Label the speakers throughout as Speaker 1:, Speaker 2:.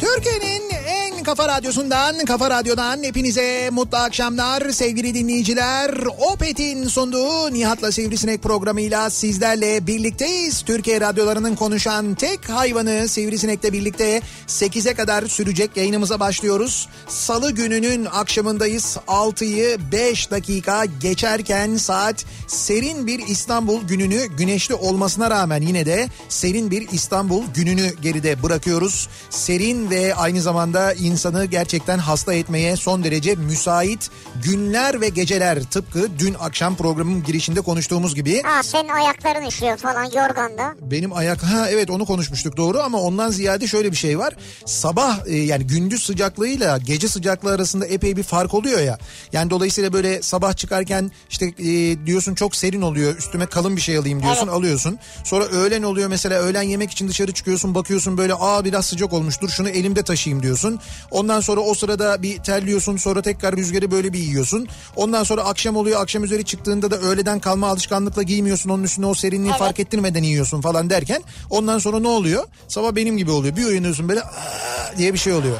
Speaker 1: Türkiye'nin en kafa radyosundan, kafa radyodan hepinize mutlu akşamlar sevgili dinleyiciler. Opet'in sunduğu Nihat'la Sivrisinek programıyla sizlerle birlikteyiz. Türkiye radyolarının konuşan tek hayvanı Sivrisinek'le birlikte 8'e kadar sürecek yayınımıza başlıyoruz. Salı gününün akşamındayız. 6'yı 5 dakika geçerken saat serin bir İstanbul gününü güneşli olmasına rağmen yine de serin bir İstanbul gününü geride bırakıyoruz. Serin ve aynı zamanda insanı gerçekten hasta etmeye son derece müsait günler ve geceler tıpkı dün akşam programın girişinde konuştuğumuz gibi
Speaker 2: Ha senin ayakların üşüyor falan yorganda.
Speaker 1: benim ayak ha evet onu konuşmuştuk doğru ama ondan ziyade şöyle bir şey var. Sabah e, yani gündüz sıcaklığıyla gece sıcaklığı arasında epey bir fark oluyor ya. Yani dolayısıyla böyle sabah çıkarken işte e, diyorsun çok serin oluyor. Üstüme kalın bir şey alayım diyorsun
Speaker 2: Evet.
Speaker 1: alıyorsun. Sonra öğlen oluyor mesela öğlen yemek için dışarı çıkıyorsun bakıyorsun böyle aa biraz sıcak olmuştur şunu elimde taşıyayım diyorsun. Ondan sonra o sırada bir terliyorsun sonra tekrar rüzgarı böyle bir yiyorsun. Ondan sonra akşam oluyor akşam üzeri çıktığında da öğleden kalma alışkanlıkla giymiyorsun onun üstüne o serinliği
Speaker 2: Evet.
Speaker 1: fark ettirmeden yiyorsun falan derken ondan sonra ne oluyor? Sabah benim gibi oluyor. Bir uyanıyorsun böyle "Aa!" diye bir şey oluyor.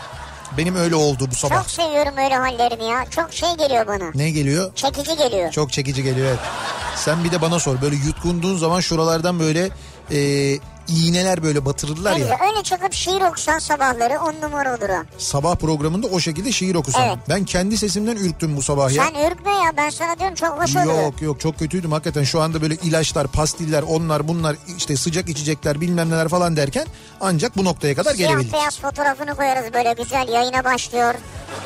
Speaker 1: Benim öyle oldu bu sabah.
Speaker 2: Çok şey- seviyorum öyle hallerimi ya. Çok şey geliyor bana.
Speaker 1: Ne geliyor?
Speaker 2: Çekici geliyor.
Speaker 1: Çok çekici geliyor evet. Sen bir de bana sor böyle yutkunduğun zaman şuralardan böyle e, iğneler böyle batırırlar ya.
Speaker 2: Ne güzel. Öyle çıkıp şiir okusan sabahları on numara olur o.
Speaker 1: Sabah programında o şekilde şiir okusan.
Speaker 2: Evet.
Speaker 1: Ben kendi sesimden ürktüm bu sabah ya.
Speaker 2: Sen ürkme ya ben sana diyorum çok hoş oluyor.
Speaker 1: Yok yok çok kötüydüm hakikaten şu anda böyle ilaçlar pastiller onlar bunlar işte sıcak içecekler bilmem neler falan derken ancak bu noktaya kadar
Speaker 2: Siyah
Speaker 1: gelebildik.
Speaker 2: beyaz fotoğrafını koyarız böyle güzel yayına başlıyor.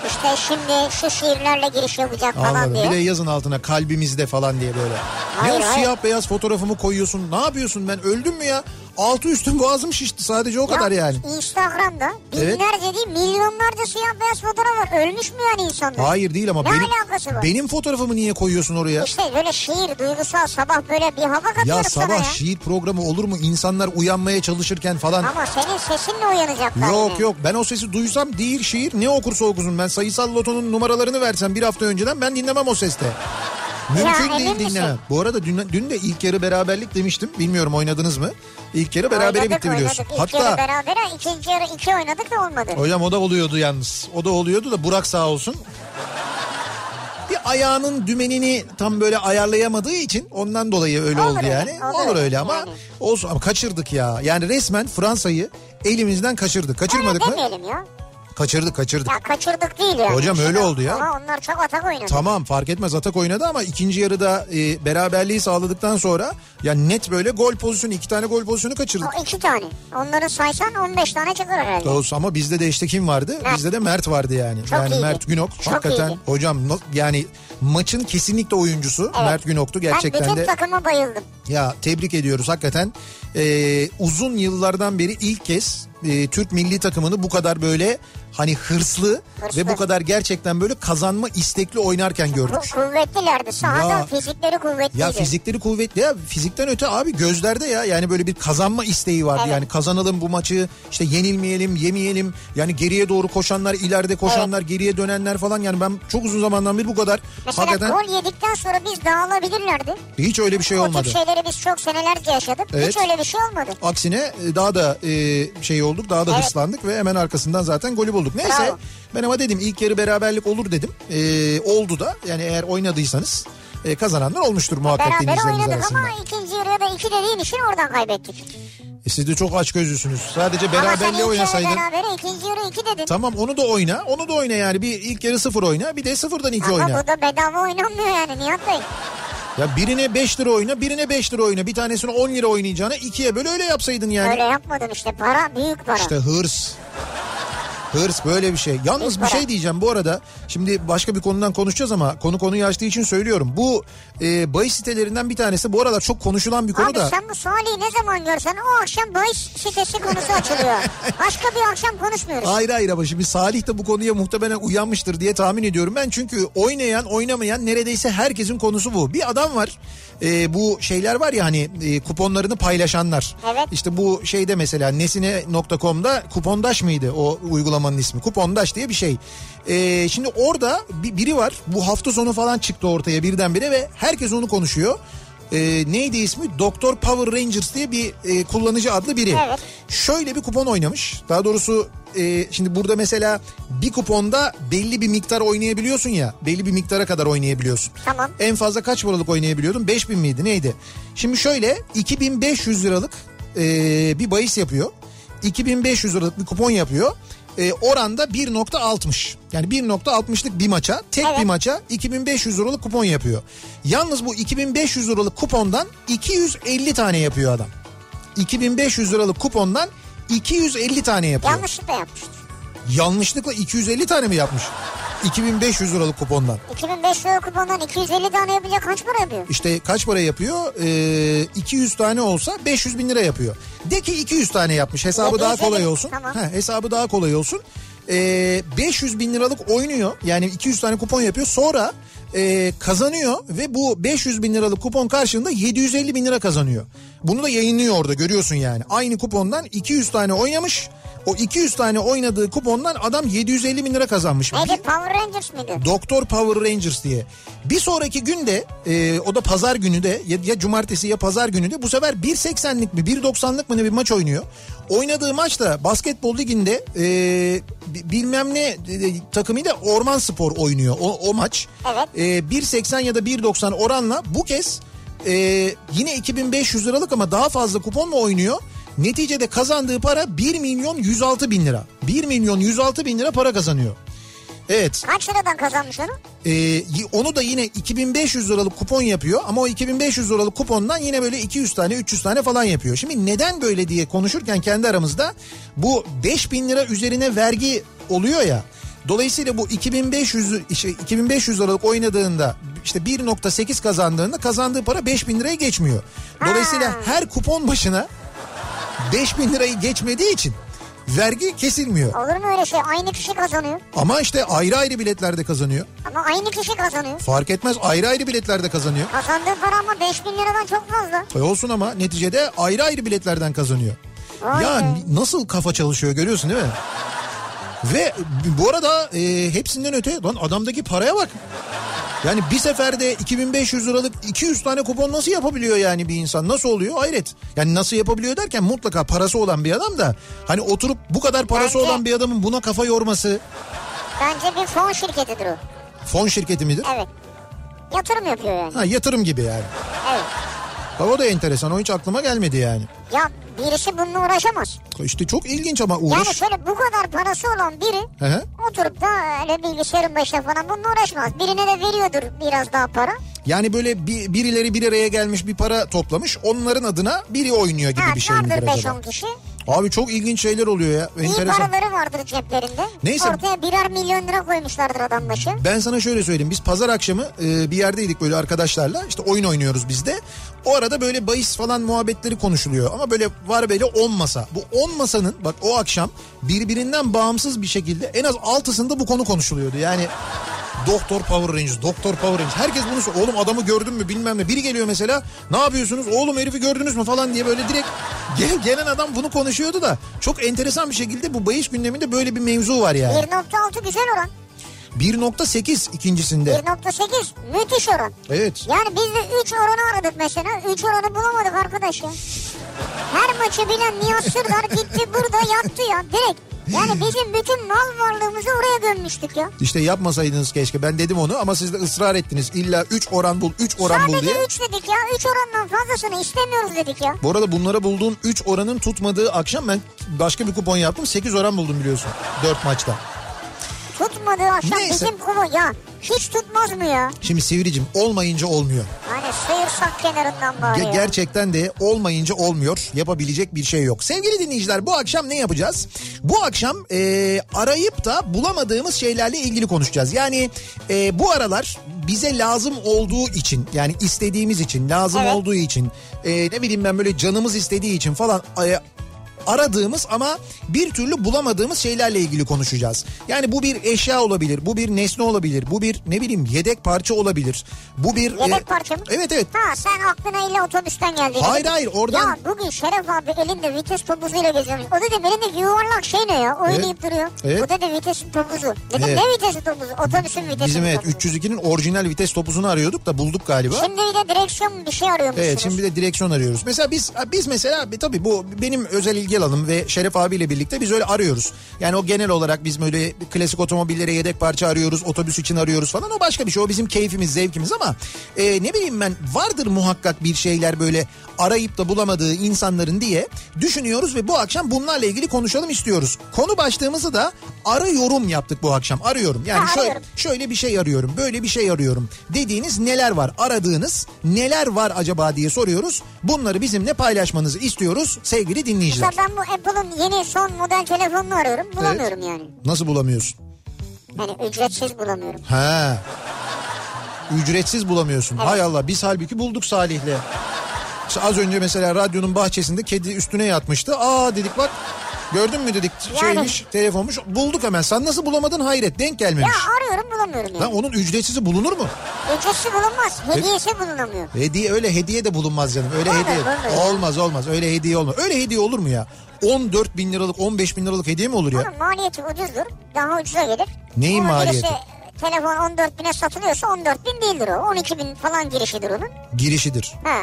Speaker 2: İşte şimdi şu şiirlerle giriş yapacak falan
Speaker 1: Anladım.
Speaker 2: diye.
Speaker 1: Bir de yazın altına kalbimizde falan diye böyle.
Speaker 2: Hayır,
Speaker 1: ne o
Speaker 2: hayır.
Speaker 1: siyah beyaz fotoğrafımı koyuyorsun ne yapıyorsun ben öldüm mü ya? Altı üstüm boğazım şişti sadece o
Speaker 2: Ya
Speaker 1: kadar yani.
Speaker 2: Instagram'da
Speaker 1: Evet.
Speaker 2: binlerce değil milyonlarca siyah beyaz fotoğraf var. Ölmüş mü yani insanlar?
Speaker 1: Hayır değil ama
Speaker 2: Ne
Speaker 1: benim,
Speaker 2: alakası var?
Speaker 1: benim fotoğrafımı niye koyuyorsun oraya?
Speaker 2: İşte böyle şiir duygusal sabah böyle bir hava katıyoruz
Speaker 1: Ya
Speaker 2: sana ya.
Speaker 1: sabah şiir programı olur mu? İnsanlar uyanmaya çalışırken falan.
Speaker 2: Ama senin sesinle uyanacaklar.
Speaker 1: Yok
Speaker 2: yine.
Speaker 1: yok ben o sesi duysam değil şiir ne okursa okusun ben sayısal lotonun numaralarını versem bir hafta önceden ben dinlemem o seste. Mümkün
Speaker 2: Ya,
Speaker 1: değil
Speaker 2: emin
Speaker 1: dinlemem.
Speaker 2: misin?
Speaker 1: Bu arada dün, dün de ilk yarı beraberlik demiştim. Bilmiyorum oynadınız mı? İlk yarı berabere
Speaker 2: Oynadık,
Speaker 1: bitti biliyorsun.
Speaker 2: Oynadık. İlk yarı
Speaker 1: Hatta
Speaker 2: berabere ikinci yarı iki oynadık da olmadı.
Speaker 1: hocam o da oluyordu yalnız. O da oluyordu da Burak sağ olsun. Bir ayağının dümenini tam böyle ayarlayamadığı için ondan dolayı öyle
Speaker 2: Olur
Speaker 1: oldu
Speaker 2: öyle,
Speaker 1: yani.
Speaker 2: olur
Speaker 1: Olur, öyle ama
Speaker 2: yani.
Speaker 1: olsun ama kaçırdık ya. Yani resmen Fransa'yı elimizden kaçırdık. Kaçırmadık
Speaker 2: Öyle
Speaker 1: mı?
Speaker 2: demeyelim ya.
Speaker 1: Kaçırdık kaçırdık.
Speaker 2: Ya kaçırdık değil yani.
Speaker 1: Hocam öyle oldu ya.
Speaker 2: Ama onlar çok atak oynadı.
Speaker 1: Tamam fark etmez atak oynadı ama ikinci yarıda e, beraberliği sağladıktan sonra ya net böyle gol pozisyonu iki tane gol pozisyonu kaçırdık.
Speaker 2: O iki tane. Onları saysan 15 tane çıkar herhalde.
Speaker 1: Doğrusu Ama bizde de işte kim vardı?
Speaker 2: Mert.
Speaker 1: Bizde de Mert vardı yani.
Speaker 2: Çok
Speaker 1: yani
Speaker 2: iyiydi.
Speaker 1: Mert Günok
Speaker 2: Çok
Speaker 1: hakikaten
Speaker 2: iyiydi.
Speaker 1: hocam no- yani maçın kesinlikle oyuncusu Mert Günok'tu
Speaker 2: ben
Speaker 1: gerçekten
Speaker 2: bütün
Speaker 1: de.
Speaker 2: takıma bayıldım.
Speaker 1: Ya tebrik ediyoruz hakikaten. Ee, uzun yıllardan beri ilk kez e, Türk milli takımını bu kadar böyle hani hırslı,
Speaker 2: Hırslı.
Speaker 1: ve bu kadar gerçekten böyle kazanma istekli oynarken gördük.
Speaker 2: Bu kuvvetlilerdi. Sahada
Speaker 1: Ya.
Speaker 2: fizikleri kuvvetliydi.
Speaker 1: Ya fizikleri kuvvetli ya fizikten öte abi gözlerde ya yani böyle bir kazanma isteği vardı
Speaker 2: Evet.
Speaker 1: yani kazanalım bu maçı işte yenilmeyelim yemeyelim yani geriye doğru koşanlar ileride koşanlar geriye dönenler falan yani ben çok uzun zamandan beri bu kadar
Speaker 2: Mesela
Speaker 1: hakikaten
Speaker 2: gol yedikten sonra biz dağılabilirlerdi.
Speaker 1: hiç öyle bir şey
Speaker 2: O
Speaker 1: olmadı.
Speaker 2: tip şeyleri biz çok senelerce yaşadık.
Speaker 1: Evet.
Speaker 2: Hiç öyle bir şey olmadı.
Speaker 1: Aksine e, daha da e, şey olduk daha da
Speaker 2: Evet.
Speaker 1: hırslandık ve hemen arkasından zaten golü bulduk. Neyse
Speaker 2: Bravo.
Speaker 1: ben ama dedim ilk yarı beraberlik olur dedim. E, oldu da yani eğer oynadıysanız e, kazananlar olmuştur muhakkak
Speaker 2: Beraber
Speaker 1: dinleyicilerimiz
Speaker 2: oynadık
Speaker 1: arasında.
Speaker 2: ama ikinci yarıya da iki dediğin için oradan kaybettik.
Speaker 1: E, siz de çok aç gözlüsünüz. Sadece
Speaker 2: ama sen ilk
Speaker 1: beraberliğe
Speaker 2: yarı
Speaker 1: oynasaydın.
Speaker 2: berabere ikinci yarı iki dedin.
Speaker 1: Tamam onu da oyna. Onu da oyna yani. Bir ilk yarı sıfır oyna. Bir de sıfırdan iki
Speaker 2: Ama
Speaker 1: oyna.
Speaker 2: bu da bedava oynanmıyor yani Nihat Bey.
Speaker 1: Ya birine 5 lira oyna birine 5 lira oyna. Bir tanesini 10 lira oynayacağına ikiye böyle öyle yapsaydın yani.
Speaker 2: Öyle yapmadın işte para büyük para.
Speaker 1: İşte hırs. Hırs böyle bir şey. Yalnız bir şey diyeceğim bu arada. Şimdi başka bir konudan konuşacağız ama konu konuyu açtığı için söylüyorum. Bu e, bahis sitelerinden bir tanesi bu aralar çok konuşulan bir konu
Speaker 2: Abi
Speaker 1: da.
Speaker 2: sen bu Salih'i ne zaman görsen o akşam bahis sitesi konusu açılıyor. Başka bir akşam konuşmuyoruz.
Speaker 1: Hayır hayır ama şimdi Salih de bu konuya muhtemelen uyanmıştır diye tahmin ediyorum ben. Çünkü oynayan oynamayan neredeyse herkesin konusu bu. Bir adam var e, bu şeyler var ya hani e, kuponlarını paylaşanlar.
Speaker 2: Evet.
Speaker 1: İşte bu şeyde mesela nesine.com'da kupondaş mıydı o uygulamanın ismi? Kupondaş diye bir şey. E, şimdi orada bir, biri var bu hafta sonu falan çıktı ortaya birdenbire ve herkes onu konuşuyor. E, neydi ismi? Doktor Power Rangers diye bir e, kullanıcı adlı biri.
Speaker 2: Evet.
Speaker 1: Şöyle bir kupon oynamış. Daha doğrusu e, şimdi burada mesela bir kuponda belli bir miktar oynayabiliyorsun ya. Belli bir miktara kadar oynayabiliyorsun.
Speaker 2: Tamam.
Speaker 1: En fazla kaç paralık oynayabiliyordun? 5000 miydi neydi? Şimdi şöyle 2500 liralık e, bir bahis yapıyor. 2500 liralık bir kupon yapıyor. E, oranda 1.60 yani 1.60'lık bir maça tek
Speaker 2: Evet.
Speaker 1: bir maça 2500 liralık kupon yapıyor. Yalnız bu 2500 liralık kupondan 250 tane yapıyor adam. 2500 liralık kupondan 250 tane yapıyor.
Speaker 2: Yanlışlıkla yapmıştır.
Speaker 1: Yanlışlıkla 250 tane mi yapmış? 2500 liralık kupondan.
Speaker 2: 2500 lira kupondan 250 tane yapınca kaç para yapıyor?
Speaker 1: İşte kaç para yapıyor? Ee, 200 tane olsa 500 bin lira yapıyor. De ki 200 tane yapmış hesabı
Speaker 2: Ya
Speaker 1: daha
Speaker 2: güzel,
Speaker 1: kolay olsun.
Speaker 2: tamam.
Speaker 1: Heh, hesabı daha kolay olsun. Ee, 500 bin liralık oynuyor yani 200 tane kupon yapıyor sonra e, kazanıyor ve bu 500 bin liralık kupon karşılığında 750 bin lira kazanıyor. Bunu da yayınlıyor orada görüyorsun yani aynı kupondan 200 tane oynamış o 200 tane oynadığı kupondan adam 750 bin lira kazanmış. Bir-
Speaker 2: Neydi Power Rangers mıydı?
Speaker 1: Doktor Power Rangers diye. Bir sonraki günde e, o da pazar günü de ya, ya cumartesi ya pazar günü de bu sefer 1.80'lik mi 1.90'lık mı ne bir maç oynuyor. Oynadığı maç da basketbol liginde e, bi- bilmem ne e, takımıyla Orman Spor oynuyor o, o maç.
Speaker 2: Evet.
Speaker 1: E, 1.80 ya da 1.90 oranla bu kez e, yine 2500 liralık ama daha fazla kuponla oynuyor. Neticede kazandığı para 1 milyon 106 bin lira. 1 milyon 106 bin lira para kazanıyor. Evet.
Speaker 2: Kaç liradan kazanmış onu?
Speaker 1: Ee, y- onu da yine 2500 liralık kupon yapıyor ama o 2500 liralık kupondan yine böyle 200 tane 300 tane falan yapıyor. Şimdi neden böyle diye konuşurken kendi aramızda bu 5000 lira üzerine vergi oluyor ya. Dolayısıyla bu 2500 lira- işte 2500 liralık oynadığında işte 1.8 kazandığında kazandığı para 5000 liraya geçmiyor. Dolayısıyla
Speaker 2: Ha.
Speaker 1: her kupon başına 5000 lirayı geçmediği için vergi kesilmiyor.
Speaker 2: Olur mu öyle şey? Aynı kişi kazanıyor.
Speaker 1: Ama işte ayrı ayrı biletlerde kazanıyor.
Speaker 2: Ama aynı kişi kazanıyor.
Speaker 1: Fark etmez ayrı ayrı biletlerde kazanıyor.
Speaker 2: Kazandığı para ama 5000 liradan çok fazla.
Speaker 1: E olsun ama neticede ayrı ayrı biletlerden kazanıyor.
Speaker 2: Vay
Speaker 1: ya
Speaker 2: be.
Speaker 1: n- nasıl kafa çalışıyor görüyorsun değil mi? Ve bu arada e, hepsinden öte lan adamdaki paraya bak. Yani bir seferde 2500 liralık 200 tane kupon nasıl yapabiliyor yani bir insan? Nasıl oluyor? Hayret. Yani nasıl yapabiliyor derken mutlaka parası olan bir adam da hani oturup bu kadar parası
Speaker 2: Bence-
Speaker 1: olan bir adamın buna kafa yorması
Speaker 2: Bence bir fon şirketidir o.
Speaker 1: fon şirketi midir?
Speaker 2: Evet. Yatırım yapıyor yani.
Speaker 1: Ha yatırım gibi yani.
Speaker 2: Evet.
Speaker 1: Ha, O da enteresan. O hiç aklıma gelmedi yani.
Speaker 2: Ya birisi bununla uğraşamaz.
Speaker 1: İşte çok ilginç ama uğraş.
Speaker 2: Yani şöyle bu kadar parası olan biri
Speaker 1: Hı hı.
Speaker 2: oturup da öyle bilgisayarın başına falan bununla uğraşmaz. Birine de veriyordur biraz daha para.
Speaker 1: Yani böyle bi- birileri bir araya gelmiş bir para toplamış. Onların adına biri oynuyor gibi
Speaker 2: Ha,
Speaker 1: bir şey midir
Speaker 2: vardır
Speaker 1: acaba?
Speaker 2: 5-10 kişi.
Speaker 1: Abi çok ilginç şeyler oluyor ya.
Speaker 2: İyi
Speaker 1: Enteresan.
Speaker 2: paraları vardır ceplerinde.
Speaker 1: Neyse.
Speaker 2: Ortaya birer milyon lira koymuşlardır adam başı.
Speaker 1: Ben sana şöyle söyleyeyim. Biz pazar akşamı e, bir yerdeydik böyle arkadaşlarla. İşte oyun oynuyoruz biz de. O arada böyle bahis falan muhabbetleri konuşuluyor. Ama böyle var böyle 10 masa. Bu 10 masanın bak o akşam birbirinden bağımsız bir şekilde en az 6'sında bu konu konuşuluyordu. Yani Doktor Power Rangers, Doktor Power Rangers. Herkes bunu sor- Oğlum adamı gördün mü bilmem ne. Biri geliyor mesela ne yapıyorsunuz oğlum herifi gördünüz mü falan diye böyle direkt gel- gelen adam bunu konuşuyordu da. Çok enteresan bir şekilde bu bahis gündeminde böyle bir mevzu var yani.
Speaker 2: 1.6 güzel oran.
Speaker 1: 1.8 ikincisinde.
Speaker 2: 1.8 müthiş oran.
Speaker 1: Evet.
Speaker 2: Yani biz de 3 oranı aradık mesela. 3 oranı bulamadık arkadaş ya. Her maçı bilen Nihat Sırdar gitti burada yattı ya direkt. Yani bizim bütün mal varlığımızı oraya gömmüştük ya.
Speaker 1: İşte yapmasaydınız keşke. Ben dedim onu ama siz de ısrar ettiniz. İlla 3 oran bul, 3 oran bul diye.
Speaker 2: Sadece 3 dedik ya. 3 orandan fazlasını istemiyoruz dedik ya.
Speaker 1: Bu arada bunlara bulduğun 3 oranın tutmadığı akşam ben başka bir kupon yaptım. 8 oran buldum biliyorsun. 4 maçta.
Speaker 2: Tutmadığı akşam
Speaker 1: Neyse.
Speaker 2: bizim kumu ya. Hiç tutmaz mı ya?
Speaker 1: Şimdi Sivricim olmayınca olmuyor.
Speaker 2: Hani sıyırsak kenarından
Speaker 1: Ge-
Speaker 2: bağırıyor.
Speaker 1: gerçekten de olmayınca olmuyor. Yapabilecek bir şey yok. Sevgili dinleyiciler bu akşam ne yapacağız? Bu akşam e, arayıp da bulamadığımız şeylerle ilgili konuşacağız. Yani e, bu aralar bize lazım olduğu için yani istediğimiz için lazım
Speaker 2: Evet.
Speaker 1: olduğu için e, ne bileyim ben böyle canımız istediği için falan e, aradığımız ama bir türlü bulamadığımız şeylerle ilgili konuşacağız. Yani bu bir eşya olabilir, bu bir nesne olabilir, bu bir ne bileyim yedek parça olabilir. Bu bir e,
Speaker 2: Yedek parça mı?
Speaker 1: Evet evet.
Speaker 2: Ha sen aklına ile otobüsten geldin.
Speaker 1: Hayır, hayır, oradan-
Speaker 2: Ya bugün Şeref abi elinde vites topuzuyla geziyormuş. O dedi elinde yuvarlak şey ne ya oynayıp duruyor.
Speaker 1: evet.
Speaker 2: Bu dedi vitesin topuzu. Dedim
Speaker 1: Evet.
Speaker 2: ne vitesin topuzu? Otobüsün vitesi.
Speaker 1: Bizim evet
Speaker 2: topuzu.
Speaker 1: 302'nin orijinal vites topuzunu arıyorduk da bulduk galiba.
Speaker 2: Şimdi bir de direksiyon bir şey arıyormuşsunuz.
Speaker 1: Evet şimdi bir de direksiyon arıyoruz. Mesela biz biz mesela bir- tabii bu benim özel ilgi alanım ve Şeref abiyle birlikte biz öyle arıyoruz. Yani o genel olarak biz böyle klasik otomobillere yedek parça arıyoruz, otobüs için arıyoruz falan o başka bir şey. O bizim keyfimiz, zevkimiz ama e, ne bileyim ben vardır muhakkak bir şeyler böyle arayıp da bulamadığı insanların diye düşünüyoruz ve bu akşam bunlarla ilgili konuşalım istiyoruz. Konu başlığımızı da ara yorum yaptık bu akşam. Arıyorum. Yani
Speaker 2: Ha,
Speaker 1: şöyle
Speaker 2: arıyorum.
Speaker 1: şöyle bir şey arıyorum, böyle bir şey arıyorum dediğiniz neler var? Aradığınız neler var acaba diye soruyoruz. Bunları bizimle paylaşmanızı istiyoruz sevgili dinleyiciler.
Speaker 2: Mesela ben bu Apple'ın yeni son model telefonunu arıyorum. Bulamıyorum yani.
Speaker 1: Nasıl bulamıyorsun?
Speaker 2: Yani ücretsiz bulamıyorum.
Speaker 1: Ha. Ücretsiz bulamıyorsun. Hay Allah biz halbuki bulduk Salih'le. İşte az önce mesela radyonun bahçesinde kedi üstüne yatmıştı. Aa dedik bak gördün mü dedik
Speaker 2: Yani.
Speaker 1: şeymiş telefonmuş bulduk hemen. Sen nasıl bulamadın hayret denk
Speaker 2: Ya
Speaker 1: gelmemiş.
Speaker 2: arıyorum bulamıyorum yani.
Speaker 1: Lan onun ücretsizi bulunur mu?
Speaker 2: Ücretsiz bulunmaz. Hediyesi bulunamıyor.
Speaker 1: Hediye öyle hediye de bulunmaz canım. Öyle
Speaker 2: Olur,
Speaker 1: hediye.
Speaker 2: olur.
Speaker 1: Olmaz olmaz. Öyle hediye olmaz. Öyle hediye olur mu ya? 14 bin liralık 15 bin liralık hediye mi olur ya?
Speaker 2: Onun maliyeti ucuzdur. Daha ucuza gelir.
Speaker 1: Neyin
Speaker 2: Ama birisi
Speaker 1: maliyeti?
Speaker 2: telefon 14 bine satılıyorsa 14 bin değildir o. 12 bin falan girişidir onun.
Speaker 1: Girişidir.
Speaker 2: Ha.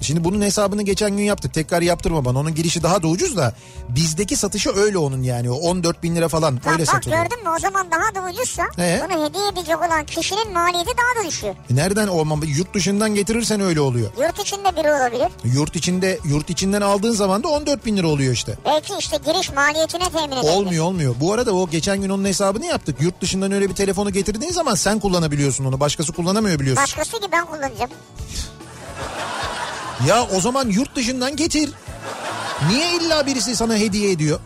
Speaker 1: Şimdi bunun hesabını geçen gün yaptık. Tekrar yaptırma bana. Onun girişi daha da ucuz da bizdeki satışı öyle onun yani. O 14 bin lira falan
Speaker 2: Bak,
Speaker 1: öyle
Speaker 2: bak
Speaker 1: satılıyor.
Speaker 2: gördün mü o zaman daha da ucuzsa
Speaker 1: Ee?
Speaker 2: bunu hediye edecek olan kişinin maliyeti daha da düşüyor.
Speaker 1: E Nereden olmam? Yurt dışından getirirsen öyle oluyor.
Speaker 2: Yurt içinde biri olabilir.
Speaker 1: Yurt içinde yurt içinden aldığın zaman da 14 bin lira oluyor işte.
Speaker 2: Belki işte giriş maliyetine temin edebilir.
Speaker 1: Olmuyor olmuyor. Bu arada o geçen gün onun hesabını yaptık. Yurt dışından öyle bir telefonu getirdiğin zaman sen kullanabiliyorsun onu. Başkası kullanamıyor biliyorsun.
Speaker 2: Başkası ki ben kullanacağım.
Speaker 1: Ya o zaman yurt dışından getir. Niye illa birisi sana hediye ediyor?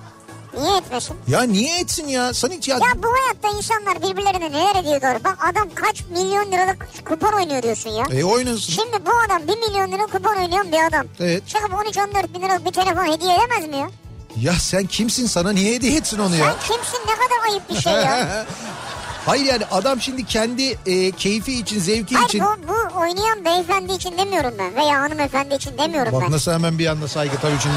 Speaker 2: Niye etmesin?
Speaker 1: Ya niye etsin ya? Sana hiç ya...
Speaker 2: Ya bu hayatta insanlar birbirlerine neler ediyor doğru. Bak adam kaç milyon liralık kupon oynuyor diyorsun ya.
Speaker 1: E oynasın.
Speaker 2: Şimdi bu adam 1 milyon lira kupon oynayan bir adam.
Speaker 1: Evet.
Speaker 2: Çıkıp 13-14 bin liralık bir telefon hediye edemez mi ya?
Speaker 1: Ya sen kimsin sana niye hediye etsin onu ya?
Speaker 2: Sen kimsin ne kadar ayıp bir şey ya.
Speaker 1: Hayır yani adam şimdi kendi e, keyfi için, zevki
Speaker 2: Hayır
Speaker 1: için...
Speaker 2: bu, bu oynayan beyefendi için demiyorum ben. Veya hanımefendi için demiyorum
Speaker 1: Bak
Speaker 2: ben.
Speaker 1: nasıl hemen bir anda saygı tabii şimdi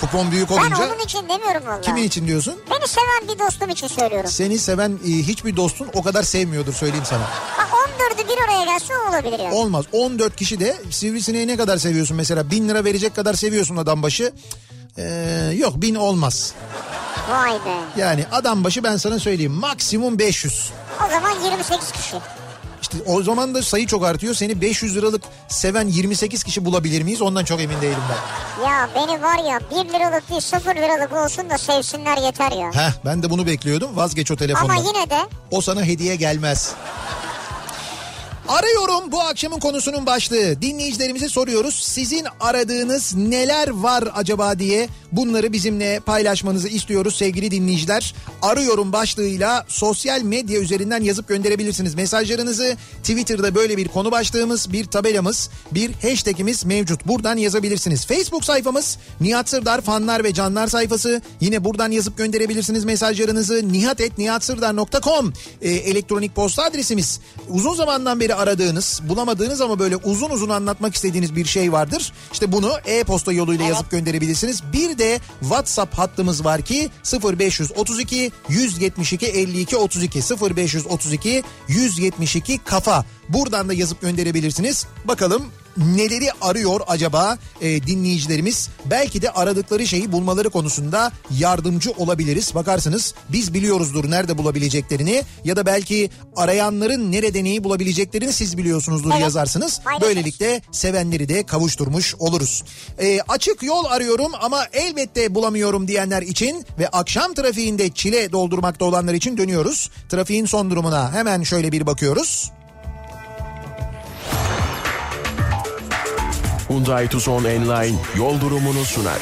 Speaker 1: kupon büyük
Speaker 2: Ben
Speaker 1: olunca...
Speaker 2: onun için demiyorum valla.
Speaker 1: Kimin için diyorsun?
Speaker 2: Beni seven bir dostum için söylüyorum.
Speaker 1: Seni seven e, hiçbir dostun o kadar sevmiyordur söyleyeyim sana.
Speaker 2: Bak 14'ü bir araya gelse o olabilir yani.
Speaker 1: Olmaz. 14 kişi de sivrisineği ne kadar seviyorsun mesela? 1000 lira verecek kadar seviyorsun adam başı. Ee, yok 1000 olmaz.
Speaker 2: Vay be.
Speaker 1: Yani adam başı ben sana söyleyeyim maksimum 500.
Speaker 2: O zaman 28 kişi.
Speaker 1: İşte o zaman da sayı çok artıyor. Seni 500 liralık seven 28 kişi bulabilir miyiz? Ondan çok emin değilim ben.
Speaker 2: Ya beni var ya 1 liralık değil 0 liralık olsun da sevsinler yeter ya.
Speaker 1: Heh, ben de bunu bekliyordum. Vazgeç o
Speaker 2: Ama
Speaker 1: telefondan.
Speaker 2: yine de
Speaker 1: O sana hediye gelmez. Arıyorum bu akşamın konusunun başlığı. Dinleyicilerimize soruyoruz. Sizin aradığınız neler var acaba diye bunları bizimle paylaşmanızı istiyoruz sevgili dinleyiciler. Arıyorum başlığıyla sosyal medya üzerinden yazıp gönderebilirsiniz mesajlarınızı. Twitter'da böyle bir konu başlığımız, bir tabelamız, bir hashtagimiz mevcut. Buradan yazabilirsiniz. Facebook sayfamız Nihat Sırdar fanlar ve canlar sayfası. Yine buradan yazıp gönderebilirsiniz mesajlarınızı. nihat.nihatsırdar.com e, elektronik posta adresimiz. Uzun zamandan beri aradığınız, bulamadığınız ama böyle uzun uzun anlatmak istediğiniz bir şey vardır. İşte bunu e-posta yoluyla yazıp gönderebilirsiniz. Bir de WhatsApp hattımız var ki 0532 172 52 32 0532 172 kafa Buradan da yazıp gönderebilirsiniz. Bakalım neleri arıyor acaba e, dinleyicilerimiz? Belki de aradıkları şeyi bulmaları konusunda yardımcı olabiliriz. Bakarsınız biz biliyoruzdur nerede bulabileceklerini ya da belki arayanların neredeneyi bulabileceklerini siz biliyorsunuzdur
Speaker 2: Evet.
Speaker 1: yazarsınız.
Speaker 2: Paylaşırız.
Speaker 1: Böylelikle birlikte sevenleri de kavuşturmuş oluruz. Ee, açık yol arıyorum ama elbette bulamıyorum diyenler için ve akşam trafiğinde çile doldurmakta olanlar için dönüyoruz. Trafiğin son durumuna hemen şöyle bir bakıyoruz.
Speaker 3: Hyundai Tucson Enline yol durumunu sunar.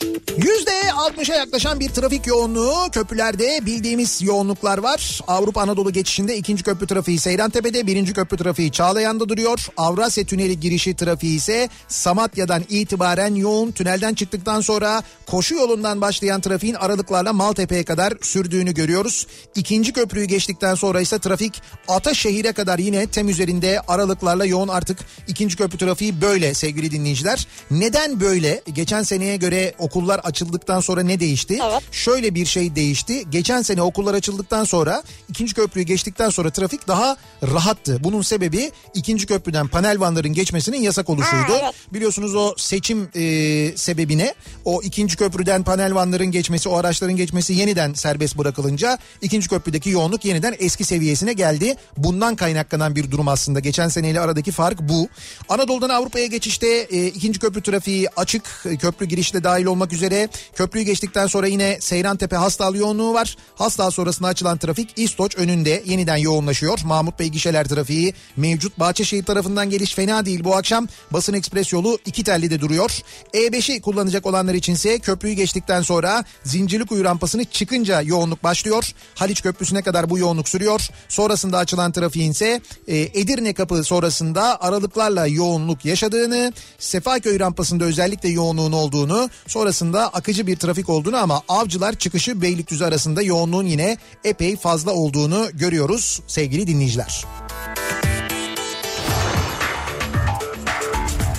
Speaker 1: %60'a yaklaşan bir trafik yoğunluğu köprülerde bildiğimiz yoğunluklar var. Avrupa Anadolu geçişinde ikinci köprü trafiği Seyrantepe'de, birinci köprü trafiği Çağlayan'da duruyor. Avrasya Tüneli girişi trafiği ise Samatya'dan itibaren yoğun. Tünelden çıktıktan sonra koşu yolundan başlayan trafiğin aralıklarla Maltepe'ye kadar sürdüğünü görüyoruz. İkinci köprüyü geçtikten sonra ise trafik Ataşehir'e kadar yine tem üzerinde aralıklarla yoğun artık ikinci köprü trafiği böyle sevgili dinleyiciler. Neden böyle? Geçen seneye göre okullar açıldıktan sonra ne değişti?
Speaker 2: Evet.
Speaker 1: Şöyle bir şey değişti. Geçen sene okullar açıldıktan sonra ikinci köprüyü geçtikten sonra trafik daha rahattı. Bunun sebebi ikinci köprüden panel vanların geçmesinin yasak oluşuydu.
Speaker 2: Ha, evet.
Speaker 1: Biliyorsunuz o seçim e, sebebine o ikinci köprüden panel vanların geçmesi, o araçların geçmesi yeniden serbest bırakılınca ikinci köprüdeki yoğunluk yeniden eski seviyesine geldi. Bundan kaynaklanan bir durum aslında. Geçen seneyle aradaki fark bu. Anadolu'dan Avrupa'ya geçişte e, ikinci köprü trafiği açık. E, Köprü girişte dahil olmak üzere. Köprüyü geçtikten sonra yine Seyrantepe Hastal yoğunluğu var. Hastal sonrasında açılan trafik İstoç önünde yeniden yoğunlaşıyor. Mahmut Bey gişeler trafiği mevcut Bahçeşehir tarafından geliş fena değil bu akşam. Basın Ekspres yolu iki tellide duruyor. E5'i kullanacak olanlar içinse köprüyü geçtikten sonra Zincirlikuyu rampasını çıkınca yoğunluk başlıyor. Haliç Köprüsü'ne kadar bu yoğunluk sürüyor. Sonrasında açılan trafiğin ise e, Edirne kapı sonrasında aralıklarla yoğunluk yaşadığını, Sefaköy rampasında özellikle yoğunluğun olduğunu, sonrasında akıcı bir trafik olduğunu ama avcılar çıkışı Beylikdüzü arasında yoğunluğun yine epey fazla olduğunu görüyoruz sevgili dinleyiciler.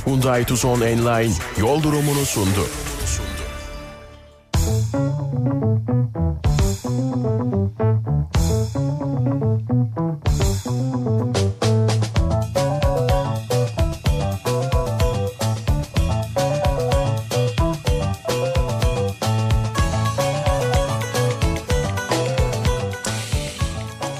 Speaker 3: Hyundai Tucson Enline yol durumunu sundu.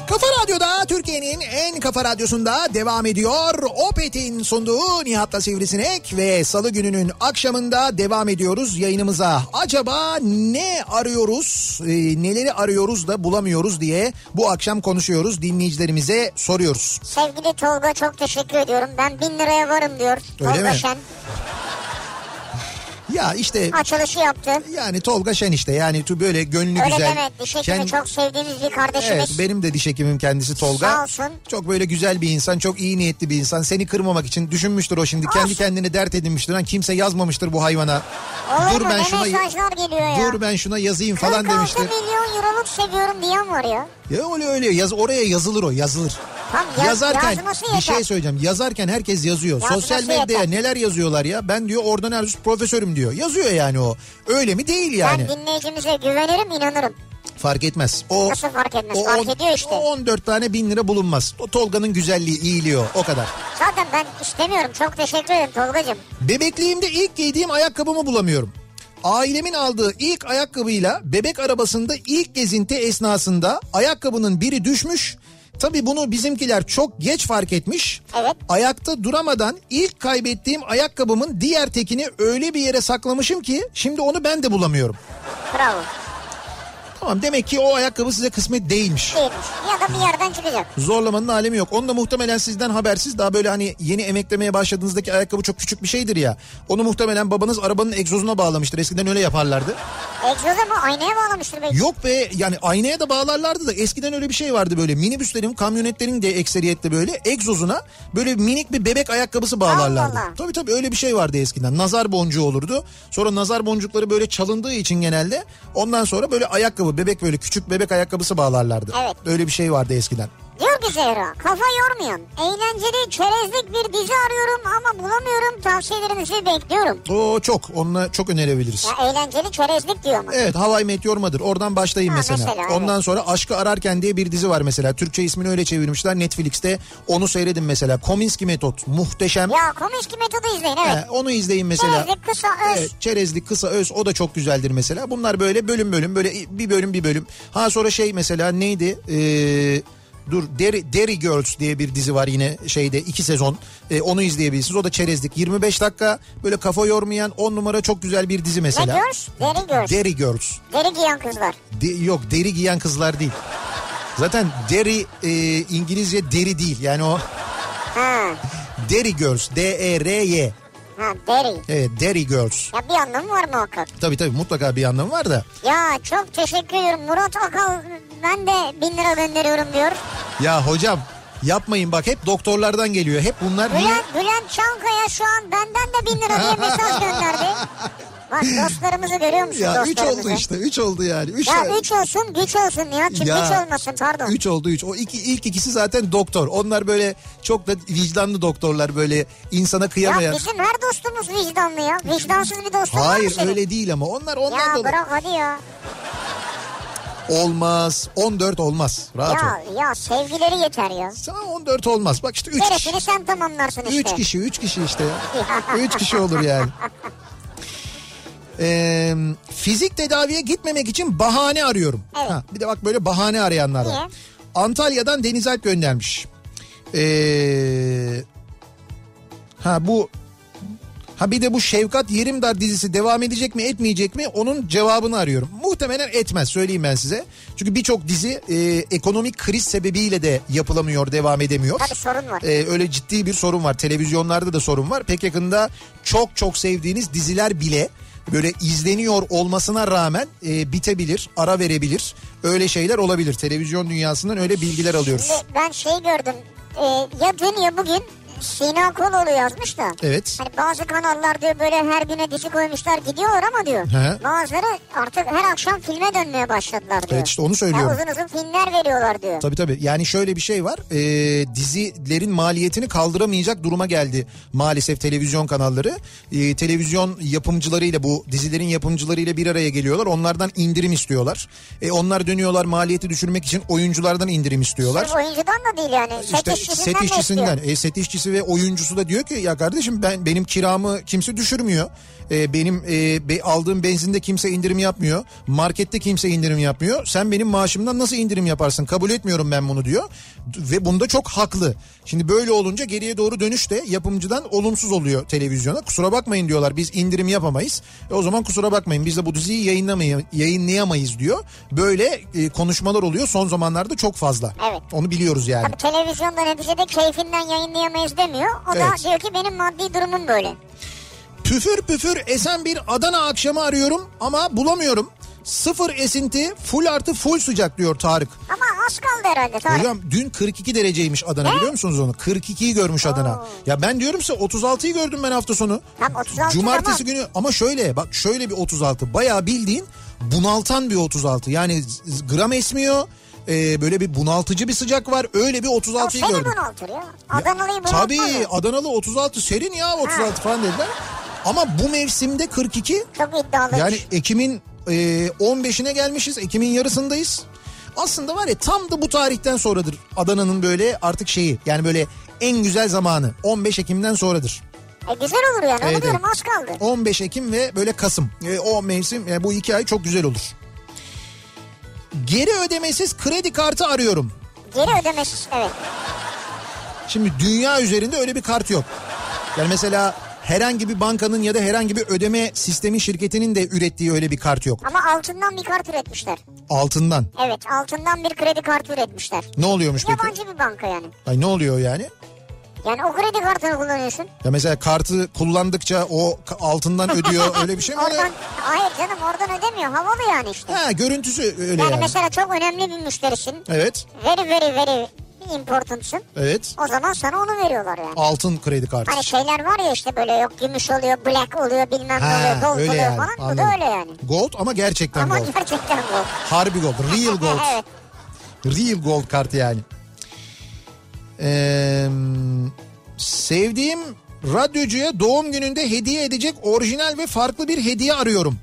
Speaker 1: Kafa Radyo'da Türkiye'nin en kafa radyosunda devam ediyor. Opet'in sunduğu Nihat'la Sivrisinek ve salı gününün akşamında devam ediyoruz yayınımıza. Acaba ne arıyoruz, e, neleri arıyoruz da bulamıyoruz diye bu akşam konuşuyoruz, dinleyicilerimize soruyoruz.
Speaker 2: Sevgili Tolga çok teşekkür ediyorum. Ben bin liraya varım diyor.
Speaker 1: Öyle
Speaker 2: Tolga
Speaker 1: mi?
Speaker 2: Şen
Speaker 1: Ya işte...
Speaker 2: açılışı yaptı.
Speaker 1: Yani Tolga Şen işte yani tu- böyle gönlü
Speaker 2: Öyle
Speaker 1: güzel.
Speaker 2: demek. Diş hekimi
Speaker 1: Kend-
Speaker 2: çok sevdiğimiz bir
Speaker 1: Evet
Speaker 2: kardeşimiz.
Speaker 1: benim de diş hekimim kendisi Tolga.
Speaker 2: Sağ olsun.
Speaker 1: Çok böyle güzel bir insan, çok iyi niyetli bir insan. Seni kırmamak için düşünmüştür o şimdi.
Speaker 2: Olsun.
Speaker 1: Kendi kendini dert edinmiştir. Lan kimse yazmamıştır bu hayvana.
Speaker 2: Olur
Speaker 1: dur
Speaker 2: mu?
Speaker 1: ben
Speaker 2: Ne
Speaker 1: şuna
Speaker 2: mesajlar geliyor ya.
Speaker 1: Dur ben şuna yazayım falan
Speaker 2: 46
Speaker 1: demiştir.
Speaker 2: milyon euroluk seviyorum diyen var ya.
Speaker 1: Ya öyle öyle yaz oraya yazılır o yazılır.
Speaker 2: Tam yaz-
Speaker 1: yazarken
Speaker 2: yazması
Speaker 1: bir
Speaker 2: yeter.
Speaker 1: şey söyleyeceğim. Yazarken herkes yazıyor.
Speaker 2: Yazması
Speaker 1: Sosyal medyaya
Speaker 2: yeter.
Speaker 1: neler yazıyorlar ya? Ben diyor oradan Erzurum profesörüm diyor. Yazıyor yani o. Öyle mi değil yani.
Speaker 2: Ben dinleyicimize güvenirim inanırım.
Speaker 1: Fark etmez. O
Speaker 2: Nasıl fark etmez? Fark
Speaker 1: on-
Speaker 2: ediyor işte.
Speaker 1: o 14 tane bin lira bulunmaz. O Tolga'nın güzelliği iyiliği o, o kadar.
Speaker 2: Zaten ben istemiyorum. Çok teşekkür ederim Tolga'cığım.
Speaker 1: Bebekliğimde ilk giydiğim ayakkabımı bulamıyorum. Ailemin aldığı ilk ayakkabıyla bebek arabasında ilk gezinti esnasında ayakkabının biri düşmüş. Tabii bunu bizimkiler çok geç fark etmiş.
Speaker 2: Evet.
Speaker 1: Ayakta duramadan ilk kaybettiğim ayakkabımın diğer tekini öyle bir yere saklamışım ki şimdi onu ben de bulamıyorum.
Speaker 2: Bravo.
Speaker 1: Tamam demek ki o ayakkabı size kısmet değilmiş.
Speaker 2: Değilmiş. Ya da bir yerden çıkacak.
Speaker 1: Zorlamanın alemi yok. Onu da muhtemelen sizden habersiz daha böyle hani yeni emeklemeye başladığınızdaki ayakkabı çok küçük bir şeydir ya. Onu muhtemelen babanız arabanın egzozuna bağlamıştır. Eskiden öyle yaparlardı.
Speaker 2: Egzoza mı? Aynaya bağlamıştır belki.
Speaker 1: Yok be yani aynaya da bağlarlardı da eskiden öyle bir şey vardı böyle. Minibüslerin, kamyonetlerin de ekseriyette böyle egzozuna böyle minik bir bebek ayakkabısı bağlarlardı.
Speaker 2: Allah Allah.
Speaker 1: Tabii tabii öyle bir şey vardı eskiden. Nazar boncuğu olurdu. Sonra nazar boncukları böyle çalındığı için genelde ondan sonra böyle ayakkabı, bebek böyle küçük bebek ayakkabısı bağlarlardı.
Speaker 2: Evet.
Speaker 1: Öyle bir şey vardı eskiden.
Speaker 2: Diyor ki Zehra kafa yormayın. Eğlenceli çerezlik bir dizi arıyorum ama bulamıyorum. Tavsiyelerinizi bekliyorum.
Speaker 1: O çok. Onunla çok önerebiliriz.
Speaker 2: Ya eğlenceli çerezlik diyor ama.
Speaker 1: Evet Havai Met Yormadır. Oradan başlayayım
Speaker 2: Ha,
Speaker 1: mesela.
Speaker 2: mesela, evet.
Speaker 1: Ondan sonra Aşkı Ararken diye bir dizi var mesela. Türkçe ismini öyle çevirmişler. Netflix'te onu seyredin mesela. Kominski Metot. Muhteşem.
Speaker 2: Ya komik metodu izleyin evet.
Speaker 1: He, onu izleyin mesela.
Speaker 2: Çerezlik kısa öz.
Speaker 1: Evet, çerezlik kısa öz o da çok güzeldir mesela. Bunlar böyle bölüm bölüm böyle bir bölüm bir bölüm. Ha sonra şey mesela neydi? Ee, dur Derry, Derry Girls diye bir dizi var yine şeyde iki sezon. Ee, onu izleyebilirsiniz. O da çerezlik 25 dakika böyle kafa yormayan 10 numara çok güzel bir dizi
Speaker 2: Ne
Speaker 1: mesela.
Speaker 2: Girls? Deri Girls.
Speaker 1: Derry Girls.
Speaker 2: Deri giyen kızlar.
Speaker 1: De- yok deri giyen kızlar değil. Zaten deri e, İngilizce deri değil. Yani o
Speaker 2: Ha.
Speaker 1: Derry Girls. D-E-R-Y.
Speaker 2: Ha deri.
Speaker 1: Evet Derry Girls.
Speaker 2: Ya bir anlamı var muhakkak.
Speaker 1: Tabii tabii mutlaka bir anlamı var da.
Speaker 2: Ya çok teşekkür ediyorum. Murat Akal ben de bin lira gönderiyorum diyor.
Speaker 1: Ya hocam yapmayın bak hep doktorlardan geliyor. Hep bunlar niye?
Speaker 2: Bülent, Bülent Çankaya şu an benden de bin lira diye mesaj gönderdi. Bak dostlarımızı görüyor musun
Speaker 1: Ya 3
Speaker 2: dostlarımızı?
Speaker 1: oldu işte 3 oldu yani. 3
Speaker 2: Ya üç olsun güç olsun ya. Kim
Speaker 1: Ya,
Speaker 2: güç olmasın pardon.
Speaker 1: Üç oldu 3. O iki, ilk ikisi zaten doktor. Onlar böyle çok da vicdanlı doktorlar böyle insana
Speaker 2: ya şey
Speaker 1: kıyamayan.
Speaker 2: bizim her dostumuz vicdanlı ya. Vicdansız bir dostum var mı
Speaker 1: Hayır
Speaker 2: senin?
Speaker 1: öyle değil ama onlar ondan
Speaker 2: Ya
Speaker 1: dolayı.
Speaker 2: bırak hadi ya.
Speaker 1: Olmaz. 14 olmaz. Rahat ol.
Speaker 2: Ya, ya sevgileri yeter ya.
Speaker 1: Sana 14 olmaz. Bak işte 3 kişi.
Speaker 2: Gerisini sen tamamlarsın işte.
Speaker 1: 3 kişi, 3 kişi işte ya. 3 kişi olur yani. Ee, fizik tedaviye gitmemek için bahane arıyorum.
Speaker 2: Evet.
Speaker 1: bir de bak böyle bahane arayanlar var.
Speaker 2: Niye?
Speaker 1: Antalya'dan Deniz Alp göndermiş. Ee, ha bu ha bir de bu Şevkat Yerimdar dizisi devam edecek mi etmeyecek mi onun cevabını arıyorum. Muhtemelen etmez söyleyeyim ben size. Çünkü birçok dizi e, ekonomik kriz sebebiyle de yapılamıyor, devam edemiyor.
Speaker 2: Tabii sorun var.
Speaker 1: Ee, öyle ciddi bir sorun var. Televizyonlarda da sorun var. Pek yakında çok çok sevdiğiniz diziler bile böyle izleniyor olmasına rağmen e, bitebilir, ara verebilir. Öyle şeyler olabilir. Televizyon dünyasından öyle bilgiler alıyoruz.
Speaker 2: Şimdi ben şey gördüm. Ee, ya dün ya bugün Sina Koloğlu yazmış da.
Speaker 1: Evet.
Speaker 2: Hani bazı kanallar diyor böyle her güne dizi koymuşlar gidiyorlar ama diyor.
Speaker 1: He.
Speaker 2: Bazıları artık her akşam filme dönmeye başladılar diyor.
Speaker 1: Evet, işte onu
Speaker 2: Ya
Speaker 1: söylüyorum.
Speaker 2: uzun uzun filmler veriyorlar diyor.
Speaker 1: Tabii tabii. Yani şöyle bir şey var. Ee, dizilerin maliyetini kaldıramayacak duruma geldi maalesef televizyon kanalları. Ee, televizyon yapımcılarıyla bu dizilerin yapımcılarıyla bir araya geliyorlar. Onlardan indirim istiyorlar. E, onlar dönüyorlar maliyeti düşürmek için oyunculardan indirim istiyorlar.
Speaker 2: Sırf oyuncudan da değil yani.
Speaker 1: İşte
Speaker 2: set işçisinden
Speaker 1: set
Speaker 2: de
Speaker 1: işçisinden,
Speaker 2: istiyor.
Speaker 1: e, set işçisi ve oyuncusu da diyor ki ya kardeşim ben benim kiramı kimse düşürmüyor. E, benim e, be- aldığım benzinde kimse indirim yapmıyor. Markette kimse indirim yapmıyor. Sen benim maaşımdan nasıl indirim yaparsın? Kabul etmiyorum ben bunu diyor. D- Ve bunda çok haklı. Şimdi böyle olunca geriye doğru dönüş de yapımcıdan olumsuz oluyor televizyona. Kusura bakmayın diyorlar biz indirim yapamayız. E, o zaman kusura bakmayın biz de bu diziyi yayınlamay- yayınlayamayız diyor. Böyle e, konuşmalar oluyor son zamanlarda çok fazla.
Speaker 2: Evet.
Speaker 1: Onu biliyoruz yani.
Speaker 2: Tabii televizyonda neticede keyfinden yayınlayamayız demiyor. O
Speaker 1: Evet.
Speaker 2: da diyor ki benim maddi durumum böyle.
Speaker 1: Püfür püfür esen bir Adana akşamı arıyorum ama bulamıyorum. Sıfır esinti full artı full sıcak diyor Tarık.
Speaker 2: Ama az kaldı herhalde. Tarık.
Speaker 1: Hocam dün 42 dereceymiş Adana biliyor musunuz onu? 42'yi görmüş Adana. Ya ben diyorum size 36'yı gördüm ben hafta sonu.
Speaker 2: Tam 36
Speaker 1: Cumartesi
Speaker 2: tamam.
Speaker 1: günü ama şöyle bak şöyle bir 36 bayağı bildiğin bunaltan bir 36. Yani z- z- gram esmiyor. Ee, böyle bir bunaltıcı bir sıcak var. Öyle bir
Speaker 2: O
Speaker 1: 36'yı
Speaker 2: seni
Speaker 1: gördüm.
Speaker 2: bunaltır ya. Adanalıyı bunaltmaz.
Speaker 1: Tabii
Speaker 2: ya.
Speaker 1: Adanalı 36 serin ya 36 falan dediler. Ama bu mevsimde 42
Speaker 2: Çok iddialı.
Speaker 1: yani Ekim'in e, 15'ine gelmişiz. Ekim'in yarısındayız. Aslında var ya tam da bu tarihten sonradır Adana'nın böyle artık şeyi yani böyle en güzel zamanı 15 Ekim'den sonradır.
Speaker 2: E güzel olur yani onu
Speaker 1: Evet,
Speaker 2: diyorum
Speaker 1: evet.
Speaker 2: az kaldı.
Speaker 1: 15 Ekim ve böyle Kasım. E, o mevsim e, bu iki ay çok güzel olur. Geri ödemesiz kredi kartı arıyorum.
Speaker 2: Geri ödemesiz evet.
Speaker 1: Şimdi dünya üzerinde öyle bir kart yok. Yani mesela herhangi bir bankanın ya da herhangi bir ödeme sistemi şirketinin de ürettiği öyle bir kart yok.
Speaker 2: Ama altından bir kart üretmişler.
Speaker 1: Altından.
Speaker 2: Evet altından bir kredi kartı üretmişler.
Speaker 1: Ne oluyormuş peki?
Speaker 2: Yabancı bir banka yani.
Speaker 1: Ay ne oluyor yani?
Speaker 2: Yani o kredi kartını kullanıyorsun.
Speaker 1: Ya mesela kartı kullandıkça o ka- altından ödüyor öyle bir şey mi? oluyor?
Speaker 2: Oradan hayır canım oradan ödemiyor. Havalı yani işte.
Speaker 1: Ha görüntüsü öyle
Speaker 2: Yani
Speaker 1: yani.
Speaker 2: mesela çok önemli bir müşterisin.
Speaker 1: Evet,
Speaker 2: Very very very important'sın.
Speaker 1: evet.
Speaker 2: O zaman sana onu veriyorlar yani.
Speaker 1: Altın kredi kartı.
Speaker 2: Hani şeyler var ya işte böyle yok gümüş oluyor, black oluyor, bilmem ne oluyor,
Speaker 1: Ha
Speaker 2: gold
Speaker 1: öyle
Speaker 2: oluyor
Speaker 1: yani.
Speaker 2: falan. Bu da
Speaker 1: anladım.
Speaker 2: öyle yani.
Speaker 1: Gold ama gerçekten
Speaker 2: Ama
Speaker 1: gold.
Speaker 2: gerçekten bu.
Speaker 1: Harbi gold, real gold.
Speaker 2: evet.
Speaker 1: Real gold kartı yani. Ee, sevdiğim radyocuya doğum gününde hediye edecek orijinal ve farklı bir hediye arıyorum.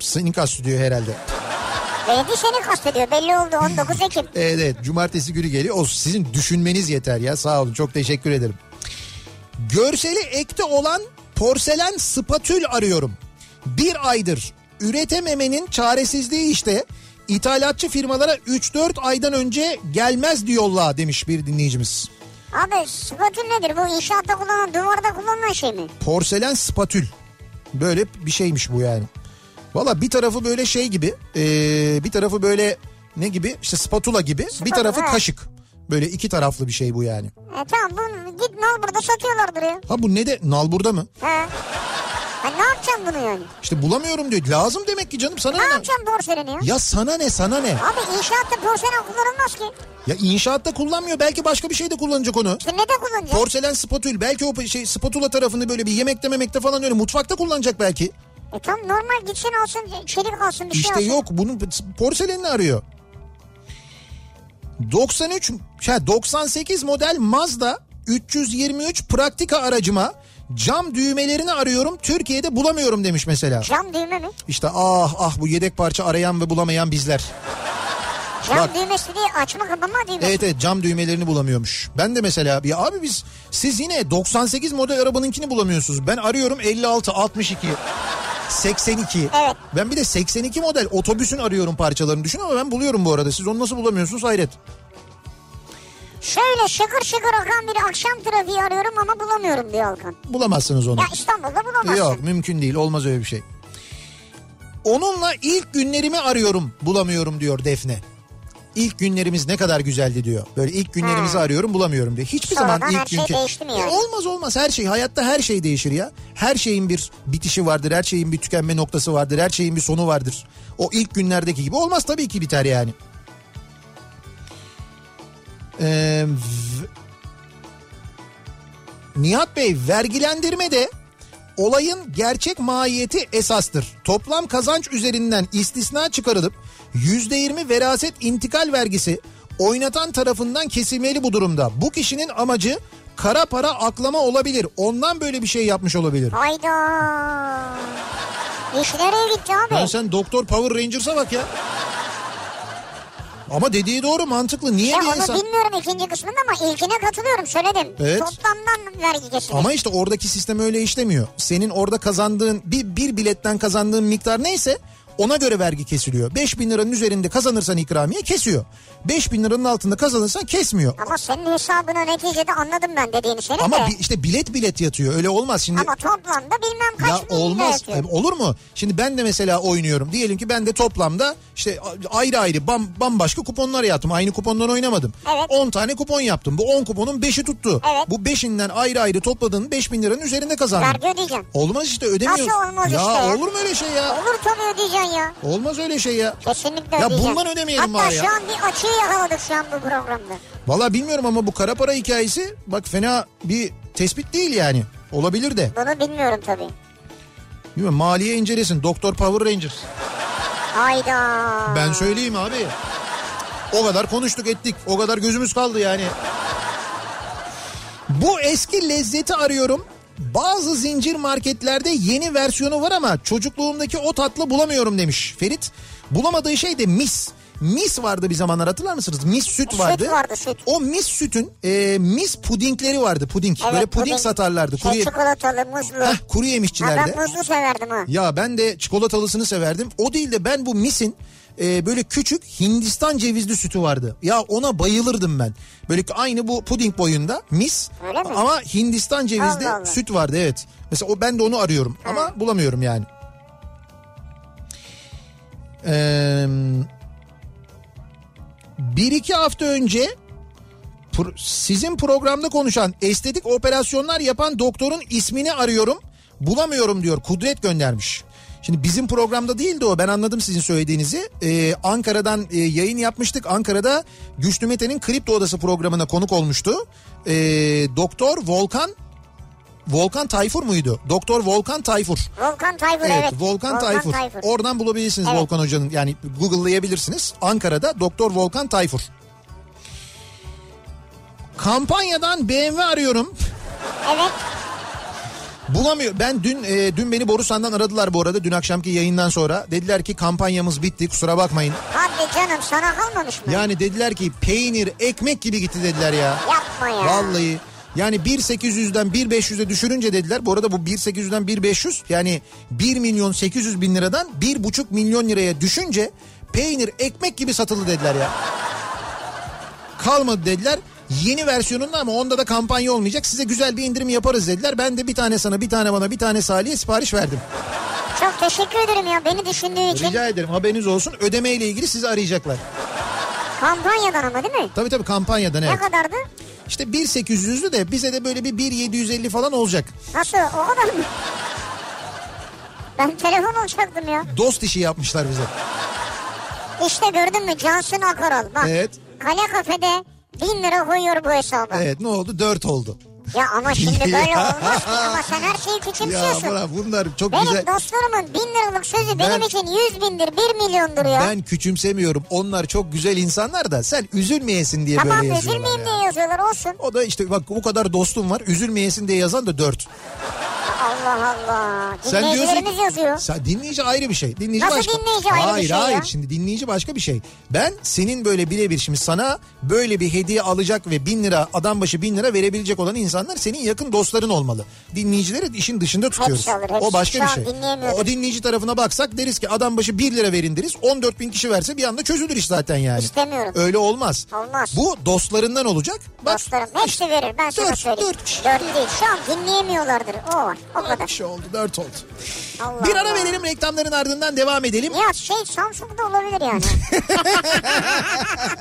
Speaker 1: Seni kastediyor herhalde.
Speaker 2: Belki seni kastediyor belli oldu 19 Ekim.
Speaker 1: Evet, Ee, evet cumartesi günü geliyor. O sizin düşünmeniz yeter ya. Sağ olun çok teşekkür ederim. Görseli ekte olan porselen spatül arıyorum. Bir aydır üretememenin çaresizliği işte. İthalatçı firmalara 3-4 aydan önce gelmez diyorlar demiş bir dinleyicimiz.
Speaker 2: Abi spatül nedir bu inşaatta kullanılan duvarda kullanılan şey mi?
Speaker 1: Porselen spatül. Böyle bir şeymiş bu yani. Valla bir tarafı böyle şey gibi ee, bir tarafı böyle ne gibi işte spatula gibi bir tarafı
Speaker 2: ha.
Speaker 1: kaşık. Böyle iki taraflı bir şey bu yani.
Speaker 2: E tamam bunu git ne burada satıyorlardır ya.
Speaker 1: Ha bu ne de nalburda mı?
Speaker 2: He. Ha, ne yapacaksın bunu yani?
Speaker 1: İşte bulamıyorum diyor. Lazım demek ki canım sana
Speaker 2: Ne
Speaker 1: ne?
Speaker 2: yapacaksın porseleni ya?
Speaker 1: Ya sana ne sana ne?
Speaker 2: Abi inşaatta porselen kullanılmaz ki.
Speaker 1: Ya inşaatta kullanmıyor belki başka bir şeyde kullanacak onu.
Speaker 2: İşte ne de kullanacaksın?
Speaker 1: Porselen spatül belki o şey spatula tarafını böyle bir yemekte memekte falan öyle mutfakta kullanacak belki.
Speaker 2: E tamam normal gitsin alsın çelik alsın bir
Speaker 1: İşte
Speaker 2: şey alsın.
Speaker 1: yok bunun porselenini arıyor. 93 ya 98 model Mazda 323 praktika aracıma cam düğmelerini arıyorum Türkiye'de bulamıyorum demiş mesela.
Speaker 2: Cam düğme mi?
Speaker 1: İşte ah ah bu yedek parça arayan ve bulamayan bizler.
Speaker 2: Cam
Speaker 1: Bak.
Speaker 2: düğmesi değil açma kapama düğmesi.
Speaker 1: Evet evet cam düğmelerini bulamıyormuş. Ben de mesela ya abi biz siz yine 98 model arabanınkini bulamıyorsunuz. Ben arıyorum 56, 62, 82.
Speaker 2: Evet.
Speaker 1: Ben bir de 82 model otobüsün arıyorum parçalarını düşün ama ben buluyorum bu arada. Siz onu nasıl bulamıyorsunuz hayret.
Speaker 2: Şöyle şıkır şıkır akan bir akşam trafiği arıyorum ama bulamıyorum diyor Alkan.
Speaker 1: şey. şey, şey E, şey şey e, e,
Speaker 2: Şey,
Speaker 1: Kampanyadan BMW arıyorum.
Speaker 2: Evet.
Speaker 1: Bulamıyor. Ben dün e, dün beni Borusan'dan aradılar bu arada dün akşamki yayından sonra. Dediler ki kampanyamız bitti kusura bakmayın.
Speaker 2: Hadi canım sana kalmamış mı?
Speaker 1: Yani dediler ki peynir ekmek gibi gitti dediler ya.
Speaker 2: Yapma ya.
Speaker 1: Vallahi yani 1.800'den 1.500'e düşürünce dediler. Bu arada bu 1.800'den 1.500 yani 1 milyon 800 bin liradan 1.5 milyon liraya düşünce peynir ekmek gibi satıldı dediler ya. Kalmadı dediler. Yeni versiyonunda ama onda da kampanya olmayacak. Size güzel bir indirim yaparız dediler. Ben de bir tane sana, bir tane bana, bir tane Salih'e sipariş verdim.
Speaker 2: Çok teşekkür ederim ya beni düşündüğün için.
Speaker 1: Rica ederim haberiniz olsun. Ödeme ile ilgili sizi arayacaklar.
Speaker 2: Kampanyadan ama değil mi?
Speaker 1: Tabii tabii kampanyadan evet.
Speaker 2: Ne kadardı?
Speaker 1: İşte 1.800'lü de bize de böyle bir 1.750 falan olacak.
Speaker 2: Nasıl o kadar mı? Ben telefon olacaktım ya.
Speaker 1: Dost işi yapmışlar bize.
Speaker 2: İşte gördün mü Cansın Akaral bak.
Speaker 1: Evet.
Speaker 2: Kale kafede bin lira koyuyor bu hesaba.
Speaker 1: Evet ne oldu? 4 oldu.
Speaker 2: Ya ama şimdi böyle
Speaker 1: Ya.
Speaker 2: olmaz ki ama sen her şeyi
Speaker 1: Ya
Speaker 2: küçümsüyorsun.
Speaker 1: bana bunlar çok
Speaker 2: benim
Speaker 1: güzel.
Speaker 2: dostlarımın bin liralık
Speaker 1: Ben-
Speaker 2: sözü benim için yüz bindir, bir milyondur ya.
Speaker 1: Ben küçümsemiyorum. Onlar çok güzel insanlar da sen üzülmeyesin diye
Speaker 2: tamam
Speaker 1: böyle yazıyorlar.
Speaker 2: üzülmeyeyim
Speaker 1: ya.
Speaker 2: diye yazıyorlar olsun.
Speaker 1: O da işte bak bu kadar dostum var. Üzülmeyesin diye yazan da 4.
Speaker 2: Allah Allah.
Speaker 1: Sen diyorsun
Speaker 2: Dinleyicilerimiz yazıyor.
Speaker 1: Sen dinleyici ayrı bir şey. Dinleyici
Speaker 2: Nasıl
Speaker 1: başka.
Speaker 2: dinleyici ayrı bir
Speaker 1: hayır,
Speaker 2: şey ya?
Speaker 1: Hayır şimdi dinleyici başka bir şey. Ben senin böyle birebir şimdi sana böyle bir hediye alacak ve bin lira adam başı bin lira verebilecek olan insanlar senin yakın dostların olmalı. Dinleyicileri işin dışında tutuyoruz.
Speaker 2: olur, hepsi.
Speaker 1: O başka
Speaker 2: Şu
Speaker 1: bir
Speaker 2: an
Speaker 1: şey.
Speaker 2: dinleyemiyorum.
Speaker 1: O dinleyici tarafına baksak deriz ki adam başı bir lira verin deriz. 14 bin kişi verse bir anda çözülür iş zaten yani.
Speaker 2: İstemiyorum.
Speaker 1: Öyle olmaz.
Speaker 2: Olmaz.
Speaker 1: Bu dostlarından olacak. Bak,
Speaker 2: Dostlarım hepsi verir ben sana
Speaker 1: Dört,
Speaker 2: söyleyeyim.
Speaker 1: dört kişi.
Speaker 2: Dört değil şu an dinleyemiyorlardır o var o
Speaker 1: Dört
Speaker 2: kadar.
Speaker 1: kişi şey oldu, dört oldu.
Speaker 2: Allah
Speaker 1: Bir ara
Speaker 2: Allah.
Speaker 1: verelim reklamların ardından devam edelim.
Speaker 2: Ya şey Samsung'da olabilir yani.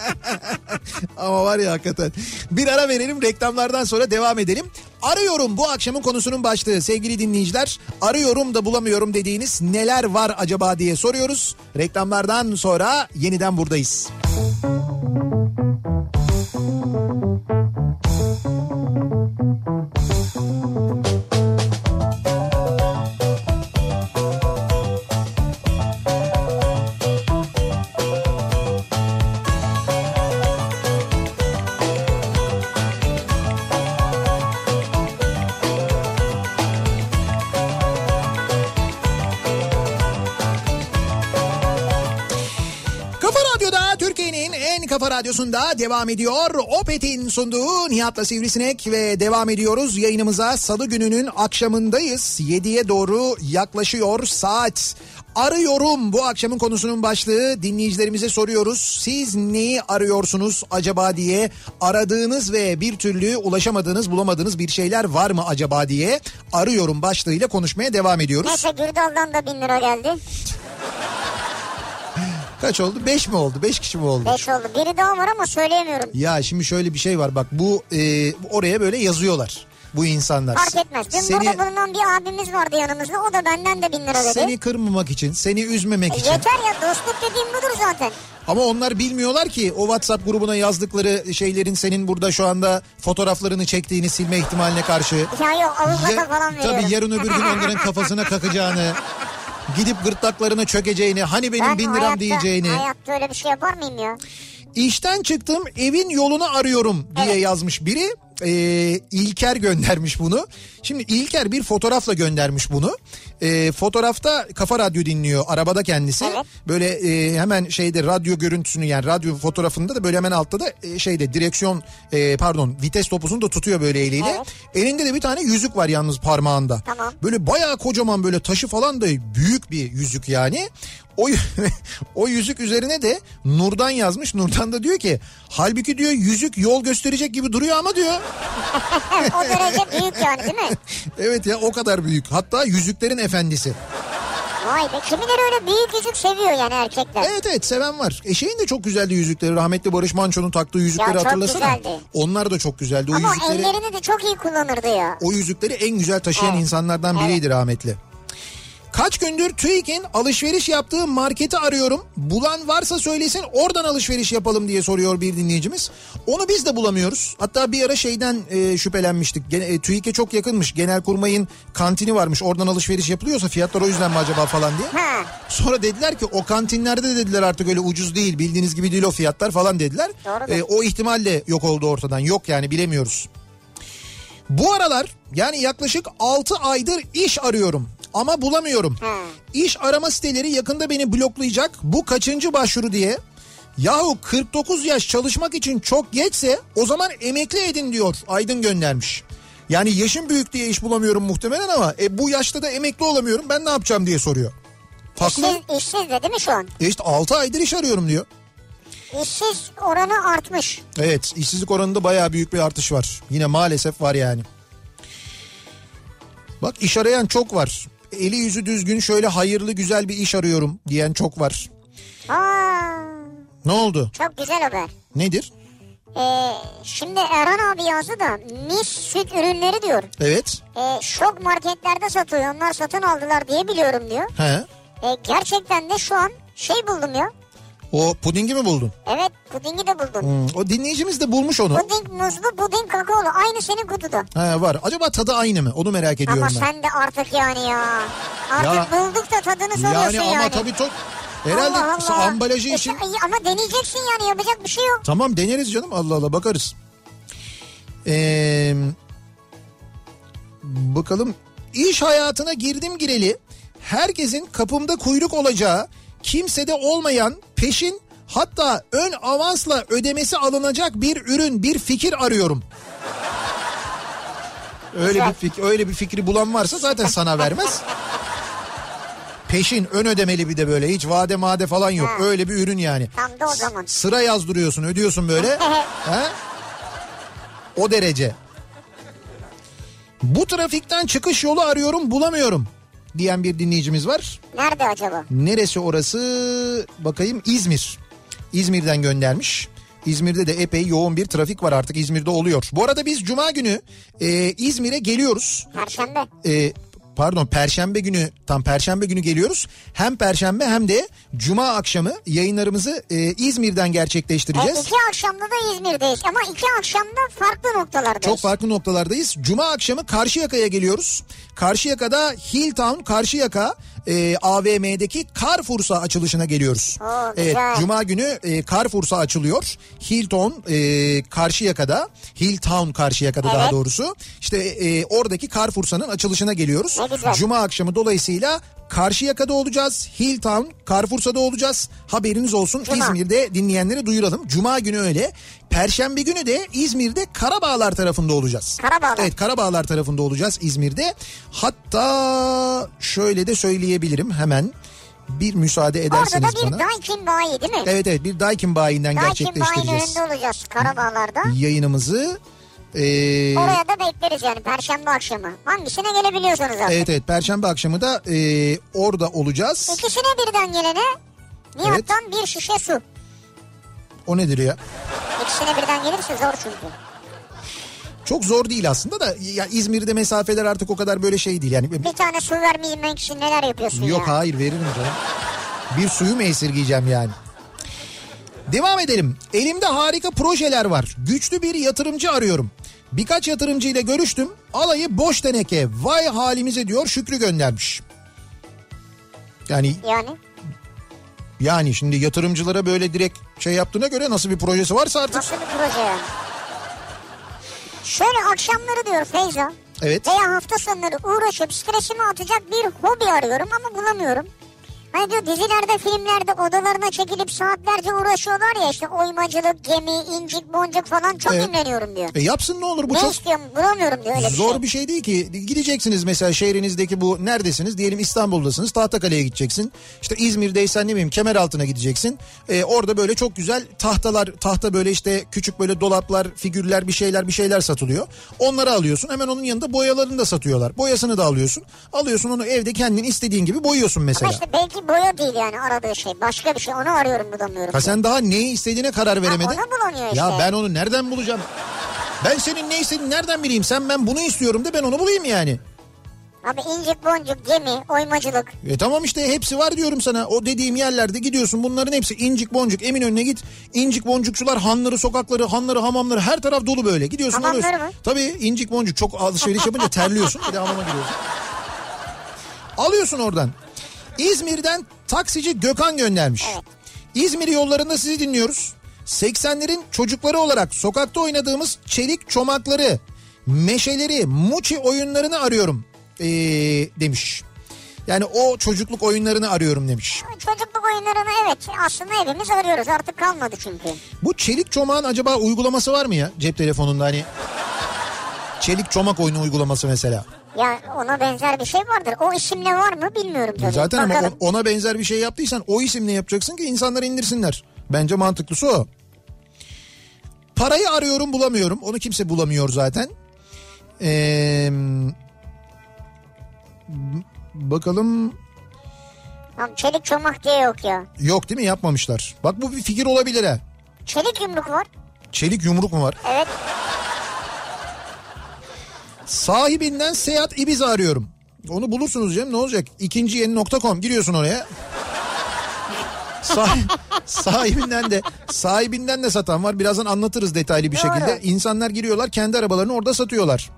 Speaker 1: Ama var ya hakikaten. Bir ara verelim reklamlardan sonra devam edelim. Arıyorum bu akşamın konusunun başlığı sevgili dinleyiciler. Arıyorum da bulamıyorum dediğiniz neler var acaba diye soruyoruz. Reklamlardan sonra yeniden buradayız. Kafa Radyo'da Türkiye'nin en kafa radyosunda devam ediyor. Opet'in sunduğu Nihat'la Sivrisinek ve devam ediyoruz. Yayınımıza salı gününün akşamındayız. 7'ye doğru yaklaşıyor saat. Arıyorum bu akşamın konusunun başlığı dinleyicilerimize soruyoruz. Siz neyi arıyorsunuz acaba diye aradığınız ve bir türlü ulaşamadığınız bulamadığınız bir şeyler var mı acaba diye arıyorum başlığıyla konuşmaya devam ediyoruz.
Speaker 2: Neyse Gürdal'dan da bin lira geldi.
Speaker 1: Kaç oldu? 5 mi oldu? 5 kişi mi oldu?
Speaker 2: Beş oldu. Biri daha var ama söyleyemiyorum.
Speaker 1: Ya şimdi şöyle bir şey var bak bu e, oraya böyle yazıyorlar bu insanlar.
Speaker 2: Fark etmez. Dün
Speaker 1: seni,
Speaker 2: burada bulunan bir abimiz vardı yanımızda. O da benden de bin lira dedi.
Speaker 1: seni kırmamak için, seni üzmemek
Speaker 2: E,
Speaker 1: için.
Speaker 2: Yeter ya dostluk dediğim budur zaten.
Speaker 1: Ama onlar bilmiyorlar ki o WhatsApp grubuna yazdıkları şeylerin senin burada şu anda fotoğraflarını çektiğini silme ihtimaline karşı.
Speaker 2: Ya yok avukata
Speaker 1: Ya-
Speaker 2: falan veriyorum.
Speaker 1: tabii yarın öbür gün onların kafasına kakacağını, gidip gırtlaklarına çökeceğini, hani benim
Speaker 2: Ben
Speaker 1: bin liram
Speaker 2: hayatta-
Speaker 1: diyeceğini.
Speaker 2: Hayatta öyle bir şey yapar mıyım ya?
Speaker 1: İşten çıktım evin yolunu arıyorum diye yazmış biri. Ee, İlker göndermiş bunu. Şimdi İlker bir fotoğrafla göndermiş bunu. Ee, fotoğrafta Kafa Radyo dinliyor arabada kendisi.
Speaker 2: Evet.
Speaker 1: Böyle e, hemen şeyde radyo görüntüsünü yani radyo fotoğrafında da böyle hemen altta da e, şeyde direksiyon e, pardon vites topuzunu da tutuyor böyle eliyle.
Speaker 2: Evet.
Speaker 1: Elinde de bir tane yüzük var yalnız parmağında.
Speaker 2: Tamam.
Speaker 1: Böyle bayağı kocaman böyle taşı falan da büyük bir yüzük yani. O, y- o yüzük üzerine de Nurdan yazmış. Nurdan da diyor ki halbuki diyor yüzük yol gösterecek gibi duruyor ama diyor.
Speaker 2: o derece büyük yani değil mi?
Speaker 1: Evet ya o kadar büyük. Hatta yüzüklerin efendisi.
Speaker 2: Vay be kimileri öyle büyük yüzük seviyor yani erkekler.
Speaker 1: Evet evet seven var. Eşeğin de çok güzeldi yüzükleri. Rahmetli Barış Manço'nun taktığı yüzükleri
Speaker 2: Ya çok
Speaker 1: hatırlasana.
Speaker 2: güzeldi.
Speaker 1: Onlar da çok güzeldi. O
Speaker 2: Ama
Speaker 1: yüzükleri
Speaker 2: ellerini de çok iyi kullanırdı ya.
Speaker 1: o yüzükleri en güzel taşıyan
Speaker 2: Evet.
Speaker 1: insanlardan biriydi rahmetli. Kaç gündür TÜİK'in alışveriş yaptığı marketi arıyorum. Bulan varsa söylesin oradan alışveriş yapalım diye soruyor bir dinleyicimiz. Onu biz de bulamıyoruz. Hatta bir ara şeyden e, şüphelenmiştik. Gene, e, TÜİK'e çok yakınmış. Genelkurmay'ın kantini varmış. Oradan alışveriş yapılıyorsa fiyatlar o yüzden mi acaba falan diye.
Speaker 2: Ha.
Speaker 1: Sonra dediler ki o kantinlerde dediler artık öyle ucuz değil bildiğiniz gibi değil o fiyatlar falan dediler.
Speaker 2: Doğru.
Speaker 1: Ee, o ihtimalle yok oldu ortadan yok yani bilemiyoruz. Bu aralar yani yaklaşık 6 aydır iş arıyorum ama bulamıyorum. İş arama siteleri yakında beni bloklayacak bu kaçıncı başvuru diye. Yahu 49 yaş çalışmak için çok geçse o zaman emekli edin diyor Aydın göndermiş. Yani yaşım büyük diye iş bulamıyorum muhtemelen ama e, bu yaşta da emekli olamıyorum ben ne yapacağım diye soruyor. Haklı.
Speaker 2: İşsiz, işsiz de değil mi şu an?
Speaker 1: E işte 6 aydır iş arıyorum diyor.
Speaker 2: İşsiz oranı artmış.
Speaker 1: Evet işsizlik oranında bayağı büyük bir artış var. Yine maalesef var yani. Bak iş arayan çok var. Eli yüzü düzgün şöyle hayırlı güzel bir iş arıyorum diyen çok var.
Speaker 2: Aa,
Speaker 1: Ne oldu?
Speaker 2: çok güzel haber.
Speaker 1: Nedir?
Speaker 2: Ee, şimdi Erhan abi yazdı da mis süt ürünleri diyor.
Speaker 1: Evet.
Speaker 2: Ee, şok marketlerde satılıyor onlar satın aldılar diye biliyorum diyor.
Speaker 1: He.
Speaker 2: Ee, gerçekten de şu an şey buldum ya.
Speaker 1: O pudingi mi buldun?
Speaker 2: Evet pudingi de buldum.
Speaker 1: Hmm, O dinleyicimiz de bulmuş onu.
Speaker 2: Puding muzlu puding kakaolu aynı senin kutuda.
Speaker 1: He var. Acaba tadı aynı mı? Onu merak ediyorum
Speaker 2: Ama
Speaker 1: ben.
Speaker 2: sen de artık yani ya. Artık
Speaker 1: Ya-
Speaker 2: bulduk da tadını soruyorsun
Speaker 1: Yani
Speaker 2: yani.
Speaker 1: ama tabii çok... Herhalde
Speaker 2: Allah Allah.
Speaker 1: ambalajı
Speaker 2: E,
Speaker 1: için...
Speaker 2: sen- Ama deneyeceksin yani yapacak bir şey yok.
Speaker 1: Tamam deneriz canım Allah Allah bakarız. Ee, bakalım iş hayatına girdim gireli herkesin kapımda kuyruk olacağı kimsede olmayan peşin hatta ön avansla ödemesi alınacak bir ürün bir fikir arıyorum. Öyle bir fikri, öyle bir fikri bulan varsa zaten sana vermez. Peşin ön ödemeli bir de böyle hiç vade made falan yok.
Speaker 2: Ha.
Speaker 1: Öyle bir ürün yani.
Speaker 2: Tam da o zaman.
Speaker 1: Sıra yazdırıyorsun ödüyorsun böyle. He? O derece. Bu trafikten çıkış yolu arıyorum bulamıyorum diyen bir dinleyicimiz var.
Speaker 2: Nerede acaba?
Speaker 1: Neresi orası bakayım İzmir. İzmir'den göndermiş. İzmir'de de epey yoğun bir trafik var artık İzmir'de oluyor. Bu arada biz cuma günü e, İzmir'e geliyoruz
Speaker 2: Perşembe.
Speaker 1: e, pardon perşembe günü tam perşembe günü geliyoruz. Hem perşembe hem de cuma akşamı yayınlarımızı e, İzmir'den
Speaker 2: E,
Speaker 1: gerçekleştireceğiz.
Speaker 2: iki akşamda da İzmir'deyiz ama iki akşamda farklı noktalardayız.
Speaker 1: Çok farklı noktalardayız. Cuma akşamı Karşıyaka'ya geliyoruz. Karşıyaka'da Hilltown Karşıyaka e, AVM'deki Carrefour'sa açılışına geliyoruz.
Speaker 2: Oo, güzel.
Speaker 1: evet, Cuma günü e, Carrefour'sa açılıyor. Hilton e, Karşıyaka'da, Hilltown Karşıyaka'da daha
Speaker 2: Evet.
Speaker 1: doğrusu. İşte e, oradaki Carrefour'sa'nın açılışına geliyoruz.
Speaker 2: Ne güzel.
Speaker 1: Cuma akşamı dolayısıyla Karşıyaka'da olacağız. Hilltown, Carrefour'sa'da olacağız. Haberiniz olsun.
Speaker 2: Cuma.
Speaker 1: İzmir'de dinleyenlere duyuralım. Cuma günü öyle. Perşembe günü de İzmir'de Karabağlar tarafında olacağız.
Speaker 2: Karabağlar.
Speaker 1: Evet Karabağlar tarafında olacağız İzmir'de. Hatta şöyle de söyleyebilirim hemen. Bir müsaade
Speaker 2: Orada
Speaker 1: ederseniz
Speaker 2: da bir
Speaker 1: bana.
Speaker 2: Daikin bayi değil mi?
Speaker 1: Evet evet bir Daikin bayinden
Speaker 2: Daikin bayinin
Speaker 1: gerçekleştireceğiz
Speaker 2: önünde olacağız Karabağlar'da.
Speaker 1: yayınımızı. Ee,
Speaker 2: Oraya da bekleriz yani perşembe akşamı. Hangisine gelebiliyorsunuz artık?
Speaker 1: evet evet Perşembe akşamı da ee, orada olacağız.
Speaker 2: İkisine birden gelene Nihat'tan bir şişe su.
Speaker 1: O nedir ya?
Speaker 2: İkisine birden gelirse zor çünkü.
Speaker 1: Çok zor değil aslında da ya İzmir'de mesafeler artık o kadar böyle şey değil. Yani
Speaker 2: Bir tane su vermeyeyim için neler yapıyorsun
Speaker 1: Yok
Speaker 2: ya?
Speaker 1: hayır veririm canım. Bir suyu mu esirgeyeceğim yani? Devam edelim. Elimde harika projeler var. Güçlü bir yatırımcı arıyorum. Birkaç yatırımcıyla görüştüm. Alayı boş teneke. Vay halimize diyor Şükrü göndermiş. Yani
Speaker 2: Yani
Speaker 1: yani şimdi yatırımcılara böyle direkt şey yaptığına göre nasıl bir projesi varsa artık.
Speaker 2: nasıl bir proje yani? Şöyle akşamları diyor Feyza
Speaker 1: Evet.
Speaker 2: veya hafta sonları uğraşıp stresimi atacak bir hobi arıyorum ama bulamıyorum. Hani diyor dizilerde filmlerde odalarına çekilip saatlerce uğraşıyorlar ya işte oymacılık, gemi, incik, boncuk falan çok
Speaker 1: Evet.
Speaker 2: imreniyorum diyor.
Speaker 1: E yapsın ne olur bu
Speaker 2: ne
Speaker 1: çok
Speaker 2: istiyorum bulamıyorum diyor öyle bir şey.
Speaker 1: Zor bir şey değil ki. Gideceksiniz mesela şehrinizdeki bu neredesiniz? Diyelim İstanbul'dasınız. Tahtakale'ye gideceksin. İşte İzmir'deysen ne bileyim Kemeraltı'na gideceksin. Ee, orada böyle çok güzel tahtalar, tahta böyle işte küçük böyle dolaplar, figürler bir şeyler bir şeyler satılıyor. Onları alıyorsun. Hemen onun yanında boyalarını da satıyorlar. Boyasını da alıyorsun. Alıyorsun onu evde kendin istediğin gibi boyuyorsun
Speaker 2: Ama
Speaker 1: mesela.
Speaker 2: işte belki boya değil yani aradığı şey. Başka bir şey. Onu arıyorum bulamıyorum.
Speaker 1: Ha sen daha neyi istediğine karar veremedin.
Speaker 2: onu bulamıyor işte.
Speaker 1: Ya ben onu nereden bulacağım? Ben senin ne istediğini nereden bileyim? Sen ben bunu istiyorum de ben onu bulayım yani.
Speaker 2: Abi incik boncuk, gemi, oymacılık.
Speaker 1: E tamam işte hepsi var diyorum sana. O dediğim yerlerde gidiyorsun bunların hepsi incik boncuk Eminönü'ne git. İncik boncukçular hanları sokakları hanları hamamları her taraf dolu böyle. Gidiyorsun
Speaker 2: Hamamları
Speaker 1: alıyorsun.
Speaker 2: mı?
Speaker 1: Tabii incik boncuk çok alışveriş yapınca terliyorsun bir de hamama giriyorsun. Alıyorsun oradan. İzmir'den taksici Gökhan göndermiş. İzmir yollarında sizi dinliyoruz. 80'lerin çocukları olarak sokakta oynadığımız çelik çomakları, meşeleri, muçi oyunlarını arıyorum ee, demiş. Yani o çocukluk oyunlarını arıyorum demiş.
Speaker 2: Çocukluk oyunlarını evet aslında hepimiz arıyoruz artık kalmadı çünkü.
Speaker 1: Bu çelik çomağın acaba uygulaması var mı ya cep telefonunda hani? Çelik çomak oyunu uygulaması mesela.
Speaker 2: Ya ona benzer bir şey vardır. O isimle var mı bilmiyorum tabii.
Speaker 1: Zaten ama
Speaker 2: Bakalım.
Speaker 1: on- ona benzer bir şey yaptıysan o isimle yapacaksın ki insanlar indirsinler. Bence mantıklısı o. Parayı arıyorum bulamıyorum. Onu kimse bulamıyor zaten. Ee, m- bakalım
Speaker 2: Abi çelik çomak diye yok ya.
Speaker 1: yok değil mi yapmamışlar. Bak bu bir fikir olabilir ha.
Speaker 2: Çelik yumruk var.
Speaker 1: Çelik yumruk mu var?
Speaker 2: Evet.
Speaker 1: Sahibinden Seat Ibiza arıyorum. Onu bulursunuz Cem ne olacak? İkinci yeni nokta.com giriyorsun oraya. Sah- sahibinden de sahibinden de satan var. Birazdan anlatırız detaylı bir
Speaker 2: Doğru.
Speaker 1: şekilde. İnsanlar giriyorlar kendi arabalarını orada satıyorlar.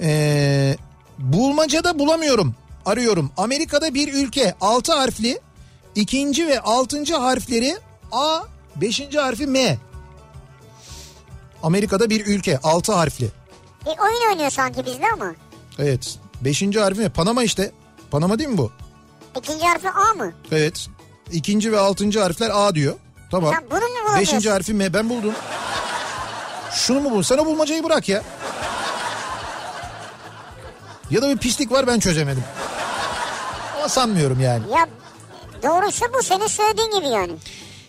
Speaker 1: Ee, bulmacada bulamıyorum. Arıyorum. Amerika'da bir ülke 6 harfli ikinci ve 6. harfleri A, 5. harfi M. Amerika'da bir ülke 6 harfli.
Speaker 2: Bir oyun oynuyor sanki bizde ama.
Speaker 1: Evet. Beşinci harfi ne? Panama işte. Panama değil mi bu?
Speaker 2: İkinci harfi A mı?
Speaker 1: Evet. İkinci ve altıncı harfler A diyor. Tamam.
Speaker 2: Sen bunu mu bulamıyorsun?
Speaker 1: Beşinci harfi M. Ben buldum. Şunu mu bul? Sana bulmacayı bırak ya. Ya da bir pislik var ben çözemedim. Ama sanmıyorum yani.
Speaker 2: Ya doğrusu bu senin söylediğin gibi yani.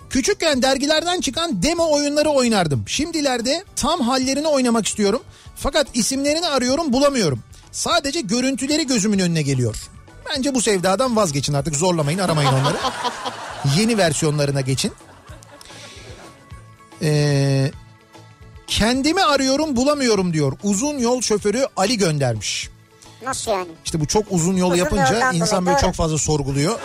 Speaker 1: Küçükken dergilerden çıkan demo oyunları oynardım. Şimdilerde tam hallerini oynamak istiyorum. Fakat isimlerini arıyorum bulamıyorum. Sadece görüntüleri gözümün önüne geliyor. Bence bu sevdadan vazgeçin artık zorlamayın aramayın onları. Yeni versiyonlarına geçin. Ee, kendimi arıyorum bulamıyorum diyor. Uzun yol şoförü Ali göndermiş.
Speaker 2: Nasıl yani?
Speaker 1: İşte bu çok uzun yol
Speaker 2: Uzun
Speaker 1: yapınca
Speaker 2: yoldan
Speaker 1: insan
Speaker 2: dolayı,
Speaker 1: böyle
Speaker 2: doğru.
Speaker 1: çok fazla sorguluyor.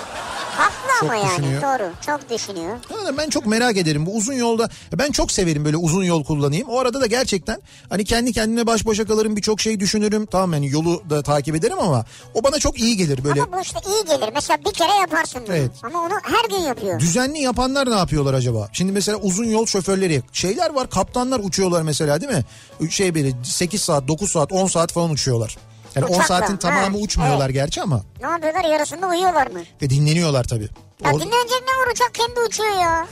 Speaker 2: Haklı
Speaker 1: Çok
Speaker 2: ama yani
Speaker 1: düşünüyor.
Speaker 2: doğru. Çok düşünüyor.
Speaker 1: Yani ben çok merak ederim bu uzun yolda ben çok severim böyle uzun yol kullanayım o arada da gerçekten hani kendi kendime baş başa kalırım birçok şey düşünürüm tamam yani yolu da takip ederim ama o bana çok iyi gelir böyle
Speaker 2: Ama bu işte iyi gelir. Mesela bir kere yaparsın bunu.
Speaker 1: Evet.
Speaker 2: Ama onu her gün yapıyor.
Speaker 1: düzenli yapanlar ne yapıyorlar acaba şimdi mesela uzun yol şoförleri şeyler var kaptanlar uçuyorlar mesela değil mi şey böyle 8 saat 9 saat 10 saat falan uçuyorlar yani 10
Speaker 2: Uçakla,
Speaker 1: saatin
Speaker 2: ha,
Speaker 1: tamamı uçmuyorlar
Speaker 2: evet.
Speaker 1: gerçi ama
Speaker 2: Ne yapıyorlar yarısında uyuyorlar mı?
Speaker 1: ve dinleniyorlar tabii.
Speaker 2: Ya
Speaker 1: O-
Speaker 2: dinlenecek ne vuracak kendi uçuyor ya.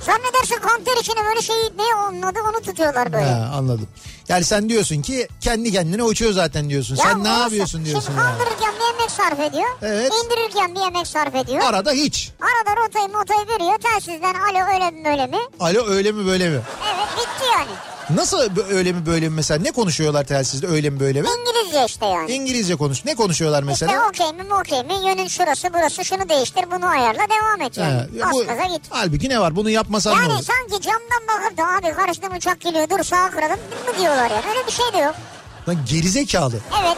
Speaker 2: Zannedersin konter içine böyle şey ne onun adı onu tutuyorlar böyle.
Speaker 1: Ha, anladım. Yani sen diyorsun ki kendi kendine uçuyor zaten diyorsun.
Speaker 2: Ya
Speaker 1: sen ne
Speaker 2: olsun.
Speaker 1: yapıyorsun diyorsun
Speaker 2: Şimdi
Speaker 1: yani.
Speaker 2: kaldırırken bir emek sarf ediyor.
Speaker 1: Evet.
Speaker 2: İndirirken bir emek sarf ediyor.
Speaker 1: Arada hiç.
Speaker 2: Arada rotayı motayı veriyor. Telsizden alo öyle mi böyle mi?
Speaker 1: Alo öyle mi böyle mi?
Speaker 2: Evet bitti yani.
Speaker 1: Nasıl bö- öyle mi böyle mi mesela? Ne konuşuyorlar telsizde öyle mi böyle mi?
Speaker 2: İngilizce işte yani.
Speaker 1: İngilizce konuş. Ne konuşuyorlar
Speaker 2: İşte
Speaker 1: mesela?
Speaker 2: okey mi okey mi yönün şurası burası şunu değiştir bunu ayarla devam et yani.
Speaker 1: Ha, ya
Speaker 2: Az
Speaker 1: bu,
Speaker 2: gaza git.
Speaker 1: halbuki ne var? Bunu yapmasan ne
Speaker 2: Yani
Speaker 1: olur?
Speaker 2: sanki camdan bakıp da abi karşıdan uçak geliyor dur sağa kıralım mı diyorlar yani öyle bir şey de yok.
Speaker 1: Lan gerizekalı.
Speaker 2: Evet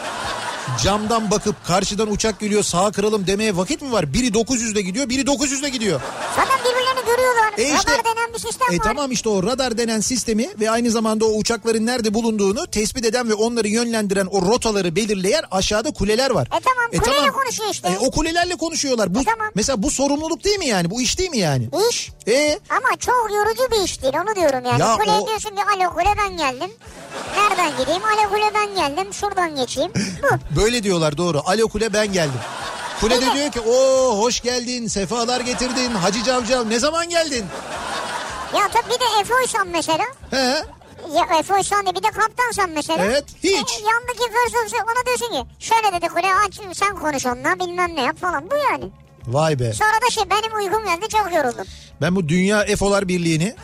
Speaker 1: Camdan bakıp karşıdan uçak geliyor sağa kıralım demeye vakit mi var? Biri 900'de gidiyor, biri 900'de gidiyor.
Speaker 2: zaten birbirlerini görüyorlar.
Speaker 1: E işte-
Speaker 2: Radar denen bir sistem
Speaker 1: E
Speaker 2: var.
Speaker 1: tamam işte o radar denen sistemi ve aynı zamanda o uçakların nerede bulunduğunu tespit eden ve onları yönlendiren o rotaları belirleyen aşağıda kuleler var.
Speaker 2: E tamam, kuleyle konuşuyor işte.
Speaker 1: E, o kulelerle konuşuyorlar. Bu,
Speaker 2: E tamam.
Speaker 1: Mesela bu sorumluluk değil mi yani? Bu iş değil mi yani?
Speaker 2: İş
Speaker 1: E
Speaker 2: ama çok yorucu bir iş değil onu diyorum yani.
Speaker 1: Ya
Speaker 2: Kuleye
Speaker 1: o-
Speaker 2: diyorsun ki alo kule ben geldim. Nereden gideyim? Alo kule ben geldim. Şuradan geçeyim. Bu.
Speaker 1: böyle diyorlar doğru. Alo kule ben geldim. Kule de diyor ki o hoş geldin, sefalar getirdin, Hacı Cavcav ne zaman geldin?
Speaker 2: Ya tabii bir de Efoysan mesela.
Speaker 1: He?
Speaker 2: Ya Efoysan da bir de kaptansan mesela.
Speaker 1: Evet, hiç.
Speaker 2: E, yandaki fırsatçı ona diyorsun ki şöyle dedi kule aç sen konuş onunla bilmem ne yap falan bu yani.
Speaker 1: Vay be.
Speaker 2: Sonra da şey benim uykum geldi çok yoruldum.
Speaker 1: Ben bu Dünya EFO'lar Birliği'ni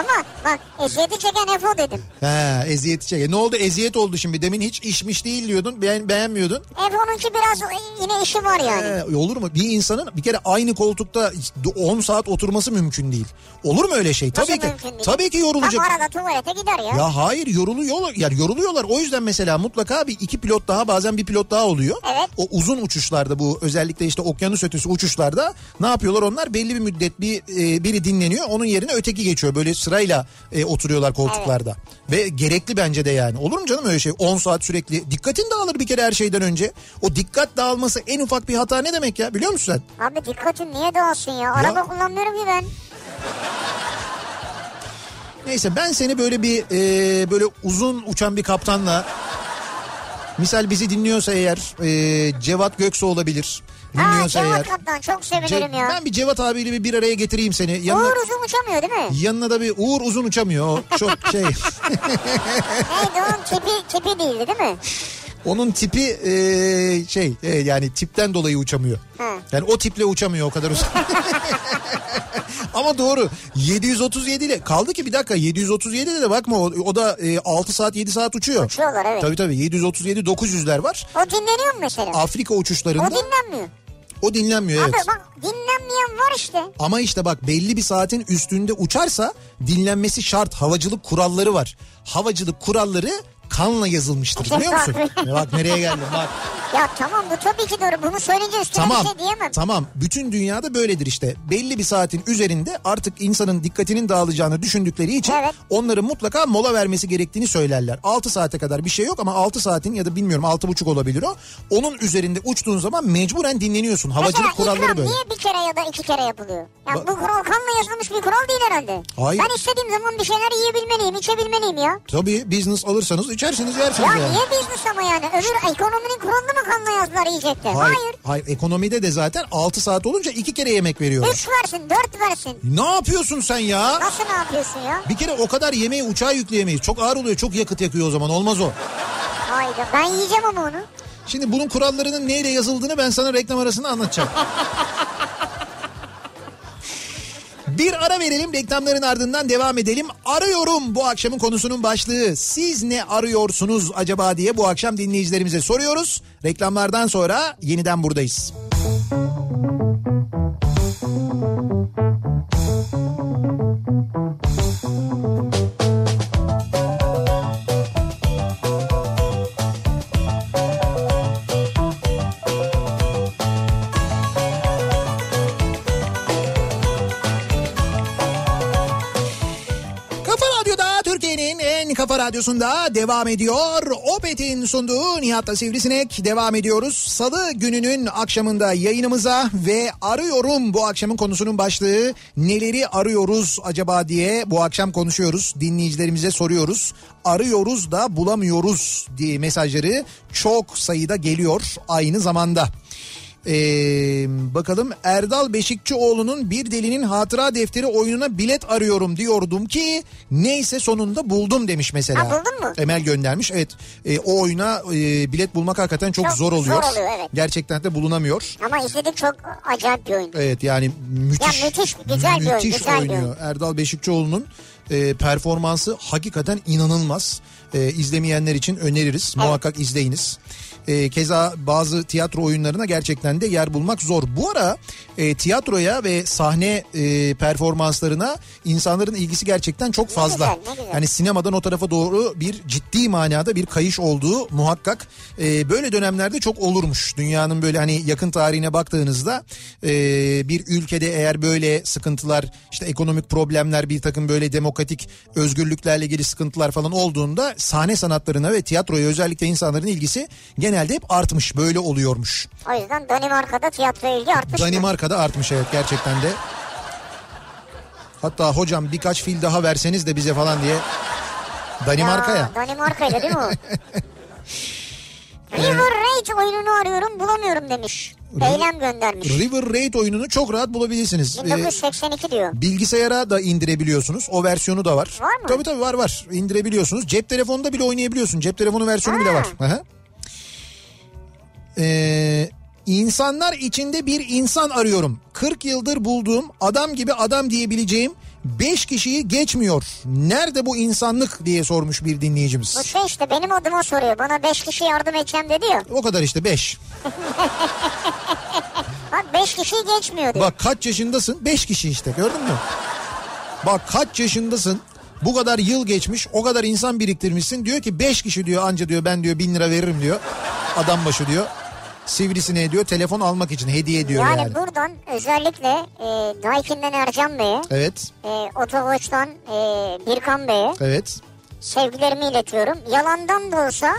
Speaker 2: Ama Bak eziyeti çeken Efo dedim.
Speaker 1: He, eziyeti çek. Ne oldu? Eziyet oldu şimdi. Demin hiç işmiş değil diyordun. Beğen, beğenmiyordun.
Speaker 2: Efo'nunki biraz e, yine işi var yani.
Speaker 1: He, olur mu? Bir insanın bir kere aynı koltukta 10 saat oturması mümkün değil. Olur mu öyle şey?
Speaker 2: Nasıl
Speaker 1: tabii ki.
Speaker 2: mümkün değil?
Speaker 1: Tabii ki yorulacak.
Speaker 2: Ama arada tuvalete gider ya.
Speaker 1: Ya hayır yoruluyorlar. Yani yoruluyorlar. O yüzden mesela mutlaka bir iki pilot daha bazen bir pilot daha oluyor.
Speaker 2: Evet.
Speaker 1: O uzun uçuşlarda bu özellikle işte okyanus ötesi uçuşlarda ne yapıyorlar onlar? Belli bir müddet bir e, biri dinleniyor. Onun yerine öteki geçiyor. Böyle sırayla e, oturuyorlar koltuklarda. Ve gerekli bence de yani. Olur mu canım öyle şey? 10 saat sürekli dikkatin dağılır bir kere her şeyden önce. O dikkat dağılması en ufak bir hata ne demek ya? Biliyor musun sen?
Speaker 2: Abi dikkatin niye dağılsın ya? Araba kullanmıyorum ki ben.
Speaker 1: Neyse ben seni böyle bir e, böyle uzun uçan bir kaptanla misal bizi dinliyorsa eğer e, Cevat Göksu olabilir.
Speaker 2: Ha
Speaker 1: Dinliyorsa
Speaker 2: Cevat
Speaker 1: eğer.
Speaker 2: Kaptan çok
Speaker 1: Ce-
Speaker 2: sevinirim ya.
Speaker 1: ben bir Cevat abiyle bir, bir araya getireyim seni. Yanına,
Speaker 2: Uğur uzun uçamıyor değil mi?
Speaker 1: yanına da bir Uğur uzun uçamıyor. O çok şey.
Speaker 2: Neydi onun tipi, tipi değildi değil mi?
Speaker 1: Onun tipi e, şey e, yani tipten dolayı uçamıyor.
Speaker 2: Hı.
Speaker 1: Yani o tiple uçamıyor o kadar uzun. Ama doğru 737 ile kaldı ki bir dakika 737 de de bakma o, o da e, 6 saat 7 saat uçuyor.
Speaker 2: Uçuyorlar evet.
Speaker 1: Tabii tabii 737 900'ler var.
Speaker 2: O dinleniyor mu mesela?
Speaker 1: Afrika uçuşlarında
Speaker 2: o dinlenmiyor.
Speaker 1: o dinlenmiyor evet.
Speaker 2: Abi bak dinlenmeyen var işte.
Speaker 1: Ama işte bak belli bir saatin üstünde uçarsa dinlenmesi şart. Havacılık kuralları var. Havacılık kuralları kanla yazılmıştır biliyor musun? Ya bak nereye geldim bak.
Speaker 2: Ya tamam bu tabii ki doğru. Bunu söyleyince üstüne
Speaker 1: Tamam.
Speaker 2: bir şey diyemem.
Speaker 1: Tamam. Bütün dünyada böyledir işte. Belli bir saatin üzerinde artık insanın dikkatinin dağılacağını düşündükleri için
Speaker 2: Evet.
Speaker 1: onların mutlaka mola vermesi gerektiğini söylerler. 6 saate kadar bir şey yok ama 6 saatin ya da bilmiyorum 6,5 olabilir o. Onun üzerinde uçtuğun zaman mecburen dinleniyorsun.
Speaker 2: Mesela
Speaker 1: Havacılık kuralları
Speaker 2: ikram
Speaker 1: böyle.
Speaker 2: niye bir kere ya da iki kere yapılıyor? Ya
Speaker 1: Ba-
Speaker 2: bu kural kanla yazılmış bir kural değil herhalde.
Speaker 1: Hayır.
Speaker 2: Ben istediğim zaman bir şeyler yiyebilmeliyim, içebilmeliyim ya.
Speaker 1: Tabii business alırsanız içersiniz yersiniz
Speaker 2: Ya
Speaker 1: yani.
Speaker 2: niye business ama yani? Öbür ekonominin kuralını mı kanla yazdılar yiyecekte? Hayır.
Speaker 1: Hayır. Hayır ekonomide de zaten 6 saat olunca 2 kere yemek veriyorlar.
Speaker 2: Üç versin, dört versin.
Speaker 1: Ne yapıyorsun sen ya?
Speaker 2: Nasıl ne yapıyorsun ya?
Speaker 1: Bir kere o kadar yemeği uçağa yükleyemeyiz. Çok ağır oluyor, çok yakıt yakıyor o zaman. Olmaz o.
Speaker 2: Hayda ben yiyeceğim ama onu.
Speaker 1: Şimdi bunun kurallarının neyle yazıldığını ben sana reklam arasında anlatacağım. Bir ara verelim reklamların ardından devam edelim. Arıyorum bu akşamın konusunun başlığı. Siz ne arıyorsunuz acaba diye bu akşam dinleyicilerimize soruyoruz. Reklamlardan sonra yeniden buradayız. Kafa Radyo'da Türkiye'nin en kafa radyosunda devam ediyor. Opet'in sunduğu Nihat'la Sivrisinek devam ediyoruz. Salı gününün akşamında yayınımıza ve arıyorum bu akşamın konusunun başlığı neleri arıyoruz acaba diye bu akşam konuşuyoruz. Dinleyicilerimize soruyoruz. Arıyoruz da bulamıyoruz diye mesajları çok sayıda geliyor aynı zamanda. Ee, bakalım Erdal Beşikçioğlu'nun Bir Delinin Hatıra Defteri oyununa bilet arıyorum diyordum ki neyse sonunda buldum demiş mesela.
Speaker 2: Ha, buldun mu?
Speaker 1: Emel göndermiş evet Ee, o oyuna e, bilet bulmak hakikaten çok,
Speaker 2: Çok
Speaker 1: zor oluyor.
Speaker 2: zor oluyor, evet.
Speaker 1: Gerçekten de bulunamıyor.
Speaker 2: Ama izledik çok acayip bir oyun.
Speaker 1: Evet yani müthiş.
Speaker 2: Ya müthiş, güzel bir oyun,
Speaker 1: müthiş
Speaker 2: güzel bir
Speaker 1: oynuyor.
Speaker 2: oyun.
Speaker 1: Erdal Beşikçioğlu'nun e, performansı hakikaten inanılmaz. E, izlemeyenler için öneririz. Muhakkak izleyiniz. E, keza bazı tiyatro oyunlarına gerçekten de yer bulmak zor. Bu ara e, tiyatroya ve sahne e, performanslarına insanların ilgisi gerçekten çok fazla. Hani
Speaker 2: güzel, ne güzel.
Speaker 1: Yani sinemadan o tarafa doğru bir ciddi manada bir kayış olduğu muhakkak e, böyle dönemlerde çok olurmuş. Dünyanın böyle hani yakın tarihine baktığınızda e, bir ülkede eğer böyle sıkıntılar işte ekonomik problemler bir takım böyle demokratik özgürlüklerle ilgili sıkıntılar falan olduğunda sahne sanatlarına ve tiyatroya özellikle insanların ilgisi genelde hep artmış böyle oluyormuş.
Speaker 2: O yüzden Danimarka'da tiyatro ilgi artmış. mı?
Speaker 1: Danimarka'da artmış evet gerçekten de. Hatta hocam birkaç fil daha verseniz de bize falan diye Danimarka'ya.
Speaker 2: Ya, Danimarka'ydı değil mi o? River Rage oyununu arıyorum bulamıyorum demiş. Eylem göndermiş.
Speaker 1: River Raid oyununu çok rahat bulabilirsiniz. Ee,
Speaker 2: 1982 diyor.
Speaker 1: bilgisayara da indirebiliyorsunuz. O versiyonu da var.
Speaker 2: Var mı?
Speaker 1: Tabii tabii var var. İndirebiliyorsunuz. Cep telefonunda bile oynayabiliyorsun. Cep telefonu versiyonu bile var. Aha. Ee, insanlar içinde bir insan arıyorum. 40 yıldır bulduğum adam gibi adam diyebileceğim 5 kişiyi geçmiyor. Nerede bu insanlık diye sormuş bir dinleyicimiz.
Speaker 2: Bu şey işte benim adıma soruyor. Bana 5 kişi yardım edeceğim dedi ya.
Speaker 1: O kadar işte 5.
Speaker 2: Bak 5 kişiyi geçmiyor diyor.
Speaker 1: Bak kaç yaşındasın? 5 kişi işte gördün mü? Bak kaç yaşındasın? Bu kadar yıl geçmiş o kadar insan biriktirmişsin. Diyor ki 5 kişi diyor anca diyor ben diyor 1000 lira veririm diyor. Adam başı diyor. Sivrisine diyor telefon almak için hediye diyor yani.
Speaker 2: yani, buradan özellikle e, Daikin'den Ercan Bey'e,
Speaker 1: Evet
Speaker 2: e, Otovoç'tan e, Birkan Bey'e
Speaker 1: evet.
Speaker 2: sevgilerimi iletiyorum. Yalandan da olsa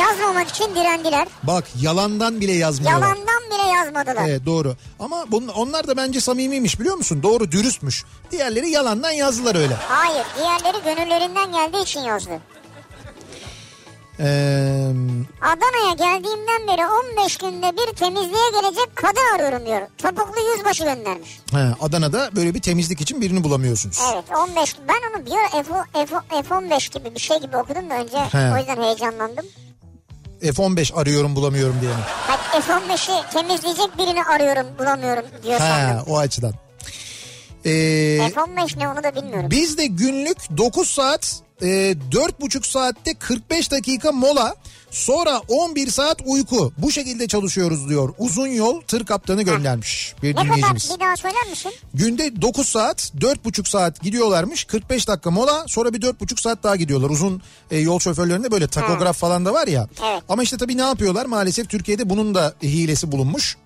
Speaker 2: yazmamak için direndiler.
Speaker 1: Bak yalandan bile yazmıyorlar.
Speaker 2: Yalandan bile yazmadılar.
Speaker 1: Evet doğru. Ama bun, onlar da bence samimiymiş biliyor musun? Doğru dürüstmüş. Diğerleri yalandan yazdılar öyle.
Speaker 2: Hayır diğerleri gönüllerinden geldiği için yazdı.
Speaker 1: Ee,
Speaker 2: Adana'ya geldiğimden beri 15 günde bir temizliğe gelecek kadın arıyorum diyor. Topuklu yüzbaşı göndermiş.
Speaker 1: he, Adana'da böyle bir temizlik için birini bulamıyorsunuz.
Speaker 2: Evet 15 gün. Ben onu bir ara F, F, F15 gibi bir şey gibi okudum da önce
Speaker 1: He.
Speaker 2: o yüzden heyecanlandım.
Speaker 1: F-15 arıyorum bulamıyorum diye mi?
Speaker 2: Hani F15'i temizleyecek birini arıyorum bulamıyorum diyor
Speaker 1: Ha,
Speaker 2: sandım.
Speaker 1: o açıdan. Ee,
Speaker 2: F15 ne onu da bilmiyorum.
Speaker 1: biz de günlük 9 saat, e, 4,5 saatte 45 dakika mola, sonra 11 saat uyku. Bu şekilde çalışıyoruz diyor. Uzun yol tır kaptanı göndermiş bir
Speaker 2: Ne kadar
Speaker 1: dinleyicimiz.
Speaker 2: bir daha söyler misin? E,
Speaker 1: Günde 9 saat, 4,5 saat gidiyorlarmış. 45 dakika mola, sonra bir 4,5 saat daha gidiyorlar. Uzun e, yol şoförlerinde böyle takograf falan da var ya.
Speaker 2: Evet.
Speaker 1: Ama işte tabii ne yapıyorlar? Maalesef Türkiye'de bunun da hilesi bulunmuş.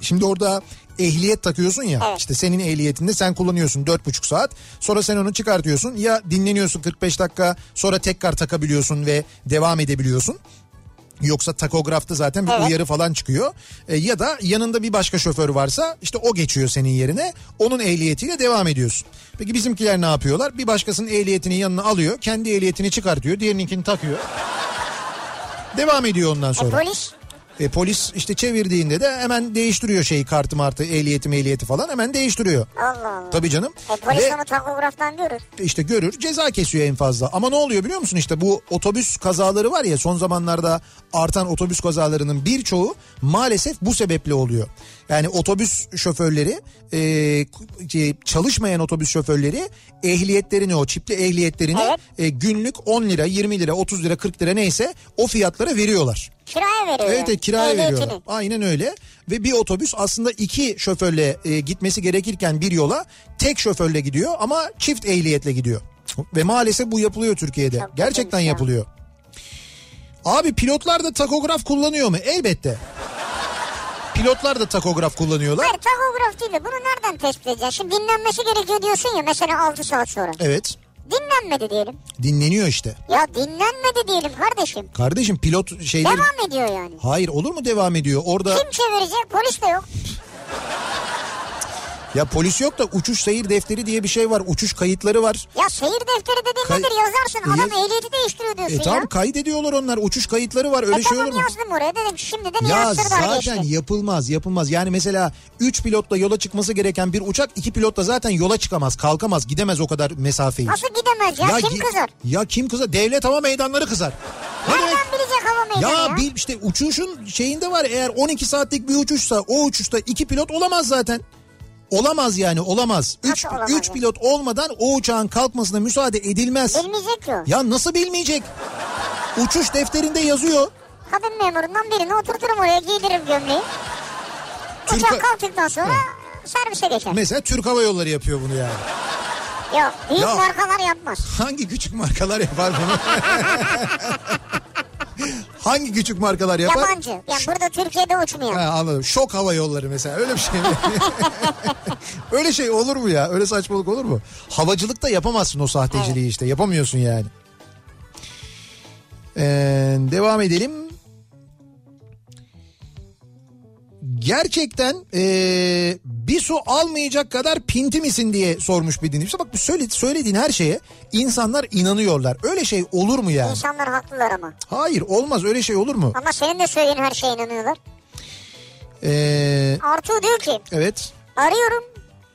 Speaker 1: Şimdi orada ehliyet takıyorsun ya
Speaker 2: Evet.
Speaker 1: işte senin ehliyetinde sen kullanıyorsun dört buçuk saat sonra sen onu çıkartıyorsun ya dinleniyorsun 45 dakika sonra tekrar takabiliyorsun ve devam edebiliyorsun. Yoksa takografta zaten bir
Speaker 2: Evet.
Speaker 1: uyarı falan çıkıyor. E, ya da yanında bir başka şoför varsa işte o geçiyor senin yerine. Onun ehliyetiyle devam ediyorsun. Peki bizimkiler ne yapıyorlar? Bir başkasının ehliyetini yanına alıyor. Kendi ehliyetini çıkartıyor. Diğerininkini takıyor. devam ediyor ondan
Speaker 2: E,
Speaker 1: sonra.
Speaker 2: polis
Speaker 1: E, polis işte çevirdiğinde de hemen değiştiriyor şeyi kartı martı ehliyeti mehliyeti falan hemen değiştiriyor.
Speaker 2: Allah Allah.
Speaker 1: Tabii canım.
Speaker 2: E, polis
Speaker 1: Ve
Speaker 2: onu takograftan görür.
Speaker 1: işte görür ceza kesiyor en fazla. Ama ne oluyor biliyor musun işte bu otobüs kazaları var ya son zamanlarda artan otobüs kazalarının birçoğu maalesef bu sebeple oluyor. Yani otobüs şoförleri e, şey, çalışmayan otobüs şoförleri ehliyetlerini o çipli ehliyetlerini
Speaker 2: Evet.
Speaker 1: e, günlük 10 lira 20 lira 30 lira 40 lira neyse o fiyatlara veriyorlar.
Speaker 2: Kiraya veriyor.
Speaker 1: Evet, evet kiraya
Speaker 2: Ehliyetini.
Speaker 1: veriyorlar. Aynen öyle. Ve bir otobüs aslında iki şoförle e, gitmesi gerekirken bir yola tek şoförle gidiyor ama çift ehliyetle gidiyor. Ve maalesef bu yapılıyor Türkiye'de.
Speaker 2: Çok
Speaker 1: Gerçekten
Speaker 2: kötüymüş ya.
Speaker 1: yapılıyor. Abi pilotlar da takograf kullanıyor mu? Elbette. Pilotlar da takograf kullanıyorlar.
Speaker 2: Hayır takograf değil de bunu nereden tespit edeceksin? Şimdi dinlenmesi gerekiyor diyorsun ya mesela 6 saat sonra.
Speaker 1: Evet.
Speaker 2: Dinlenmedi diyelim.
Speaker 1: Dinleniyor işte.
Speaker 2: Ya dinlenmedi diyelim kardeşim.
Speaker 1: Kardeşim pilot şeyleri...
Speaker 2: Devam ediyor yani.
Speaker 1: Hayır olur mu devam ediyor? Orada
Speaker 2: Kim çevirecek? Polis de yok.
Speaker 1: ya polis yok da uçuş seyir defteri diye bir şey var. Uçuş kayıtları var.
Speaker 2: Ya seyir defteri dediğin
Speaker 1: Kay-
Speaker 2: nedir yazarsın.
Speaker 1: E,
Speaker 2: Adam
Speaker 1: yaz-
Speaker 2: ehliyeti değiştiriyor diyorsun
Speaker 1: E tamam
Speaker 2: ya.
Speaker 1: kaydediyorlar onlar. Uçuş kayıtları var. Öyle
Speaker 2: E
Speaker 1: şey
Speaker 2: tamam
Speaker 1: olur mu?
Speaker 2: yazdım oraya dedim şimdiden
Speaker 1: Ya
Speaker 2: yazdırdılar
Speaker 1: zaten
Speaker 2: geçti.
Speaker 1: yapılmaz yapılmaz. Yani mesela 3 pilotla yola çıkması gereken bir uçak 2 pilotla zaten yola çıkamaz, kalkamaz, gidemez o kadar mesafeyi.
Speaker 2: Nasıl gidemez ya, kim
Speaker 1: gi-
Speaker 2: kızar?
Speaker 1: Ya kim kızar? Devlet hava meydanları kızar. Ne demek?
Speaker 2: Nereden bilecek hava meydanı ya?
Speaker 1: Ya bil işte uçuşun şeyinde var eğer 12 saatlik bir uçuşsa o uçuşta 2 pilot olamaz zaten. Olamaz yani olamaz. 3
Speaker 2: Nasıl olamaz
Speaker 1: üç
Speaker 2: ya?
Speaker 1: pilot olmadan o uçağın kalkmasına müsaade edilmez.
Speaker 2: Bilmeyecek ki o.
Speaker 1: Ya nasıl bilmeyecek? Uçuş defterinde yazıyor.
Speaker 2: Kadın memurundan birini oturturum oraya giydiririm gömleği.
Speaker 1: Türk-
Speaker 2: Uçak kalktıktan sonra servise geçer.
Speaker 1: Mesela Türk Hava Yolları yapıyor bunu yani.
Speaker 2: Yok büyük
Speaker 1: Ya.
Speaker 2: markalar yapmaz.
Speaker 1: Hangi küçük markalar yapar bunu? Hangi küçük markalar yapar?
Speaker 2: Yabancı. Ya burada Türkiye'de uçmuyor.
Speaker 1: Ha, anladım. Şok hava yolları mesela öyle bir şey mi? öyle şey olur mu ya? Öyle saçmalık olur mu? Havacılıkta yapamazsın o sahteciliği işte. Yapamıyorsun yani. Ee, devam edelim. Gerçekten ee, bir su almayacak kadar pinti misin diye sormuş bir dinleyicisi. Bak bu söyle- söylediğin her şeye insanlar inanıyorlar. Öyle şey olur mu yani?
Speaker 2: İnsanlar haklılar ama.
Speaker 1: Hayır olmaz öyle şey olur mu?
Speaker 2: Ama senin de söylediğin her şeye inanıyorlar.
Speaker 1: Ee,
Speaker 2: Artu diyor ki
Speaker 1: evet.
Speaker 2: arıyorum.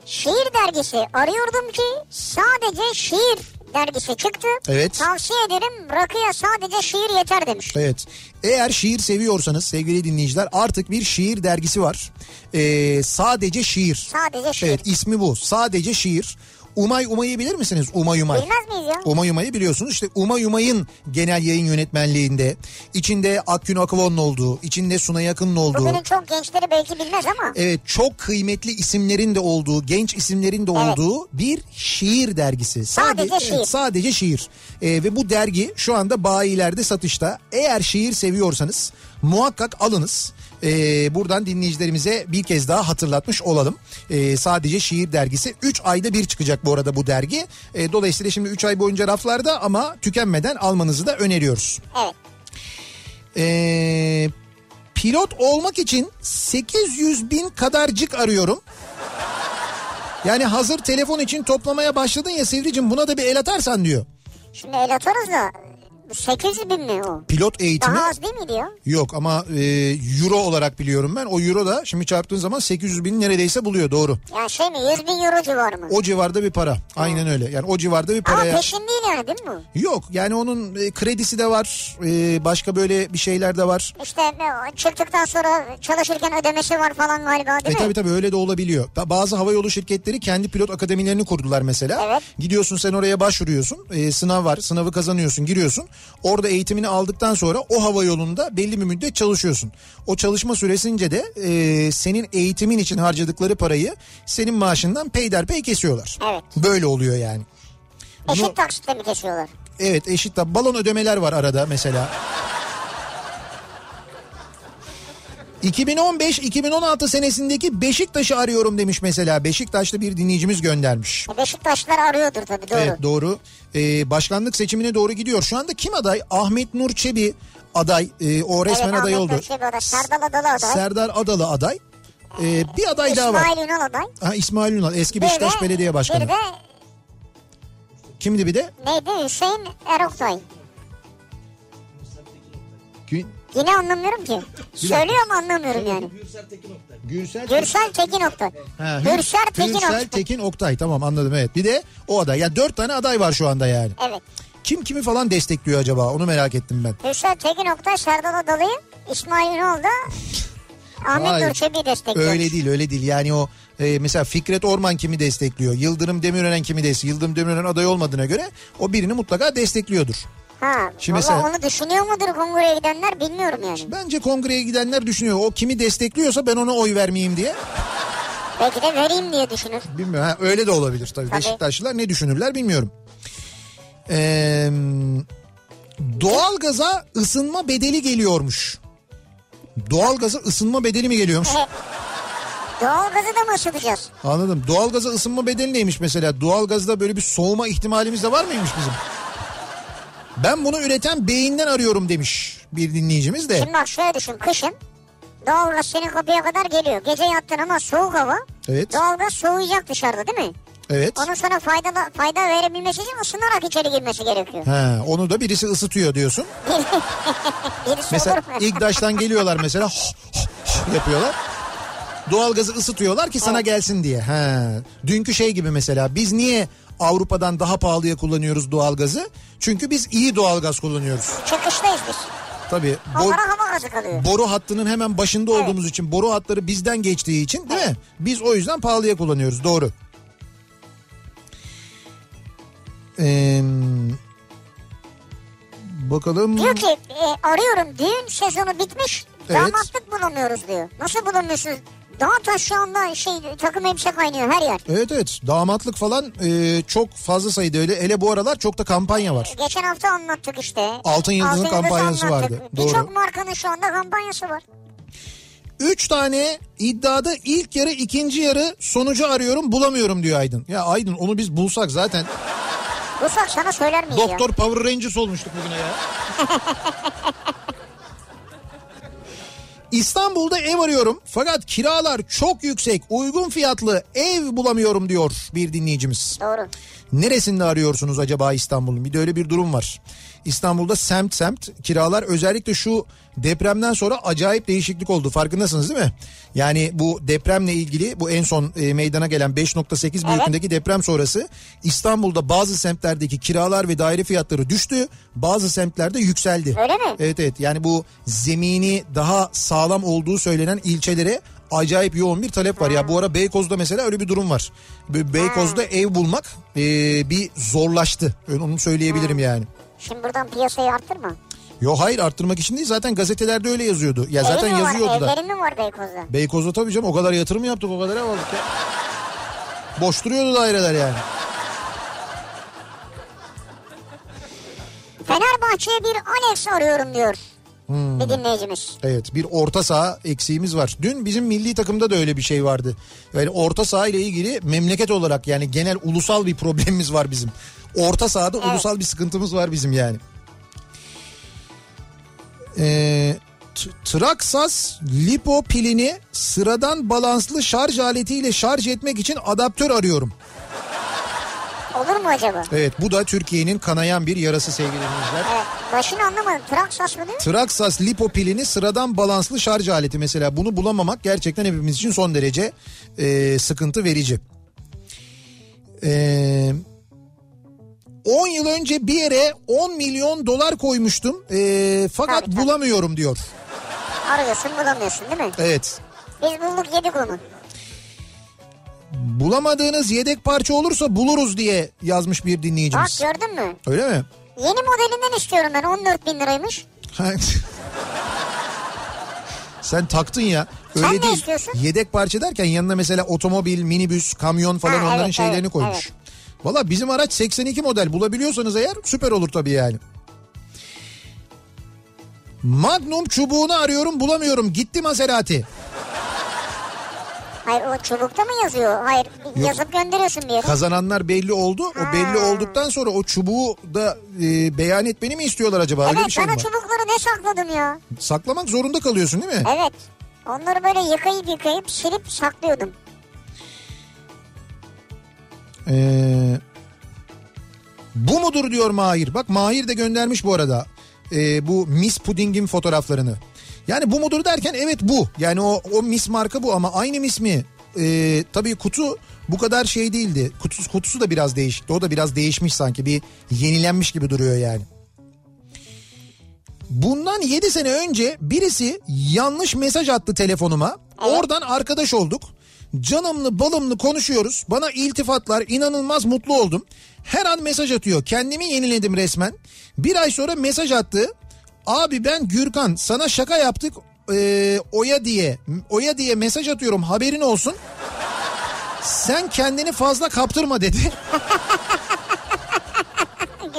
Speaker 2: Şiir dergisi arıyordum ki sadece şiir dergisi çıktı.
Speaker 1: Evet.
Speaker 2: Tavsiye ederim rakıya sadece şiir yeter demiş.
Speaker 1: Evet. Eğer şiir seviyorsanız sevgili dinleyiciler artık bir şiir dergisi var. Ee, sadece şiir.
Speaker 2: Sadece şiir.
Speaker 1: Evet ismi bu. Sadece şiir. Umay Umay'ı bilir misiniz? Umay Umay.
Speaker 2: Bilmez miyiz ya?
Speaker 1: Umay Umay'ı biliyorsunuz. İşte Umay Umay'ın genel yayın yönetmenliğinde içinde Akgün Akıvoğlu'nun olduğu, içinde Sunay Akın'ın olduğu.
Speaker 2: Bugünün çok gençleri belki bilmez ama.
Speaker 1: Evet çok kıymetli isimlerin de olduğu, genç isimlerin de
Speaker 2: Evet.
Speaker 1: olduğu bir şiir dergisi.
Speaker 2: Sadece şiir.
Speaker 1: evet, sadece şiir. Ee, ve bu dergi şu anda bayilerde satışta. Eğer şiir seviyorsanız muhakkak alınız. Ee, buradan dinleyicilerimize bir kez daha hatırlatmış olalım. Ee, sadece şiir dergisi 3 ayda bir çıkacak bu arada bu dergi. Ee, dolayısıyla şimdi 3 ay boyunca raflarda ama tükenmeden almanızı da öneriyoruz.
Speaker 2: Evet.
Speaker 1: Ee, pilot olmak için 800 bin kadarcık arıyorum. Yani hazır telefon için toplamaya başladın ya Sivricim buna da bir el atarsan diyor.
Speaker 2: Şimdi el atarız da 800 bin mi o?
Speaker 1: Pilot eğitimi
Speaker 2: Daha az değil miydi ya?
Speaker 1: yok ama e, euro olarak biliyorum ben. O euro da şimdi çarptığın zaman 800 bin neredeyse buluyor doğru.
Speaker 2: Yani şey mi 100 bin euro civarı mı?
Speaker 1: O civarda bir para. Aynen öyle. Yani o civarda bir
Speaker 2: Ama
Speaker 1: paraya.
Speaker 2: peşin değil yani değil mi bu?
Speaker 1: Yok yani onun e, kredisi de var. E, başka böyle bir şeyler de var.
Speaker 2: İşte ne- çıktıktan sonra çalışırken ödemesi var falan galiba
Speaker 1: E
Speaker 2: değil mi?
Speaker 1: tabii tabii öyle de olabiliyor. Ta- Bazı havayolu şirketleri kendi pilot akademilerini kurdular mesela.
Speaker 2: Evet.
Speaker 1: Gidiyorsun sen oraya başvuruyorsun. E, sınav var. Sınavı kazanıyorsun. Giriyorsun. Orada eğitimini aldıktan sonra o havayolunda belli bir müddet çalışıyorsun. O çalışma süresince de e, senin eğitimin için harcadıkları parayı senin maaşından peyderpey kesiyorlar.
Speaker 2: Evet.
Speaker 1: Böyle oluyor yani.
Speaker 2: Eşit
Speaker 1: Bunu-
Speaker 2: taksitle mi kesiyorlar?
Speaker 1: Evet eşit tab. Balon ödemeler var arada mesela. 2015-2016 senesindeki Beşiktaş'ı arıyorum demiş mesela. Beşiktaşlı bir dinleyicimiz göndermiş.
Speaker 2: E Beşiktaşlar arıyordur tabii doğru.
Speaker 1: Evet doğru. Ee, başkanlık seçimine doğru gidiyor. Şu anda kim aday? Ahmet Nur Çebi aday. Ee, o resmen
Speaker 2: Evet,
Speaker 1: aday
Speaker 2: Ahmet
Speaker 1: oldu.
Speaker 2: Nurçebi aday, Serdal Adalı aday.
Speaker 1: Serdar Adalı aday. Ee, bir aday daha var.
Speaker 2: İsmail Ünal aday.
Speaker 1: Ha, İsmail Ünal eski
Speaker 2: Bir
Speaker 1: Beşiktaş
Speaker 2: de-
Speaker 1: Belediye Başkanı.
Speaker 2: Bir de
Speaker 1: Kimdi bir de?
Speaker 2: neydi Hüseyin Eroktay.
Speaker 1: Gü-
Speaker 2: Yine anlamıyorum ki. Söylüyor ama anlamıyorum yani.
Speaker 1: Gürsel
Speaker 2: Gürsel Tekin Oktay.
Speaker 1: Ha, Hür-
Speaker 2: Gürsel Tekin
Speaker 1: Gürsel
Speaker 2: Oktay.
Speaker 1: Tekin Oktay tamam anladım evet. Bir de o aday. Ya dört tane aday var şu anda yani.
Speaker 2: Evet.
Speaker 1: Kim kimi falan destekliyor acaba onu merak ettim ben.
Speaker 2: Gürsel Tekin Oktay, Serdal Adalı'yı, İsmail Ünal da Ahmet
Speaker 1: Hayır.
Speaker 2: Nurçebi'yi destekliyor.
Speaker 1: Öyle değil öyle değil yani o e, mesela Fikret Orman kimi destekliyor? Yıldırım Demirören kimi destekliyor? Yıldırım Demirören aday olmadığına göre o birini mutlaka destekliyordur.
Speaker 2: Ha,
Speaker 1: Şimdi
Speaker 2: Şimdi
Speaker 1: mesela-
Speaker 2: onu düşünüyor mudur kongreye gidenler bilmiyorum yani.
Speaker 1: Bence kongreye gidenler düşünüyor o kimi destekliyorsa ben ona oy vermeyeyim diye.
Speaker 2: Belki de vereyim diye düşünür.
Speaker 1: Bilmiyorum. Ha, öyle de olabilir tabii.
Speaker 2: Tabii.
Speaker 1: Beşiktaşlılar ne düşünürler bilmiyorum. Ee, doğalgaza ısınma bedeli geliyormuş. Doğalgaza ısınma bedeli mi geliyormuş?
Speaker 2: Evet. Doğalgazı da mı ısıtacağız?
Speaker 1: Anladım. Doğalgaza ısınma bedeli neymiş mesela? Doğalgazda böyle bir soğuma ihtimalimiz de var mıymış bizim? Ben bunu üreten beyinden arıyorum demiş bir dinleyicimiz de.
Speaker 2: Şimdi bak şöyle düşün kışın doğalgaz senin kapıya kadar geliyor. Gece yattın ama soğuk hava.
Speaker 1: Evet.
Speaker 2: Doğalgaz soğuyacak dışarıda değil mi?
Speaker 1: Evet.
Speaker 2: Onun sana fayda, fayda verebilmesi için ısınarak içeri girmesi gerekiyor.
Speaker 1: Ha, onu da birisi ısıtıyor diyorsun.
Speaker 2: Birisi
Speaker 1: Mesela
Speaker 2: olur mu?
Speaker 1: İgdaş'tan geliyorlar mesela "Hoh, hoh, hoh" yapıyorlar. Doğalgazı ısıtıyorlar ki sana gelsin diye. Ha. Dünkü şey gibi mesela biz niye Avrupa'dan daha pahalıya kullanıyoruz doğalgazı? Çünkü biz iyi doğalgaz kullanıyoruz.
Speaker 2: Çıkıştayız biz.
Speaker 1: Tabii bo-
Speaker 2: Onlara hava gazı kalıyor.
Speaker 1: boru hattının hemen başında olduğumuz için boru hatları bizden geçtiği için değil mi? Biz o yüzden pahalıya kullanıyoruz doğru. Ee, bakalım.
Speaker 2: Diyor ki e, arıyorum düğün sezonu bitmiş
Speaker 1: Evet.
Speaker 2: damatlık bulamıyoruz diyor. Nasıl bulamıyorsunuz? Daha taş şu anda şey takım elbise kaynıyor her yer.
Speaker 1: Evet evet damatlık falan e, çok fazla sayıda öyle. Hele bu aralar çok da kampanya var.
Speaker 2: Geçen hafta anlattık işte.
Speaker 1: Altın Yıldız'ın
Speaker 2: Yıldız
Speaker 1: kampanyası vardı. Doğru.
Speaker 2: Birçok markanın şu anda kampanyası var.
Speaker 1: Üç tane iddiada ilk yarı ikinci yarı sonucu arıyorum bulamıyorum diyor Aydın. Ya Aydın onu biz bulsak zaten
Speaker 2: Rusak sana söyler miyiz ya?
Speaker 1: Doktor Power Rangers olmuştuk bugüne ya. İstanbul'da ev arıyorum fakat kiralar çok yüksek uygun fiyatlı ev bulamıyorum diyor bir dinleyicimiz.
Speaker 2: Doğru.
Speaker 1: Neresinde arıyorsunuz acaba İstanbul'un? Bir de öyle bir durum var. İstanbul'da semt semt kiralar özellikle şu depremden sonra acayip değişiklik oldu. Farkındasınız değil mi? Yani bu depremle ilgili bu en son e, meydana gelen 5.8 büyüklüğündeki deprem sonrası İstanbul'da bazı semtlerdeki kiralar ve daire fiyatları düştü. Bazı semtlerde yükseldi.
Speaker 2: Öyle mi?
Speaker 1: Evet evet yani bu zemini daha sağlam olduğu söylenen ilçelere acayip yoğun bir talep var. Ya bu ara Beykoz'da mesela öyle bir durum var. Be- Beykoz'da ev bulmak e, bir zorlaştı. Öyle onu söyleyebilirim yani.
Speaker 2: Şimdi buradan piyasayı arttırma.
Speaker 1: Yo hayır arttırmak için değil zaten gazetelerde öyle yazıyordu. Ya E zaten
Speaker 2: Evi mi
Speaker 1: yazıyordu
Speaker 2: var,
Speaker 1: da.
Speaker 2: Evleri mi var Beykoz'da?
Speaker 1: Beykoz'da tabii canım o kadar yatırım yaptık o kadar ev aldık ya. Boş duruyordu daireler yani.
Speaker 2: Fenerbahçe'ye bir Alex arıyorum diyor.
Speaker 1: Hmm.
Speaker 2: Bir dinleyicimiz.
Speaker 1: Evet bir orta saha eksiğimiz var. Dün bizim milli takımda da öyle bir şey vardı. Yani orta saha ile ilgili memleket olarak yani genel ulusal bir problemimiz var bizim. Orta sahada ulusal bir sıkıntımız var bizim yani. Ee, t- Traksas lipo pilini sıradan balanslı şarj aletiyle şarj etmek için adaptör arıyorum.
Speaker 2: Olur mu acaba?
Speaker 1: Evet bu da Türkiye'nin kanayan bir yarası sevgili dinleyiciler.
Speaker 2: Evet. Başını anlamadım. Traksas mı diyor?
Speaker 1: Traksas lipo pilini sıradan balanslı şarj aleti mesela bunu bulamamak gerçekten hepimiz için son derece e, sıkıntı verici. E, 10 yıl önce bir yere 10 milyon dolar koymuştum e, fakat
Speaker 2: Tabii, tabii.
Speaker 1: bulamıyorum diyor.
Speaker 2: Arıyorsun bulamıyorsun değil mi?
Speaker 1: Evet
Speaker 2: Biz bulduk yedik onu.
Speaker 1: bulamadığınız yedek parça olursa buluruz diye yazmış bir
Speaker 2: Bak
Speaker 1: dinleyicimiz.
Speaker 2: gördün mü?
Speaker 1: Öyle mi?
Speaker 2: Yeni modelinden istiyorum ben 14 bin liraymış.
Speaker 1: Ha. Sen taktın ya. Öyle
Speaker 2: Sen ne
Speaker 1: değil.
Speaker 2: istiyorsun?
Speaker 1: Yedek parça derken yanına mesela otomobil, minibüs, kamyon falan
Speaker 2: Ha,
Speaker 1: onların
Speaker 2: evet,
Speaker 1: şeylerini
Speaker 2: evet,
Speaker 1: koymuş. Valla bizim araç 82 model bulabiliyorsanız eğer süper olur tabii yani. Magnum çubuğunu arıyorum bulamıyorum. Gitti Maserati.
Speaker 2: Hayır o çubukta mı yazıyor? Hayır yazıp gönderiyorsun bir yere.
Speaker 1: Kazananlar belli oldu. O belli olduktan sonra o çubuğu da e, beyan etmeni mi istiyorlar acaba? Öyle
Speaker 2: evet
Speaker 1: bir şey mi
Speaker 2: ben o
Speaker 1: var?
Speaker 2: çubukları ne sakladım ya?
Speaker 1: Saklamak zorunda kalıyorsun değil mi?
Speaker 2: Evet. Onları böyle yıkayıp yıkayıp silip saklıyordum.
Speaker 1: Ee, bu mudur diyor Mahir. Bak Mahir de göndermiş bu arada. Ee, bu Miss Pudding'in fotoğraflarını. Yani bu mudur derken evet bu. Yani o, o Miss marka bu ama aynı Miss mi? Ee, tabii kutu bu kadar şey değildi. Kutusu, kutusu da biraz değişikti. O da biraz değişmiş sanki. Bir yenilenmiş gibi duruyor yani. Bundan 7 sene önce birisi yanlış mesaj attı telefonuma. Oradan arkadaş olduk. Canımlı balımlı konuşuyoruz. Bana iltifatlar inanılmaz mutlu oldum. Her an mesaj atıyor. Kendimi yeniledim resmen. Bir ay sonra mesaj attı. Abi ben Gürkan sana şaka yaptık. Ee, oya diye oya diye mesaj atıyorum haberin olsun. Sen kendini fazla kaptırma dedi.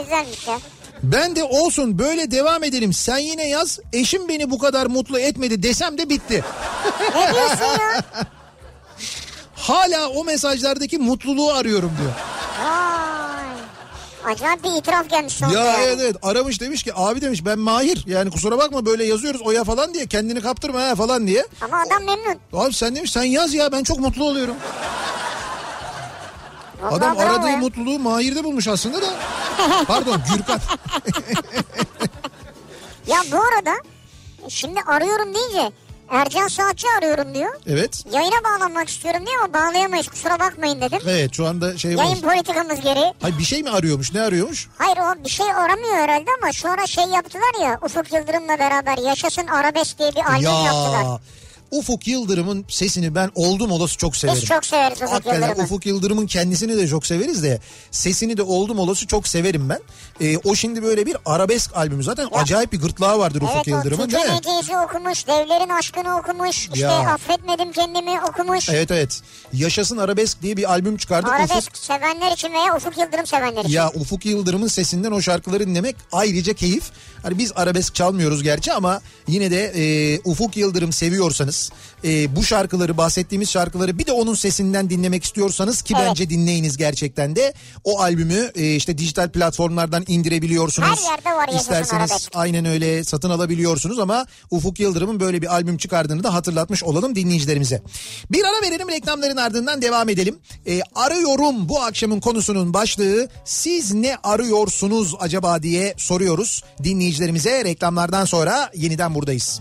Speaker 2: Güzelmiş ya.
Speaker 1: Ben de olsun böyle devam edelim. Sen yine yaz. Eşim beni bu kadar mutlu etmedi desem de bitti.
Speaker 2: Ne diyorsun ya?
Speaker 1: Hala o mesajlardaki mutluluğu arıyorum diyor.
Speaker 2: Vay. Acayip bir itiraf gelmiş sonunda.
Speaker 1: Ya
Speaker 2: yani.
Speaker 1: evet evet aramış demiş ki abi demiş ben Mahir. Yani kusura bakma böyle yazıyoruz oya falan diye kendini kaptırma ha falan diye.
Speaker 2: Ama adam memnun.
Speaker 1: Abi sen demiş sen yaz ya ben çok mutlu oluyorum.
Speaker 2: Vallahi
Speaker 1: Adam
Speaker 2: bravo
Speaker 1: aradığı
Speaker 2: ya.
Speaker 1: mutluluğu Mahir'de bulmuş aslında da. Pardon Gürkan.
Speaker 2: Ya bu arada şimdi arıyorum deyince Ercan Saatçı arıyorum diyor.
Speaker 1: Evet.
Speaker 2: Yayına bağlanmak istiyorum diyor ama bağlayamayız kusura bakmayın dedim.
Speaker 1: Evet şu anda şey var.
Speaker 2: Yayın politikamız geri.
Speaker 1: Hayır bir şey mi arıyormuş ne arıyormuş?
Speaker 2: Hayır o bir şey aramıyor herhalde ama sonra şey yaptılar ya Ufuk Yıldırım'la beraber Yaşasın Arabesk diye bir albüm yaptılar.
Speaker 1: Ufuk Yıldırım'ın sesini ben oldum olası çok severim.
Speaker 2: Biz çok severiz Ufuk
Speaker 1: Hakikaten
Speaker 2: Yıldırım'ı.
Speaker 1: Ufuk Yıldırım'ın kendisini de çok severiz de sesini de oldum olası çok severim ben. Ee, o şimdi böyle bir arabesk albümü zaten acayip bir gırtlağı vardır Ufuk
Speaker 2: Evet o
Speaker 1: Yıldırım'ın değil mi?
Speaker 2: Tüken Eceyiz'i okumuş, Devlerin Aşkını okumuş, işte
Speaker 1: Ya.
Speaker 2: Affetmedim Kendimi okumuş.
Speaker 1: Evet evet. Yaşasın Arabesk diye bir albüm çıkardı. Ufuk,
Speaker 2: Arabesk sevenler için veya Ufuk Yıldırım sevenler için.
Speaker 1: ya Ufuk Yıldırım'ın sesinden o şarkıları dinlemek ayrıca keyif. Hani biz arabesk çalmıyoruz gerçi ama yine de e, Ufuk Yıldırım seviyorsanız istiyorsanız e, bu şarkıları bahsettiğimiz şarkıları bir de onun sesinden dinlemek istiyorsanız ki
Speaker 2: Evet.
Speaker 1: bence dinleyiniz gerçekten de o albümü e, işte dijital platformlardan indirebiliyorsunuz.
Speaker 2: Her yerde var Yaşasın
Speaker 1: İsterseniz
Speaker 2: Arabesk.
Speaker 1: aynen öyle satın alabiliyorsunuz ama Ufuk Yıldırım'ın böyle bir albüm çıkardığını da hatırlatmış olalım dinleyicilerimize. Bir ara verelim reklamların ardından devam edelim. Ee, arıyorum bu akşamın konusunun başlığı siz ne arıyorsunuz acaba diye soruyoruz dinleyicilerimize. Reklamlardan sonra yeniden buradayız.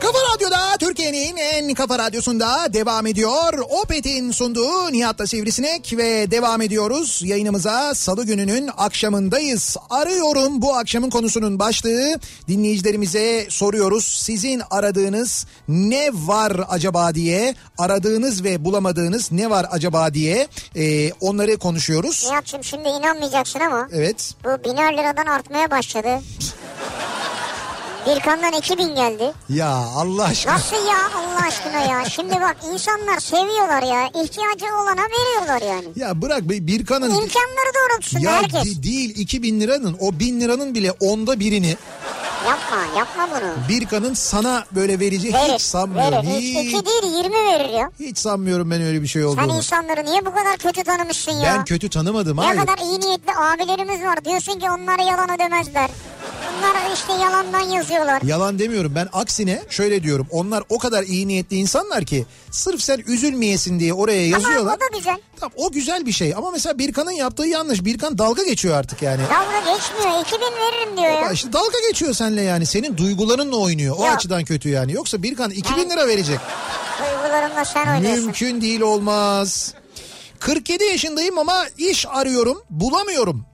Speaker 1: Kafa Radyo'da Türkiye'nin en kafa radyosunda devam ediyor. Opet'in sunduğu Nihat'la Sivrisinek ve devam ediyoruz. Yayınımıza salı gününün akşamındayız. Arıyorum bu akşamın konusunun başlığı. Dinleyicilerimize soruyoruz. Sizin aradığınız ne var acaba diye aradığınız ve bulamadığınız ne var acaba diye e, onları konuşuyoruz.
Speaker 2: Nihat'cığım şimdi inanmayacaksın ama
Speaker 1: Evet.
Speaker 2: bu biner liradan artmaya başladı. Birkan'dan 2000 geldi.
Speaker 1: Ya Allah aşkına.
Speaker 2: Nasıl ya Allah aşkına ya? Şimdi bak insanlar seviyorlar ya. İhtiyacı olana veriyorlar yani.
Speaker 1: Ya bırak bir Birkan'ın
Speaker 2: İmkanları doğrultusunda
Speaker 1: Ya
Speaker 2: herkes.
Speaker 1: di- değil 2000 liranın o 1000 liranın bile onda birini
Speaker 2: Yapma yapma bunu.
Speaker 1: Birkan'ın sana böyle vereceği
Speaker 2: Verir.
Speaker 1: hiç sanmıyorum.
Speaker 2: verir. Hiç,
Speaker 1: Hiç,
Speaker 2: iki değil 20 verir ya.
Speaker 1: hiç sanmıyorum ben öyle bir şey
Speaker 2: Sen
Speaker 1: olduğunu.
Speaker 2: insanları niye bu kadar kötü tanımışsın ya?
Speaker 1: Ben kötü tanımadım
Speaker 2: Ne
Speaker 1: hayır.
Speaker 2: kadar iyi niyetli abilerimiz var. Diyorsun ki onlara yalan ödemezler. Bunlar işte yalandan yazıyorlar.
Speaker 1: Yalan demiyorum ben aksine şöyle diyorum. Onlar o kadar iyi niyetli insanlar ki sırf sen üzülmeyesin diye oraya
Speaker 2: Ama
Speaker 1: yazıyorlar.
Speaker 2: o da güzel.
Speaker 1: Tamam, o güzel bir şey ama mesela Birkan'ın yaptığı yanlış. Birkan dalga geçiyor artık yani.
Speaker 2: Dalga geçmiyor. 2000 veririm diyor ya.
Speaker 1: Ya işte dalga geçiyor seninle yani. Senin duygularınla oynuyor. O
Speaker 2: Ya.
Speaker 1: açıdan kötü yani. Yoksa Birkan 2000 lira verecek.
Speaker 2: Duygularımla sen oynuyorsun.
Speaker 1: Mümkün değil olmaz. 47 yaşındayım ama iş arıyorum, bulamıyorum.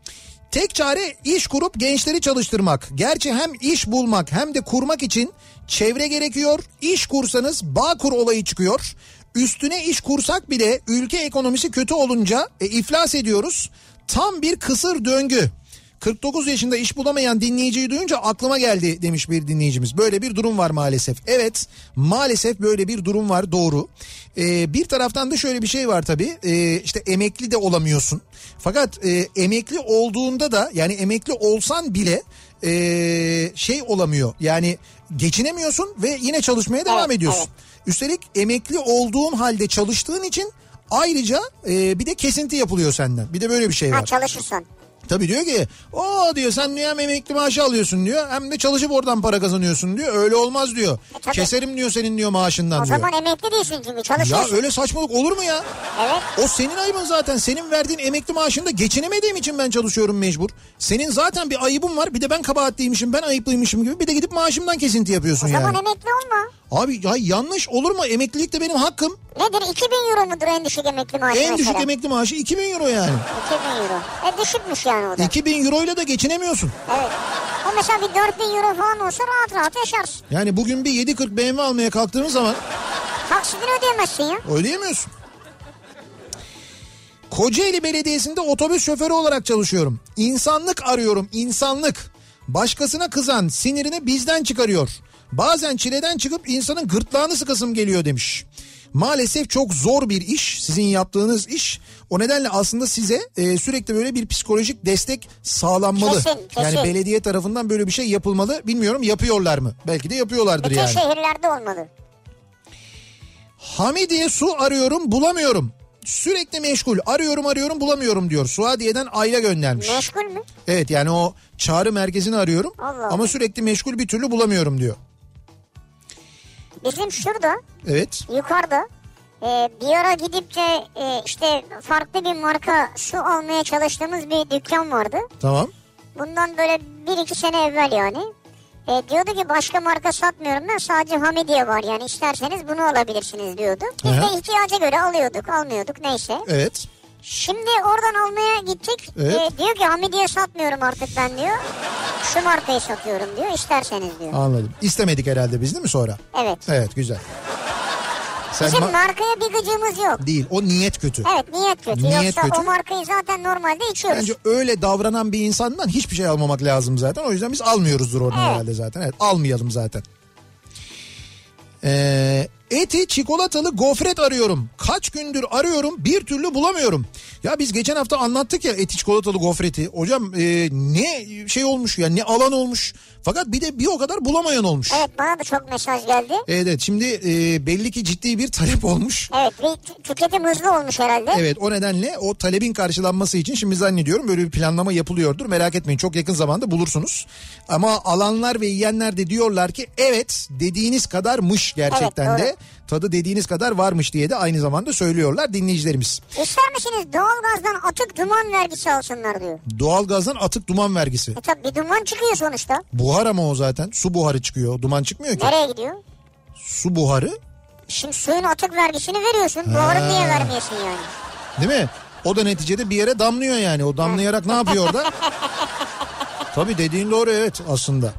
Speaker 1: Tek çare iş kurup gençleri çalıştırmak. Gerçi hem iş bulmak hem de kurmak için çevre gerekiyor. İş kursanız Bağkur olayı çıkıyor. Üstüne iş kursak bile ülke ekonomisi kötü olunca e, iflas ediyoruz. Tam bir kısır döngü. 49 yaşında iş bulamayan dinleyiciyi duyunca aklıma geldi demiş bir dinleyicimiz. Böyle bir durum var maalesef. Evet maalesef böyle bir durum var doğru. Ee, bir taraftan da şöyle bir şey var tabii. Ee, işte emekli de olamıyorsun. Fakat e, emekli olduğunda da yani emekli olsan bile e, şey olamıyor. Yani geçinemiyorsun ve yine çalışmaya devam
Speaker 2: Evet,
Speaker 1: ediyorsun. Üstelik emekli olduğun halde çalıştığın için ayrıca e, bir de kesinti yapılıyor senden. Bir de böyle bir şey var.
Speaker 2: Ha çalışırsan.
Speaker 1: Tabii diyor ki o diyor sen diyor hem emekli maaşı alıyorsun diyor hem de çalışıp oradan para kazanıyorsun diyor. Öyle olmaz diyor.
Speaker 2: E, tabii.
Speaker 1: Keserim diyor senin diyor maaşından
Speaker 2: O
Speaker 1: diyor.
Speaker 2: zaman emekli değilsin çünkü
Speaker 1: Ya
Speaker 2: çalışıyorsun.
Speaker 1: öyle saçmalık olur mu ya?
Speaker 2: Evet.
Speaker 1: O senin ayıbın zaten. Senin verdiğin emekli maaşında geçinemediğim için ben çalışıyorum mecbur. Senin zaten bir ayıbın var. Bir de ben kabahatliymişim, ben ayıplıymışım gibi. Bir de gidip maaşımdan kesinti yapıyorsun
Speaker 2: O
Speaker 1: yani.
Speaker 2: zaman emekli olma.
Speaker 1: Abi ya yanlış olur mu? Emeklilik de benim hakkım.
Speaker 2: Nedir 2000 euro mudur en düşük emekli maaşı
Speaker 1: en düşük
Speaker 2: mesela?
Speaker 1: emekli maaşı 2000 euro yani.
Speaker 2: 2000 euro. E düşükmüş yani o da.
Speaker 1: 2000 euro ile de geçinemiyorsun.
Speaker 2: Evet. O mesela bir 4000 euro falan olsa rahat rahat yaşarsın.
Speaker 1: Yani bugün bir 7.40 BMW almaya kalktığımız zaman
Speaker 2: Taksidini ödeyemezsin ya.
Speaker 1: Ödeyemiyorsun. Kocaeli Belediyesi'nde otobüs şoförü olarak çalışıyorum. İnsanlık arıyorum, insanlık. Başkasına kızan sinirini bizden çıkarıyor. Bazen çileden çıkıp insanın gırtlağını sıkasım geliyor demiş. Maalesef çok zor bir iş sizin yaptığınız iş. O nedenle aslında size e, sürekli böyle bir psikolojik destek sağlanmalı.
Speaker 2: Kesin,
Speaker 1: Yani
Speaker 2: kesin.
Speaker 1: belediye tarafından böyle bir şey yapılmalı. Bilmiyorum yapıyorlar mı? Belki de yapıyorlardır
Speaker 2: Bütün
Speaker 1: yani.
Speaker 2: şehirlerde olmalı.
Speaker 1: Hamidiye su arıyorum bulamıyorum. Sürekli meşgul arıyorum arıyorum bulamıyorum diyor. Suadiye'den Ayla göndermiş.
Speaker 2: Meşgul mü?
Speaker 1: Evet yani o çağrı merkezini arıyorum
Speaker 2: Allah
Speaker 1: ama
Speaker 2: Allah.
Speaker 1: sürekli meşgul bir türlü bulamıyorum diyor.
Speaker 2: Bizim şurada
Speaker 1: Evet.
Speaker 2: yukarıda e, bir ara gidip de e, işte farklı bir marka su almaya çalıştığımız bir dükkan vardı.
Speaker 1: Tamam.
Speaker 2: Bundan böyle bir iki sene evvel yani. E, diyordu ki başka marka satmıyorum ben sadece Hamidiye var yani isterseniz bunu alabilirsiniz diyordu. Biz
Speaker 1: Aha.
Speaker 2: de ihtiyaca göre alıyorduk almıyorduk neyse.
Speaker 1: Evet.
Speaker 2: Şimdi oradan almaya gittik.
Speaker 1: Evet.
Speaker 2: E, diyor ki Hamidiye satmıyorum artık ben diyor. Şu markayı satıyorum diyor isterseniz diyor.
Speaker 1: Anladım. İstemedik herhalde biz değil mi sonra?
Speaker 2: Evet.
Speaker 1: Evet güzel. Sen
Speaker 2: Bizim
Speaker 1: ma-
Speaker 2: markaya bir gıcığımız yok.
Speaker 1: değil. O niyet kötü.
Speaker 2: Evet niyet kötü.
Speaker 1: Niyet
Speaker 2: Yoksa
Speaker 1: kötü.
Speaker 2: o markayı zaten normalde içiyoruz.
Speaker 1: Bence öyle davranan bir insandan hiçbir şey almamak lazım zaten. O yüzden biz almıyoruzdur onu
Speaker 2: Evet.
Speaker 1: herhalde zaten. Evet almayalım zaten. Ee, eti çikolatalı gofret arıyorum. Kaç gündür arıyorum bir türlü bulamıyorum. Ya biz geçen hafta anlattık ya eti çikolatalı gofreti. Hocam e, ne şey olmuş ya ne alan olmuş. Fakat bir de bir o kadar bulamayan olmuş.
Speaker 2: Evet bana da çok mesaj geldi.
Speaker 1: Evet, evet şimdi e, belli ki ciddi bir talep olmuş.
Speaker 2: Evet bir tü- tüketim hızlı olmuş herhalde.
Speaker 1: Evet o nedenle o talebin karşılanması için şimdi zannediyorum böyle bir planlama yapılıyordur. Merak etmeyin çok yakın zamanda bulursunuz. Ama alanlar ve yiyenler de diyorlar ki evet dediğiniz kadarmış gerçekten
Speaker 2: Evet,
Speaker 1: de. Tadı dediğiniz kadar varmış diye de aynı zamanda söylüyorlar dinleyicilerimiz.
Speaker 2: İster misiniz doğalgazdan atık duman vergisi alsınlar diyor.
Speaker 1: Doğalgazdan atık duman vergisi.
Speaker 2: E tabi bir duman çıkıyor sonuçta.
Speaker 1: Buhar ama o zaten su buharı çıkıyor duman çıkmıyor ki.
Speaker 2: Nereye gidiyor?
Speaker 1: Su buharı
Speaker 2: Şimdi suyun atık vergisini veriyorsun. Doğru niye vermiyorsun yani?
Speaker 1: değil mi? O da neticede bir yere damlıyor yani. O damlayarak ne yapıyor orada? Tabii dediğin doğru evet aslında.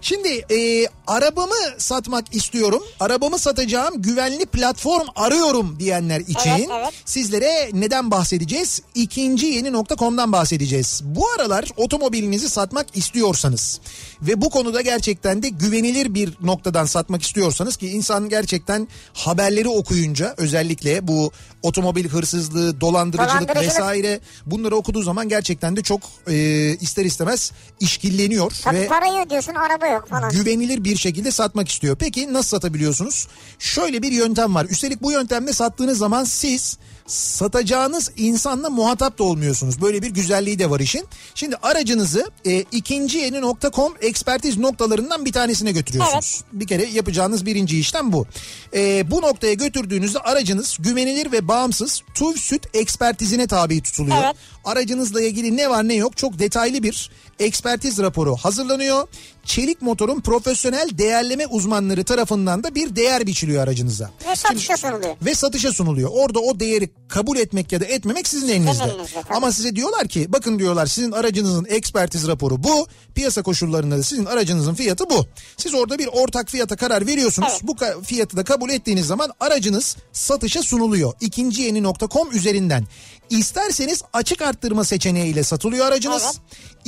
Speaker 1: Şimdi e, arabamı satmak istiyorum. Arabamı satacağım güvenli platform arıyorum diyenler için
Speaker 2: Evet, evet.
Speaker 1: sizlere neden bahsedeceğiz? İkinci yeni nokta.com'dan bahsedeceğiz. Bu aralar otomobilinizi satmak istiyorsanız ve bu konuda gerçekten de güvenilir bir noktadan satmak istiyorsanız ki insan gerçekten haberleri okuyunca özellikle bu otomobil hırsızlığı, dolandırıcılık,
Speaker 2: Dolandırıcılık.
Speaker 1: vesaire bunları okuduğu zaman gerçekten de çok e, ister istemez işkilleniyor
Speaker 2: Tabii
Speaker 1: ve
Speaker 2: parayı ödüyorsun araba yok falan.
Speaker 1: güvenilir bir şekilde satmak istiyor. Peki nasıl satabiliyorsunuz? Şöyle bir yöntem var. Üstelik bu yöntemle sattığınız zaman siz satacağınız insanla muhatap da olmuyorsunuz. Böyle bir güzelliği de var işin. Şimdi aracınızı e, ikinci yeni nokta.com ekspertiz noktalarından bir tanesine götürüyorsunuz. Bir kere yapacağınız birinci işlem bu. E, bu noktaya götürdüğünüzde aracınız güvenilir ve bağımsız TÜV süt ekspertizine tabi tutuluyor.
Speaker 2: Evet.
Speaker 1: Aracınızla ilgili ne var ne yok çok detaylı bir ekspertiz raporu hazırlanıyor. Çelik motorun profesyonel değerleme uzmanları tarafından da bir değer biçiliyor aracınıza.
Speaker 2: Ve satışa sunuluyor.
Speaker 1: Ve satışa sunuluyor. Orada o değeri kabul etmek ya da etmemek sizin elinizde.
Speaker 2: elinizde, tabii.
Speaker 1: Ama size diyorlar ki bakın diyorlar sizin aracınızın ekspertiz raporu bu. Piyasa koşullarında da sizin aracınızın fiyatı bu. Siz orada bir ortak fiyata karar veriyorsunuz.
Speaker 2: Evet.
Speaker 1: Bu ka- fiyatı da kabul ettiğiniz zaman aracınız satışa sunuluyor. İkinci yeni.com üzerinden. İsterseniz açık arttırma seçeneğiyle satılıyor aracınız.
Speaker 2: Evet.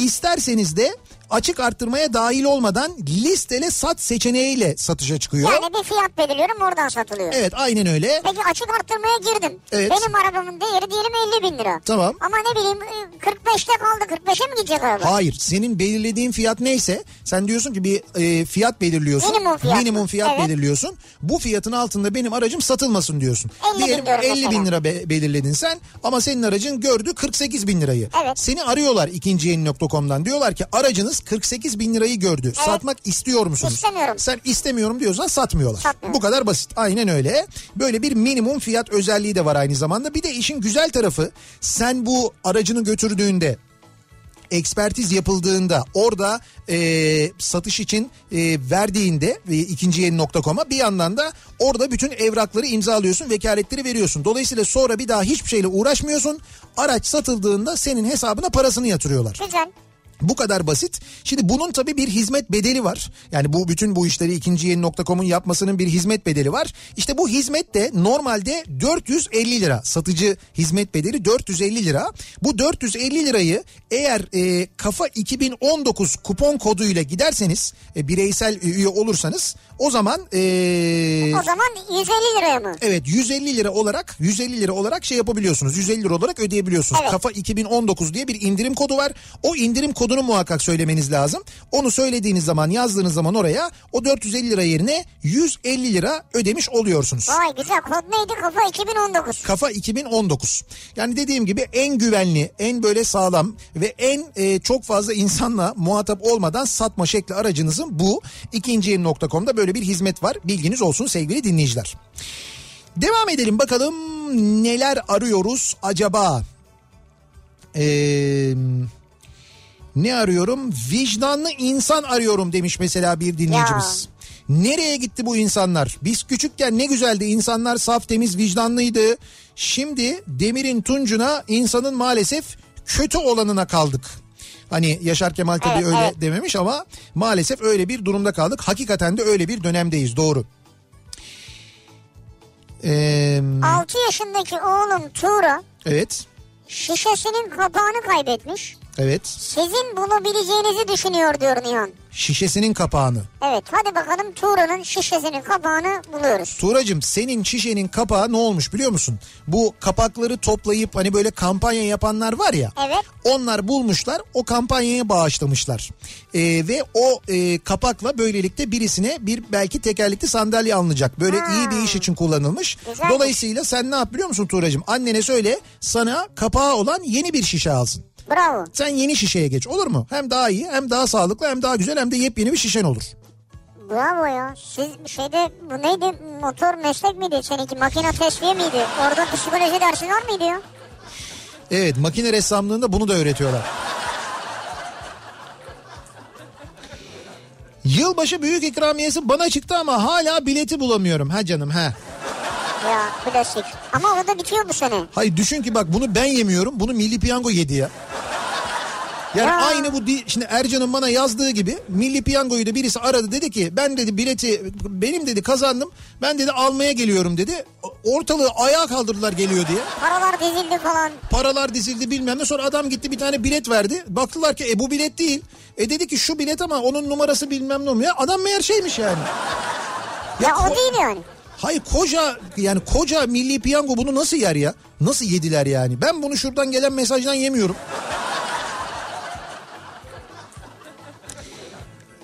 Speaker 1: İsterseniz de açık arttırmaya dahil olmadan listele sat seçeneğiyle satışa çıkıyor.
Speaker 2: Yani bir fiyat belirliyorum oradan satılıyor.
Speaker 1: Evet aynen öyle.
Speaker 2: Peki açık arttırmaya girdim.
Speaker 1: Evet.
Speaker 2: Benim arabamın değeri diyelim 50 bin lira.
Speaker 1: Tamam.
Speaker 2: Ama ne bileyim e, 45'te kaldı 45'e mi gidecek araba?
Speaker 1: Hayır senin belirlediğin fiyat neyse sen diyorsun ki bir e, fiyat belirliyorsun.
Speaker 2: Minimum fiyat mı?
Speaker 1: Minimum fiyat
Speaker 2: Evet.
Speaker 1: belirliyorsun. Bu fiyatın altında benim aracım satılmasın diyorsun.
Speaker 2: 50 bin diyorum
Speaker 1: 50 bin
Speaker 2: mesela.
Speaker 1: lira be- belirledin sen ama senin aracın gördü 48 bin lirayı.
Speaker 2: Evet.
Speaker 1: Seni arıyorlar ikinci yeni.com'dan diyorlar ki aracınız 48 bin lirayı gördü. Satmak istiyor musunuz?
Speaker 2: İstemiyorum.
Speaker 1: Sen istemiyorum diyorsan satmıyorlar.
Speaker 2: Satmıyor.
Speaker 1: Bu kadar basit. Aynen öyle. Böyle bir minimum fiyat özelliği de var aynı zamanda. Bir de işin güzel tarafı sen bu aracını götürdüğünde ekspertiz yapıldığında orada e, satış için e, verdiğinde e, ikinci yeni nokta.com'a bir yandan da orada bütün evrakları imzalıyorsun vekaletleri veriyorsun. Dolayısıyla sonra bir daha hiçbir şeyle uğraşmıyorsun. Araç satıldığında senin hesabına parasını yatırıyorlar.
Speaker 2: Güzel.
Speaker 1: Bu kadar basit. Şimdi bunun tabii bir hizmet bedeli var. Yani bu bütün bu işleri ikinci yeni nokta.com'un yapmasının bir hizmet bedeli var. İşte bu hizmet de normalde 450 lira. Satıcı hizmet bedeli 450 lira. Bu 450 lirayı eğer e, kafa 2019 kupon koduyla giderseniz e, bireysel e, üye olursanız o zaman e,
Speaker 2: O zaman 150 liraya mı?
Speaker 1: Evet 150 lira olarak 150 lira olarak şey yapabiliyorsunuz. 150 lira olarak ödeyebiliyorsunuz.
Speaker 2: Evet.
Speaker 1: Kafa 2019 diye bir indirim kodu var. O indirim kodunu muhakkak söylemeniz lazım. Onu söylediğiniz zaman yazdığınız zaman oraya o 450 lira yerine 150 lira ödemiş oluyorsunuz.
Speaker 2: Vay güzel kod neydi kafa 2019.
Speaker 1: Kafa 2019. Yani dediğim gibi en güvenli, en böyle sağlam ve en e, çok fazla insanla muhatap olmadan satma şekli aracınızın bu. İkinciyeni.com'da böyle bir hizmet var. Bilginiz olsun sevgili dinleyiciler. Devam edelim bakalım neler arıyoruz acaba? Eee... Ne arıyorum? Vicdanlı insan arıyorum demiş mesela bir dinleyicimiz. Nereye gitti bu insanlar? Biz küçükken ne güzeldi insanlar saf temiz vicdanlıydı. Şimdi demirin tuncuna insanın maalesef kötü olanına kaldık. Hani Yaşar Kemal tabii
Speaker 2: Evet,
Speaker 1: öyle
Speaker 2: evet.
Speaker 1: dememiş ama maalesef öyle bir durumda kaldık. Hakikaten de öyle bir dönemdeyiz doğru. Ee,
Speaker 2: 6 yaşındaki oğlum Tuğra
Speaker 1: evet.
Speaker 2: şişesinin kapağını kaybetmiş.
Speaker 1: Evet.
Speaker 2: Sizin bulabileceğinizi düşünüyor diyor Nihan.
Speaker 1: Şişesinin kapağını.
Speaker 2: Evet hadi bakalım Tuğra'nın şişesinin kapağını buluyoruz.
Speaker 1: Tuğracığım senin şişenin kapağı ne olmuş biliyor musun? Bu kapakları toplayıp hani böyle kampanya yapanlar var ya.
Speaker 2: Evet.
Speaker 1: Onlar bulmuşlar o kampanyaya bağışlamışlar. Ee, ve o e, kapakla böylelikle birisine bir belki tekerlekli sandalye alınacak. Böyle
Speaker 2: Ha.
Speaker 1: iyi bir iş için kullanılmış.
Speaker 2: Güzelmiş.
Speaker 1: Dolayısıyla sen ne yap biliyor musun Tuğracığım? Annene söyle sana kapağı olan yeni bir şişe alsın.
Speaker 2: Bravo.
Speaker 1: Sen yeni şişeye geç olur mu? Hem daha iyi hem daha sağlıklı hem daha güzel hem de yepyeni bir şişen olur.
Speaker 2: Bravo ya. Siz şeyde bu neydi? Motor meslek miydi seninki? Makine tesviye miydi? Orada psikoloji dersi var mıydı ya?
Speaker 1: Evet makine ressamlığında bunu da öğretiyorlar. Yılbaşı büyük ikramiyesi bana çıktı ama hala bileti bulamıyorum. Ha canım ha.
Speaker 2: Ya klasik. Ama o da bitiyor bu sene.
Speaker 1: Hayır düşün ki bak bunu ben yemiyorum. Bunu Milli Piyango yedi ya. Yani
Speaker 2: Ya.
Speaker 1: aynı bu di- şimdi Ercan'ın bana yazdığı gibi Milli Piyango'yu da birisi aradı dedi ki ben dedi bileti benim dedi kazandım. Ben dedi almaya geliyorum dedi. Ortalığı ayağa kaldırdılar geliyor diye.
Speaker 2: Paralar dizildi falan.
Speaker 1: paralar dizildi bilmem ne. Sonra adam gitti bir tane bilet verdi. Baktılar ki e bu bilet değil. E dedi ki şu bilet ama onun numarası bilmem ne olmuyor. Adam meğer şeymiş yani.
Speaker 2: Ya,
Speaker 1: ko-
Speaker 2: o değil yani.
Speaker 1: Hayır koca yani koca milli piyango bunu nasıl yer ya? Nasıl yediler yani? Ben bunu şuradan gelen mesajdan yemiyorum.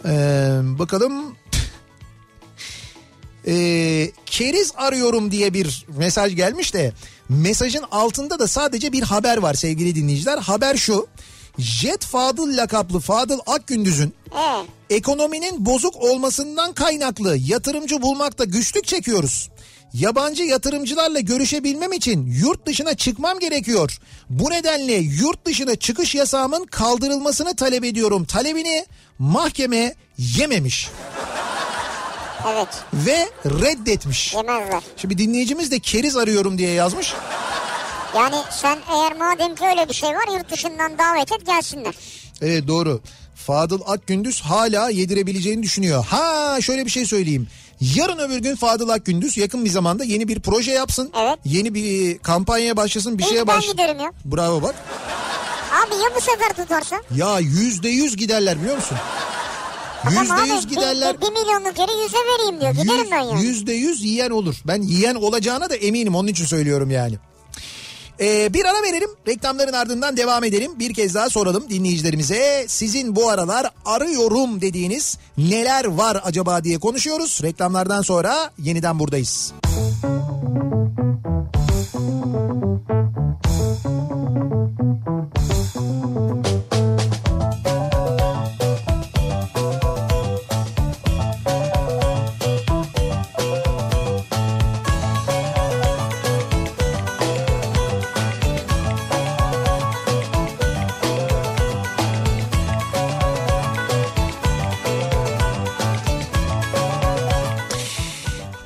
Speaker 1: Ee, bakalım. Ee, keriz arıyorum diye bir mesaj gelmiş de mesajın altında da sadece bir haber var sevgili dinleyiciler. Haber şu. Jet Fadıl lakaplı Fadıl Akgündüz'ün
Speaker 2: Ee,
Speaker 1: Ekonominin bozuk olmasından kaynaklı yatırımcı bulmakta güçlük çekiyoruz. Yabancı yatırımcılarla görüşebilmem için yurt dışına çıkmam gerekiyor. Bu nedenle yurt dışına çıkış yasağımın kaldırılmasını talep ediyorum. Talebini mahkeme yememiş
Speaker 2: evet.
Speaker 1: ve reddetmiş.
Speaker 2: Yemezler.
Speaker 1: Şimdi dinleyicimiz de keriz arıyorum diye yazmış.
Speaker 2: Yani sen eğer madem ki öyle bir şey var yurt dışından davet et gelsinler.
Speaker 1: Evet doğru. Fadıl Akgündüz hala yedirebileceğini düşünüyor. Ha şöyle bir şey söyleyeyim. Yarın öbür gün Fadıl Akgündüz yakın bir zamanda yeni bir proje yapsın.
Speaker 2: Evet.
Speaker 1: Yeni bir e, kampanyaya başlasın bir
Speaker 2: İlk
Speaker 1: şeye
Speaker 2: ben
Speaker 1: başlasın.
Speaker 2: giderim ya.
Speaker 1: Bravo bak.
Speaker 2: Abi ya bu sefer tutarsa?
Speaker 1: Ya yüzde yüz giderler biliyor musun?
Speaker 2: Tamam
Speaker 1: Yüzde
Speaker 2: abi,
Speaker 1: yüz
Speaker 2: bir-
Speaker 1: giderler.
Speaker 2: Bir, bir milyonluk yeri yüze vereyim diyor. Giderim ben yani.
Speaker 1: Yüzde yüz yiyen olur. Ben yiyen olacağına da eminim onun için söylüyorum yani. Ee, bir ara verelim reklamların ardından devam edelim. Bir kez daha soralım dinleyicilerimize sizin bu aralar arıyorum dediğiniz neler var acaba diye konuşuyoruz. Reklamlardan sonra yeniden buradayız.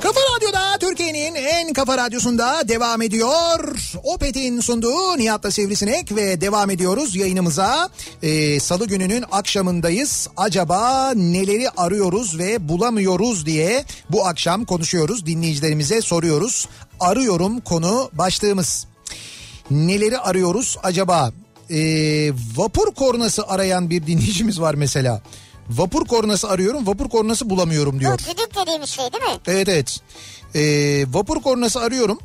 Speaker 1: Kafa Radyo'da Türkiye'nin en kafa radyosunda devam ediyor. Opet'in sunduğu Nihat'la Sivrisinek ve devam ediyoruz yayınımıza. Ee, Salı gününün akşamındayız. Acaba neleri arıyoruz ve bulamıyoruz diye bu akşam konuşuyoruz. Dinleyicilerimize soruyoruz. Arıyorum konu başlığımız. Neleri arıyoruz acaba? Ee, vapur kornası arayan bir dinleyicimiz var mesela. Vapur kornası arıyorum, vapur kornası bulamıyorum
Speaker 2: Bu
Speaker 1: diyor.
Speaker 2: düdük dediğimiz şey değil mi?
Speaker 1: Evet evet. Ee, vapur kornası arıyorum.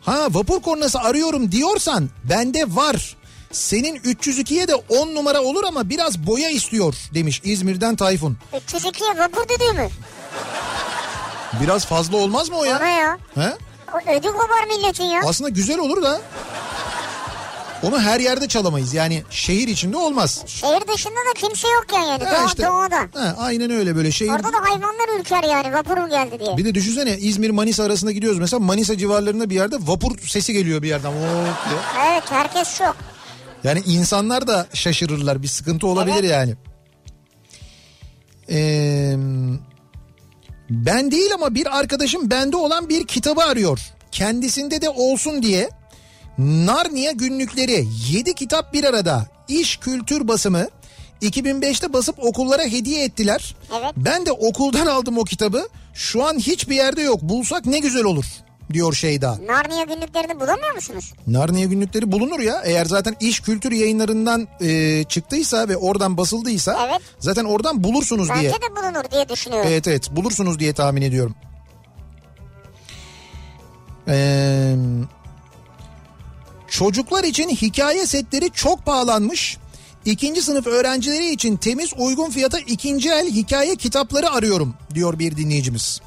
Speaker 1: Ha vapur kornası arıyorum diyorsan bende var. Senin 302'ye de 10 numara olur ama biraz boya istiyor demiş İzmir'den Tayfun.
Speaker 2: 302'ye vapur düdüğü mü?
Speaker 1: Biraz fazla olmaz mı o
Speaker 2: Ona
Speaker 1: ya?
Speaker 2: ya.
Speaker 1: He?
Speaker 2: O ödü kopar milletin ya.
Speaker 1: Aslında güzel olur da. Onu her yerde çalamayız yani şehir içinde olmaz.
Speaker 2: Şehir dışında da kimse yok yani. yani.
Speaker 1: Ha,
Speaker 2: Doğa,
Speaker 1: işte.
Speaker 2: Doğada.
Speaker 1: Ha, aynen öyle böyle şehir.
Speaker 2: Orada da hayvanlar ürker yani vapurum geldi diye.
Speaker 1: Bir de düşünsene İzmir Manisa arasında gidiyoruz mesela Manisa civarlarında bir yerde vapur sesi geliyor bir yerden. Oo diye.
Speaker 2: Evet herkes çok.
Speaker 1: Yani insanlar da şaşırırlar. Bir sıkıntı olabilir
Speaker 2: Evet.
Speaker 1: yani. Ee, ben değil ama bir arkadaşım bende olan bir kitabı arıyor. Kendisinde de olsun diye. Narnia günlükleri 7 kitap bir arada. İş kültür basımı 2005'te basıp okullara hediye ettiler.
Speaker 2: Evet.
Speaker 1: Ben de okuldan aldım o kitabı. Şu an hiçbir yerde yok. Bulsak ne güzel olur. diyor Şeyda.
Speaker 2: Narnia günlüklerini bulamıyor musunuz?
Speaker 1: Narnia günlükleri bulunur ya. Eğer zaten iş kültür yayınlarından e, çıktıysa ve oradan basıldıysa
Speaker 2: Evet.
Speaker 1: zaten oradan bulursunuz
Speaker 2: Bence
Speaker 1: diye. E-
Speaker 2: de bulunur diye düşünüyorum.
Speaker 1: Evet evet bulursunuz diye tahmin ediyorum. Ee, çocuklar için hikaye setleri çok pahalanmış. İkinci sınıf öğrencileri için temiz uygun fiyata ikinci el hikaye kitapları arıyorum diyor bir dinleyicimiz.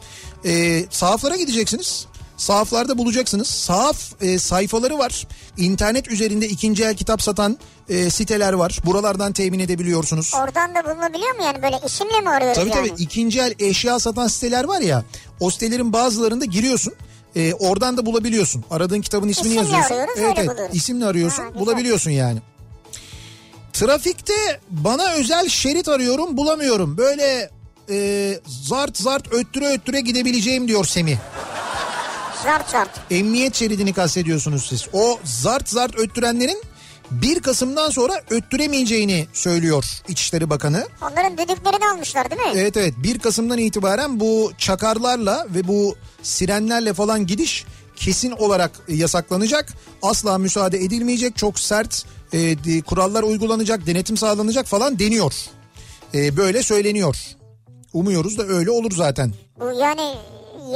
Speaker 1: Ee, sahaflara gideceksiniz. Sahaflarda bulacaksınız. Sahaf e, sayfaları var. İnternet üzerinde ikinci el kitap satan e, siteler var. Buralardan temin edebiliyorsunuz.
Speaker 2: Oradan da bulunabiliyor mu yani böyle isimle mi arıyoruz
Speaker 1: Tabii
Speaker 2: yani?
Speaker 1: tabii ikinci el eşya satan siteler var ya o sitelerin bazılarında giriyorsun. e, oradan da bulabiliyorsun. Aradığın kitabın ismini
Speaker 2: İsimle
Speaker 1: yazıyorsun.
Speaker 2: arıyoruz,
Speaker 1: evet,
Speaker 2: öyle
Speaker 1: evet,
Speaker 2: buluyoruz.
Speaker 1: isimle arıyorsun.
Speaker 2: Ha, güzel.
Speaker 1: bulabiliyorsun yani. Trafikte bana özel şerit arıyorum bulamıyorum. Böyle e, zart zart öttüre öttüre gidebileceğim diyor Semih.
Speaker 2: Zart zart.
Speaker 1: Emniyet şeridini kastediyorsunuz siz. O zart zart öttürenlerin 1 Kasım'dan sonra öttüremeyeceğini söylüyor İçişleri Bakanı.
Speaker 2: Onların düdüklerini almışlar değil mi?
Speaker 1: Evet evet 1 Kasım'dan itibaren bu çakarlarla ve bu sirenlerle falan gidiş kesin olarak yasaklanacak. Asla müsaade edilmeyecek. Çok sert e, de- kurallar uygulanacak, denetim sağlanacak falan deniyor. E, böyle söyleniyor. Umuyoruz da öyle olur zaten.
Speaker 2: Bu yani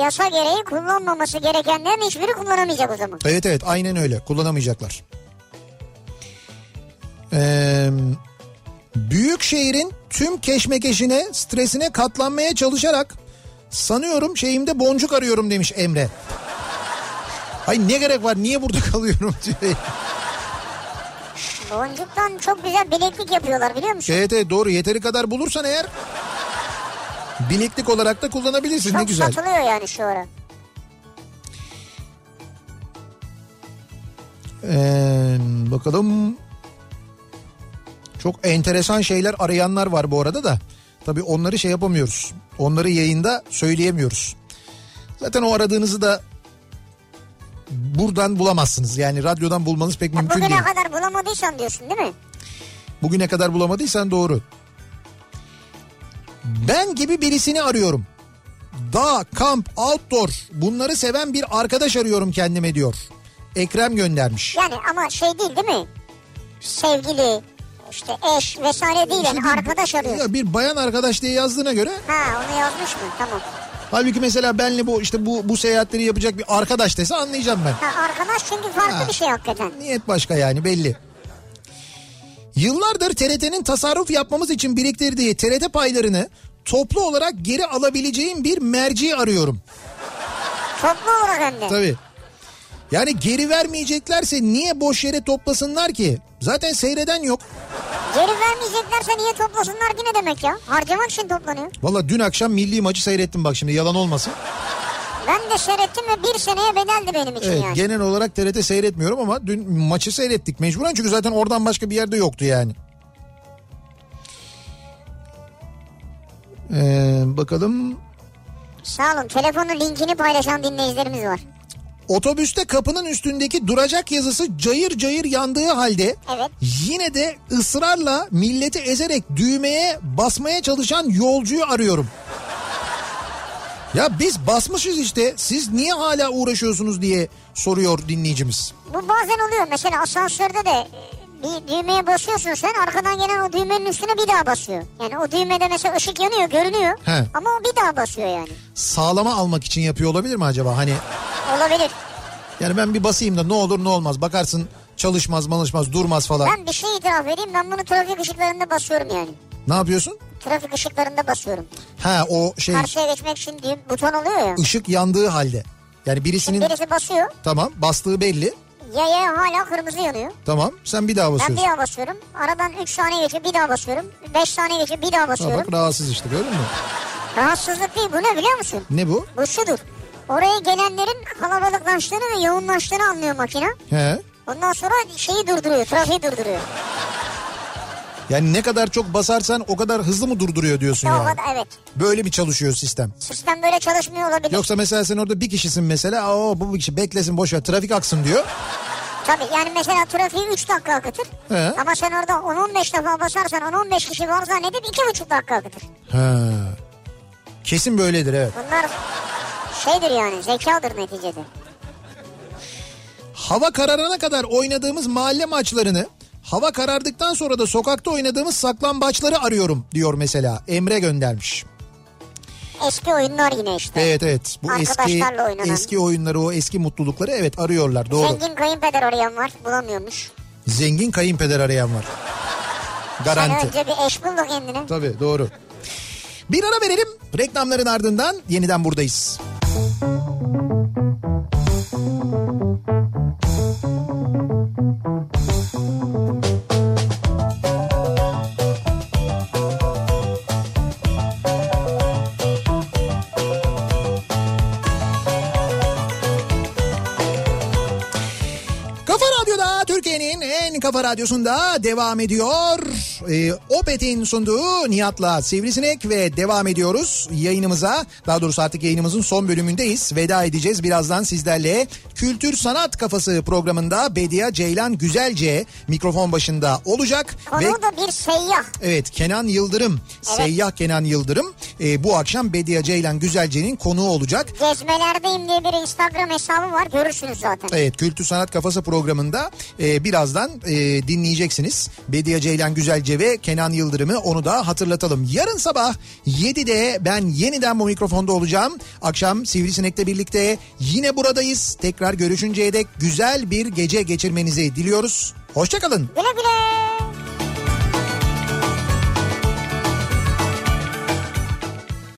Speaker 2: yasa gereği kullanmaması gerekenlerin hiçbiri kullanamayacak o zaman.
Speaker 1: Evet evet aynen öyle kullanamayacaklar. Ee, büyük şehrin tüm keşmekeşine stresine katlanmaya çalışarak sanıyorum şeyimde boncuk arıyorum demiş Emre. Ay ne gerek var niye burada kalıyorum diyor.
Speaker 2: Boncuktan çok güzel bileklik yapıyorlar biliyor musun?
Speaker 1: Evet evet doğru yeteri kadar bulursan eğer bileklik olarak da kullanabilirsin
Speaker 2: çok
Speaker 1: ne güzel.
Speaker 2: satılıyor yani şu ara.
Speaker 1: Ee, bakalım. Çok enteresan şeyler arayanlar var bu arada da. Tabii onları şey yapamıyoruz. Onları yayında söyleyemiyoruz. Zaten o aradığınızı da buradan bulamazsınız. Yani radyodan bulmanız pek
Speaker 2: Ya
Speaker 1: mümkün
Speaker 2: bugüne
Speaker 1: değil.
Speaker 2: kadar bulamadıysan diyorsun değil mi?
Speaker 1: Bugüne kadar bulamadıysan doğru. Ben gibi birisini arıyorum. Dağ, kamp, outdoor bunları seven bir arkadaş arıyorum kendime diyor. Ekrem göndermiş.
Speaker 2: Yani ama şey değil değil mi? Sevgili, işte eş vesaire değil
Speaker 1: İşte
Speaker 2: yani
Speaker 1: bir- şey
Speaker 2: arkadaş arıyorsun.
Speaker 1: Ya bir bayan arkadaş diye yazdığına göre
Speaker 2: Ha onu yazmış mı? Tamam.
Speaker 1: halbuki mesela benle bu işte bu bu seyahatleri yapacak bir arkadaş dese anlayacağım ben.
Speaker 2: Ha arkadaş çünkü farklı
Speaker 1: Ha.
Speaker 2: bir şey hakikaten.
Speaker 1: Niyet başka yani belli. Yıllardır TRT'nin tasarruf yapmamız için biriktirdiği TRT paylarını toplu olarak geri alabileceğim bir merci arıyorum.
Speaker 2: Toplu olarak hem de.
Speaker 1: Tabii. Yani geri vermeyeceklerse niye boş yere toplasınlar ki? Zaten seyreden yok.
Speaker 2: Geri vermeyeceklerse niye toplasınlar ki ne demek ya? Harcamak için toplanıyor.
Speaker 1: Valla dün akşam milli maçı seyrettim bak şimdi yalan olmasın.
Speaker 2: Ben de seyrettim ve bir seneye bedeldi benim için
Speaker 1: Evet,
Speaker 2: yani.
Speaker 1: genel olarak TRT seyretmiyorum ama dün maçı seyrettik mecburen çünkü zaten oradan başka bir yerde yoktu yani. Ee, bakalım
Speaker 2: Sağ olun. Telefonun linkini paylaşan dinleyicilerimiz var.
Speaker 1: otobüste kapının üstündeki duracak yazısı cayır cayır yandığı halde
Speaker 2: Evet.
Speaker 1: yine de ısrarla milleti ezerek düğmeye basmaya çalışan yolcuyu arıyorum. Ya biz basmışız işte siz niye hala uğraşıyorsunuz diye soruyor dinleyicimiz.
Speaker 2: Bu bazen oluyor. Mesela asansörde de e, bir düğmeye basıyorsun sen arkadan gelen o düğmenin üstüne bir daha basıyor. Yani o düğmede mesela ışık yanıyor görünüyor
Speaker 1: He.
Speaker 2: ama o bir daha basıyor yani.
Speaker 1: Sağlama almak için yapıyor olabilir mi acaba hani?
Speaker 2: Olabilir.
Speaker 1: Yani ben bir basayım da ne olur ne olmaz. Bakarsın çalışmaz malışmaz durmaz falan.
Speaker 2: Ben bir şey itiraf edeyim ben bunu trafik ışıklarında basıyorum yani.
Speaker 1: Ne yapıyorsun?
Speaker 2: Trafik ışıklarında basıyorum.
Speaker 1: Ha o şey
Speaker 2: Karşıya geçmek için düğüm- buton oluyor ya.
Speaker 1: ışık yandığı halde. Yani birisinin
Speaker 2: Şimdi birisi basıyor
Speaker 1: tamam bastığı belli.
Speaker 2: ya ya hala kırmızı yanıyor.
Speaker 1: Tamam sen bir daha
Speaker 2: Ben bir
Speaker 1: basıyorsun.
Speaker 2: daha basıyorum. Aradan 3 saniye geçiyor bir daha basıyorum. 5 saniye geçiyor bir daha
Speaker 1: Ha,
Speaker 2: basıyorum.
Speaker 1: bak rahatsız işte gördün mü?
Speaker 2: Rahatsızlık değil bu ne biliyor musun?
Speaker 1: Ne bu?
Speaker 2: Bu şudur. Oraya gelenlerin kalabalıklaştığını ve yoğunlaştığını anlıyor makine.
Speaker 1: He.
Speaker 2: Ondan sonra şeyi durduruyor, trafiği durduruyor.
Speaker 1: Yani ne kadar çok basarsan o kadar hızlı mı durduruyor diyorsun
Speaker 2: Ya o
Speaker 1: yani.
Speaker 2: kadar- evet.
Speaker 1: Böyle mi çalışıyor sistem?
Speaker 2: Sistem böyle çalışmıyor olabilir.
Speaker 1: Yoksa mesela sen orada bir kişisin mesela. Aa bu bir kişi beklesin boş ver trafik aksın diyor.
Speaker 2: Tabii yani mesela trafiği 3 dakika akıtır.
Speaker 1: He.
Speaker 2: Ama sen orada 10-15 defa basarsan 10-15 kişi var zannedip 2,5 dakika akıtır.
Speaker 1: He. Kesin böyledir evet.
Speaker 2: Bunlar şeydir yani zekadır neticede.
Speaker 1: hava kararana kadar oynadığımız mahalle maçlarını hava karardıktan sonra da sokakta oynadığımız saklambaçları arıyorum diyor mesela Emre göndermiş.
Speaker 2: Eski oyunlar yine işte.
Speaker 1: Evet evet bu eski
Speaker 2: Arkadaşlarla oynanan.
Speaker 1: eski oyunları o eski mutlulukları evet arıyorlar doğru.
Speaker 2: Zengin kayınpeder arayan var bulamıyormuş.
Speaker 1: Zengin kayınpeder arayan var.
Speaker 2: Sen
Speaker 1: Garanti.
Speaker 2: önce bir eş bul da kendine.
Speaker 1: Tabii doğru. Bir ara verelim. Reklamların ardından yeniden buradayız. Kafa Radyo'da Türkiye'nin en kafa radyosunda devam ediyor. Ee, Opet'in sunduğu Nihat'la Sivrisinek ve devam ediyoruz yayınımıza. Daha doğrusu artık yayınımızın son bölümündeyiz. Veda edeceğiz birazdan sizlerle. Kültür Sanat Kafası programında Bedia Ceylan Güzelce mikrofon başında olacak. ve
Speaker 2: Konuğu da bir seyyah.
Speaker 1: Evet Kenan Yıldırım, Seyyah Kenan Yıldırım e, bu akşam Bedia Ceylan Güzelce'nin konuğu olacak.
Speaker 2: Gezmelerdeyim diye bir Instagram hesabı var görürsünüz zaten.
Speaker 1: Evet Kültür Sanat Kafası programında e, birazdan e, dinleyeceksiniz. Bediye Ceylan Güzelce ve Kenan Yıldırım'ı onu da hatırlatalım. Yarın sabah 7'de ben yeniden bu mikrofonda olacağım. Akşam Sivrisinek'le birlikte yine buradayız. Tekrar görüşünceye dek güzel bir gece geçirmenizi diliyoruz. Hoşçakalın.
Speaker 2: Güle güle.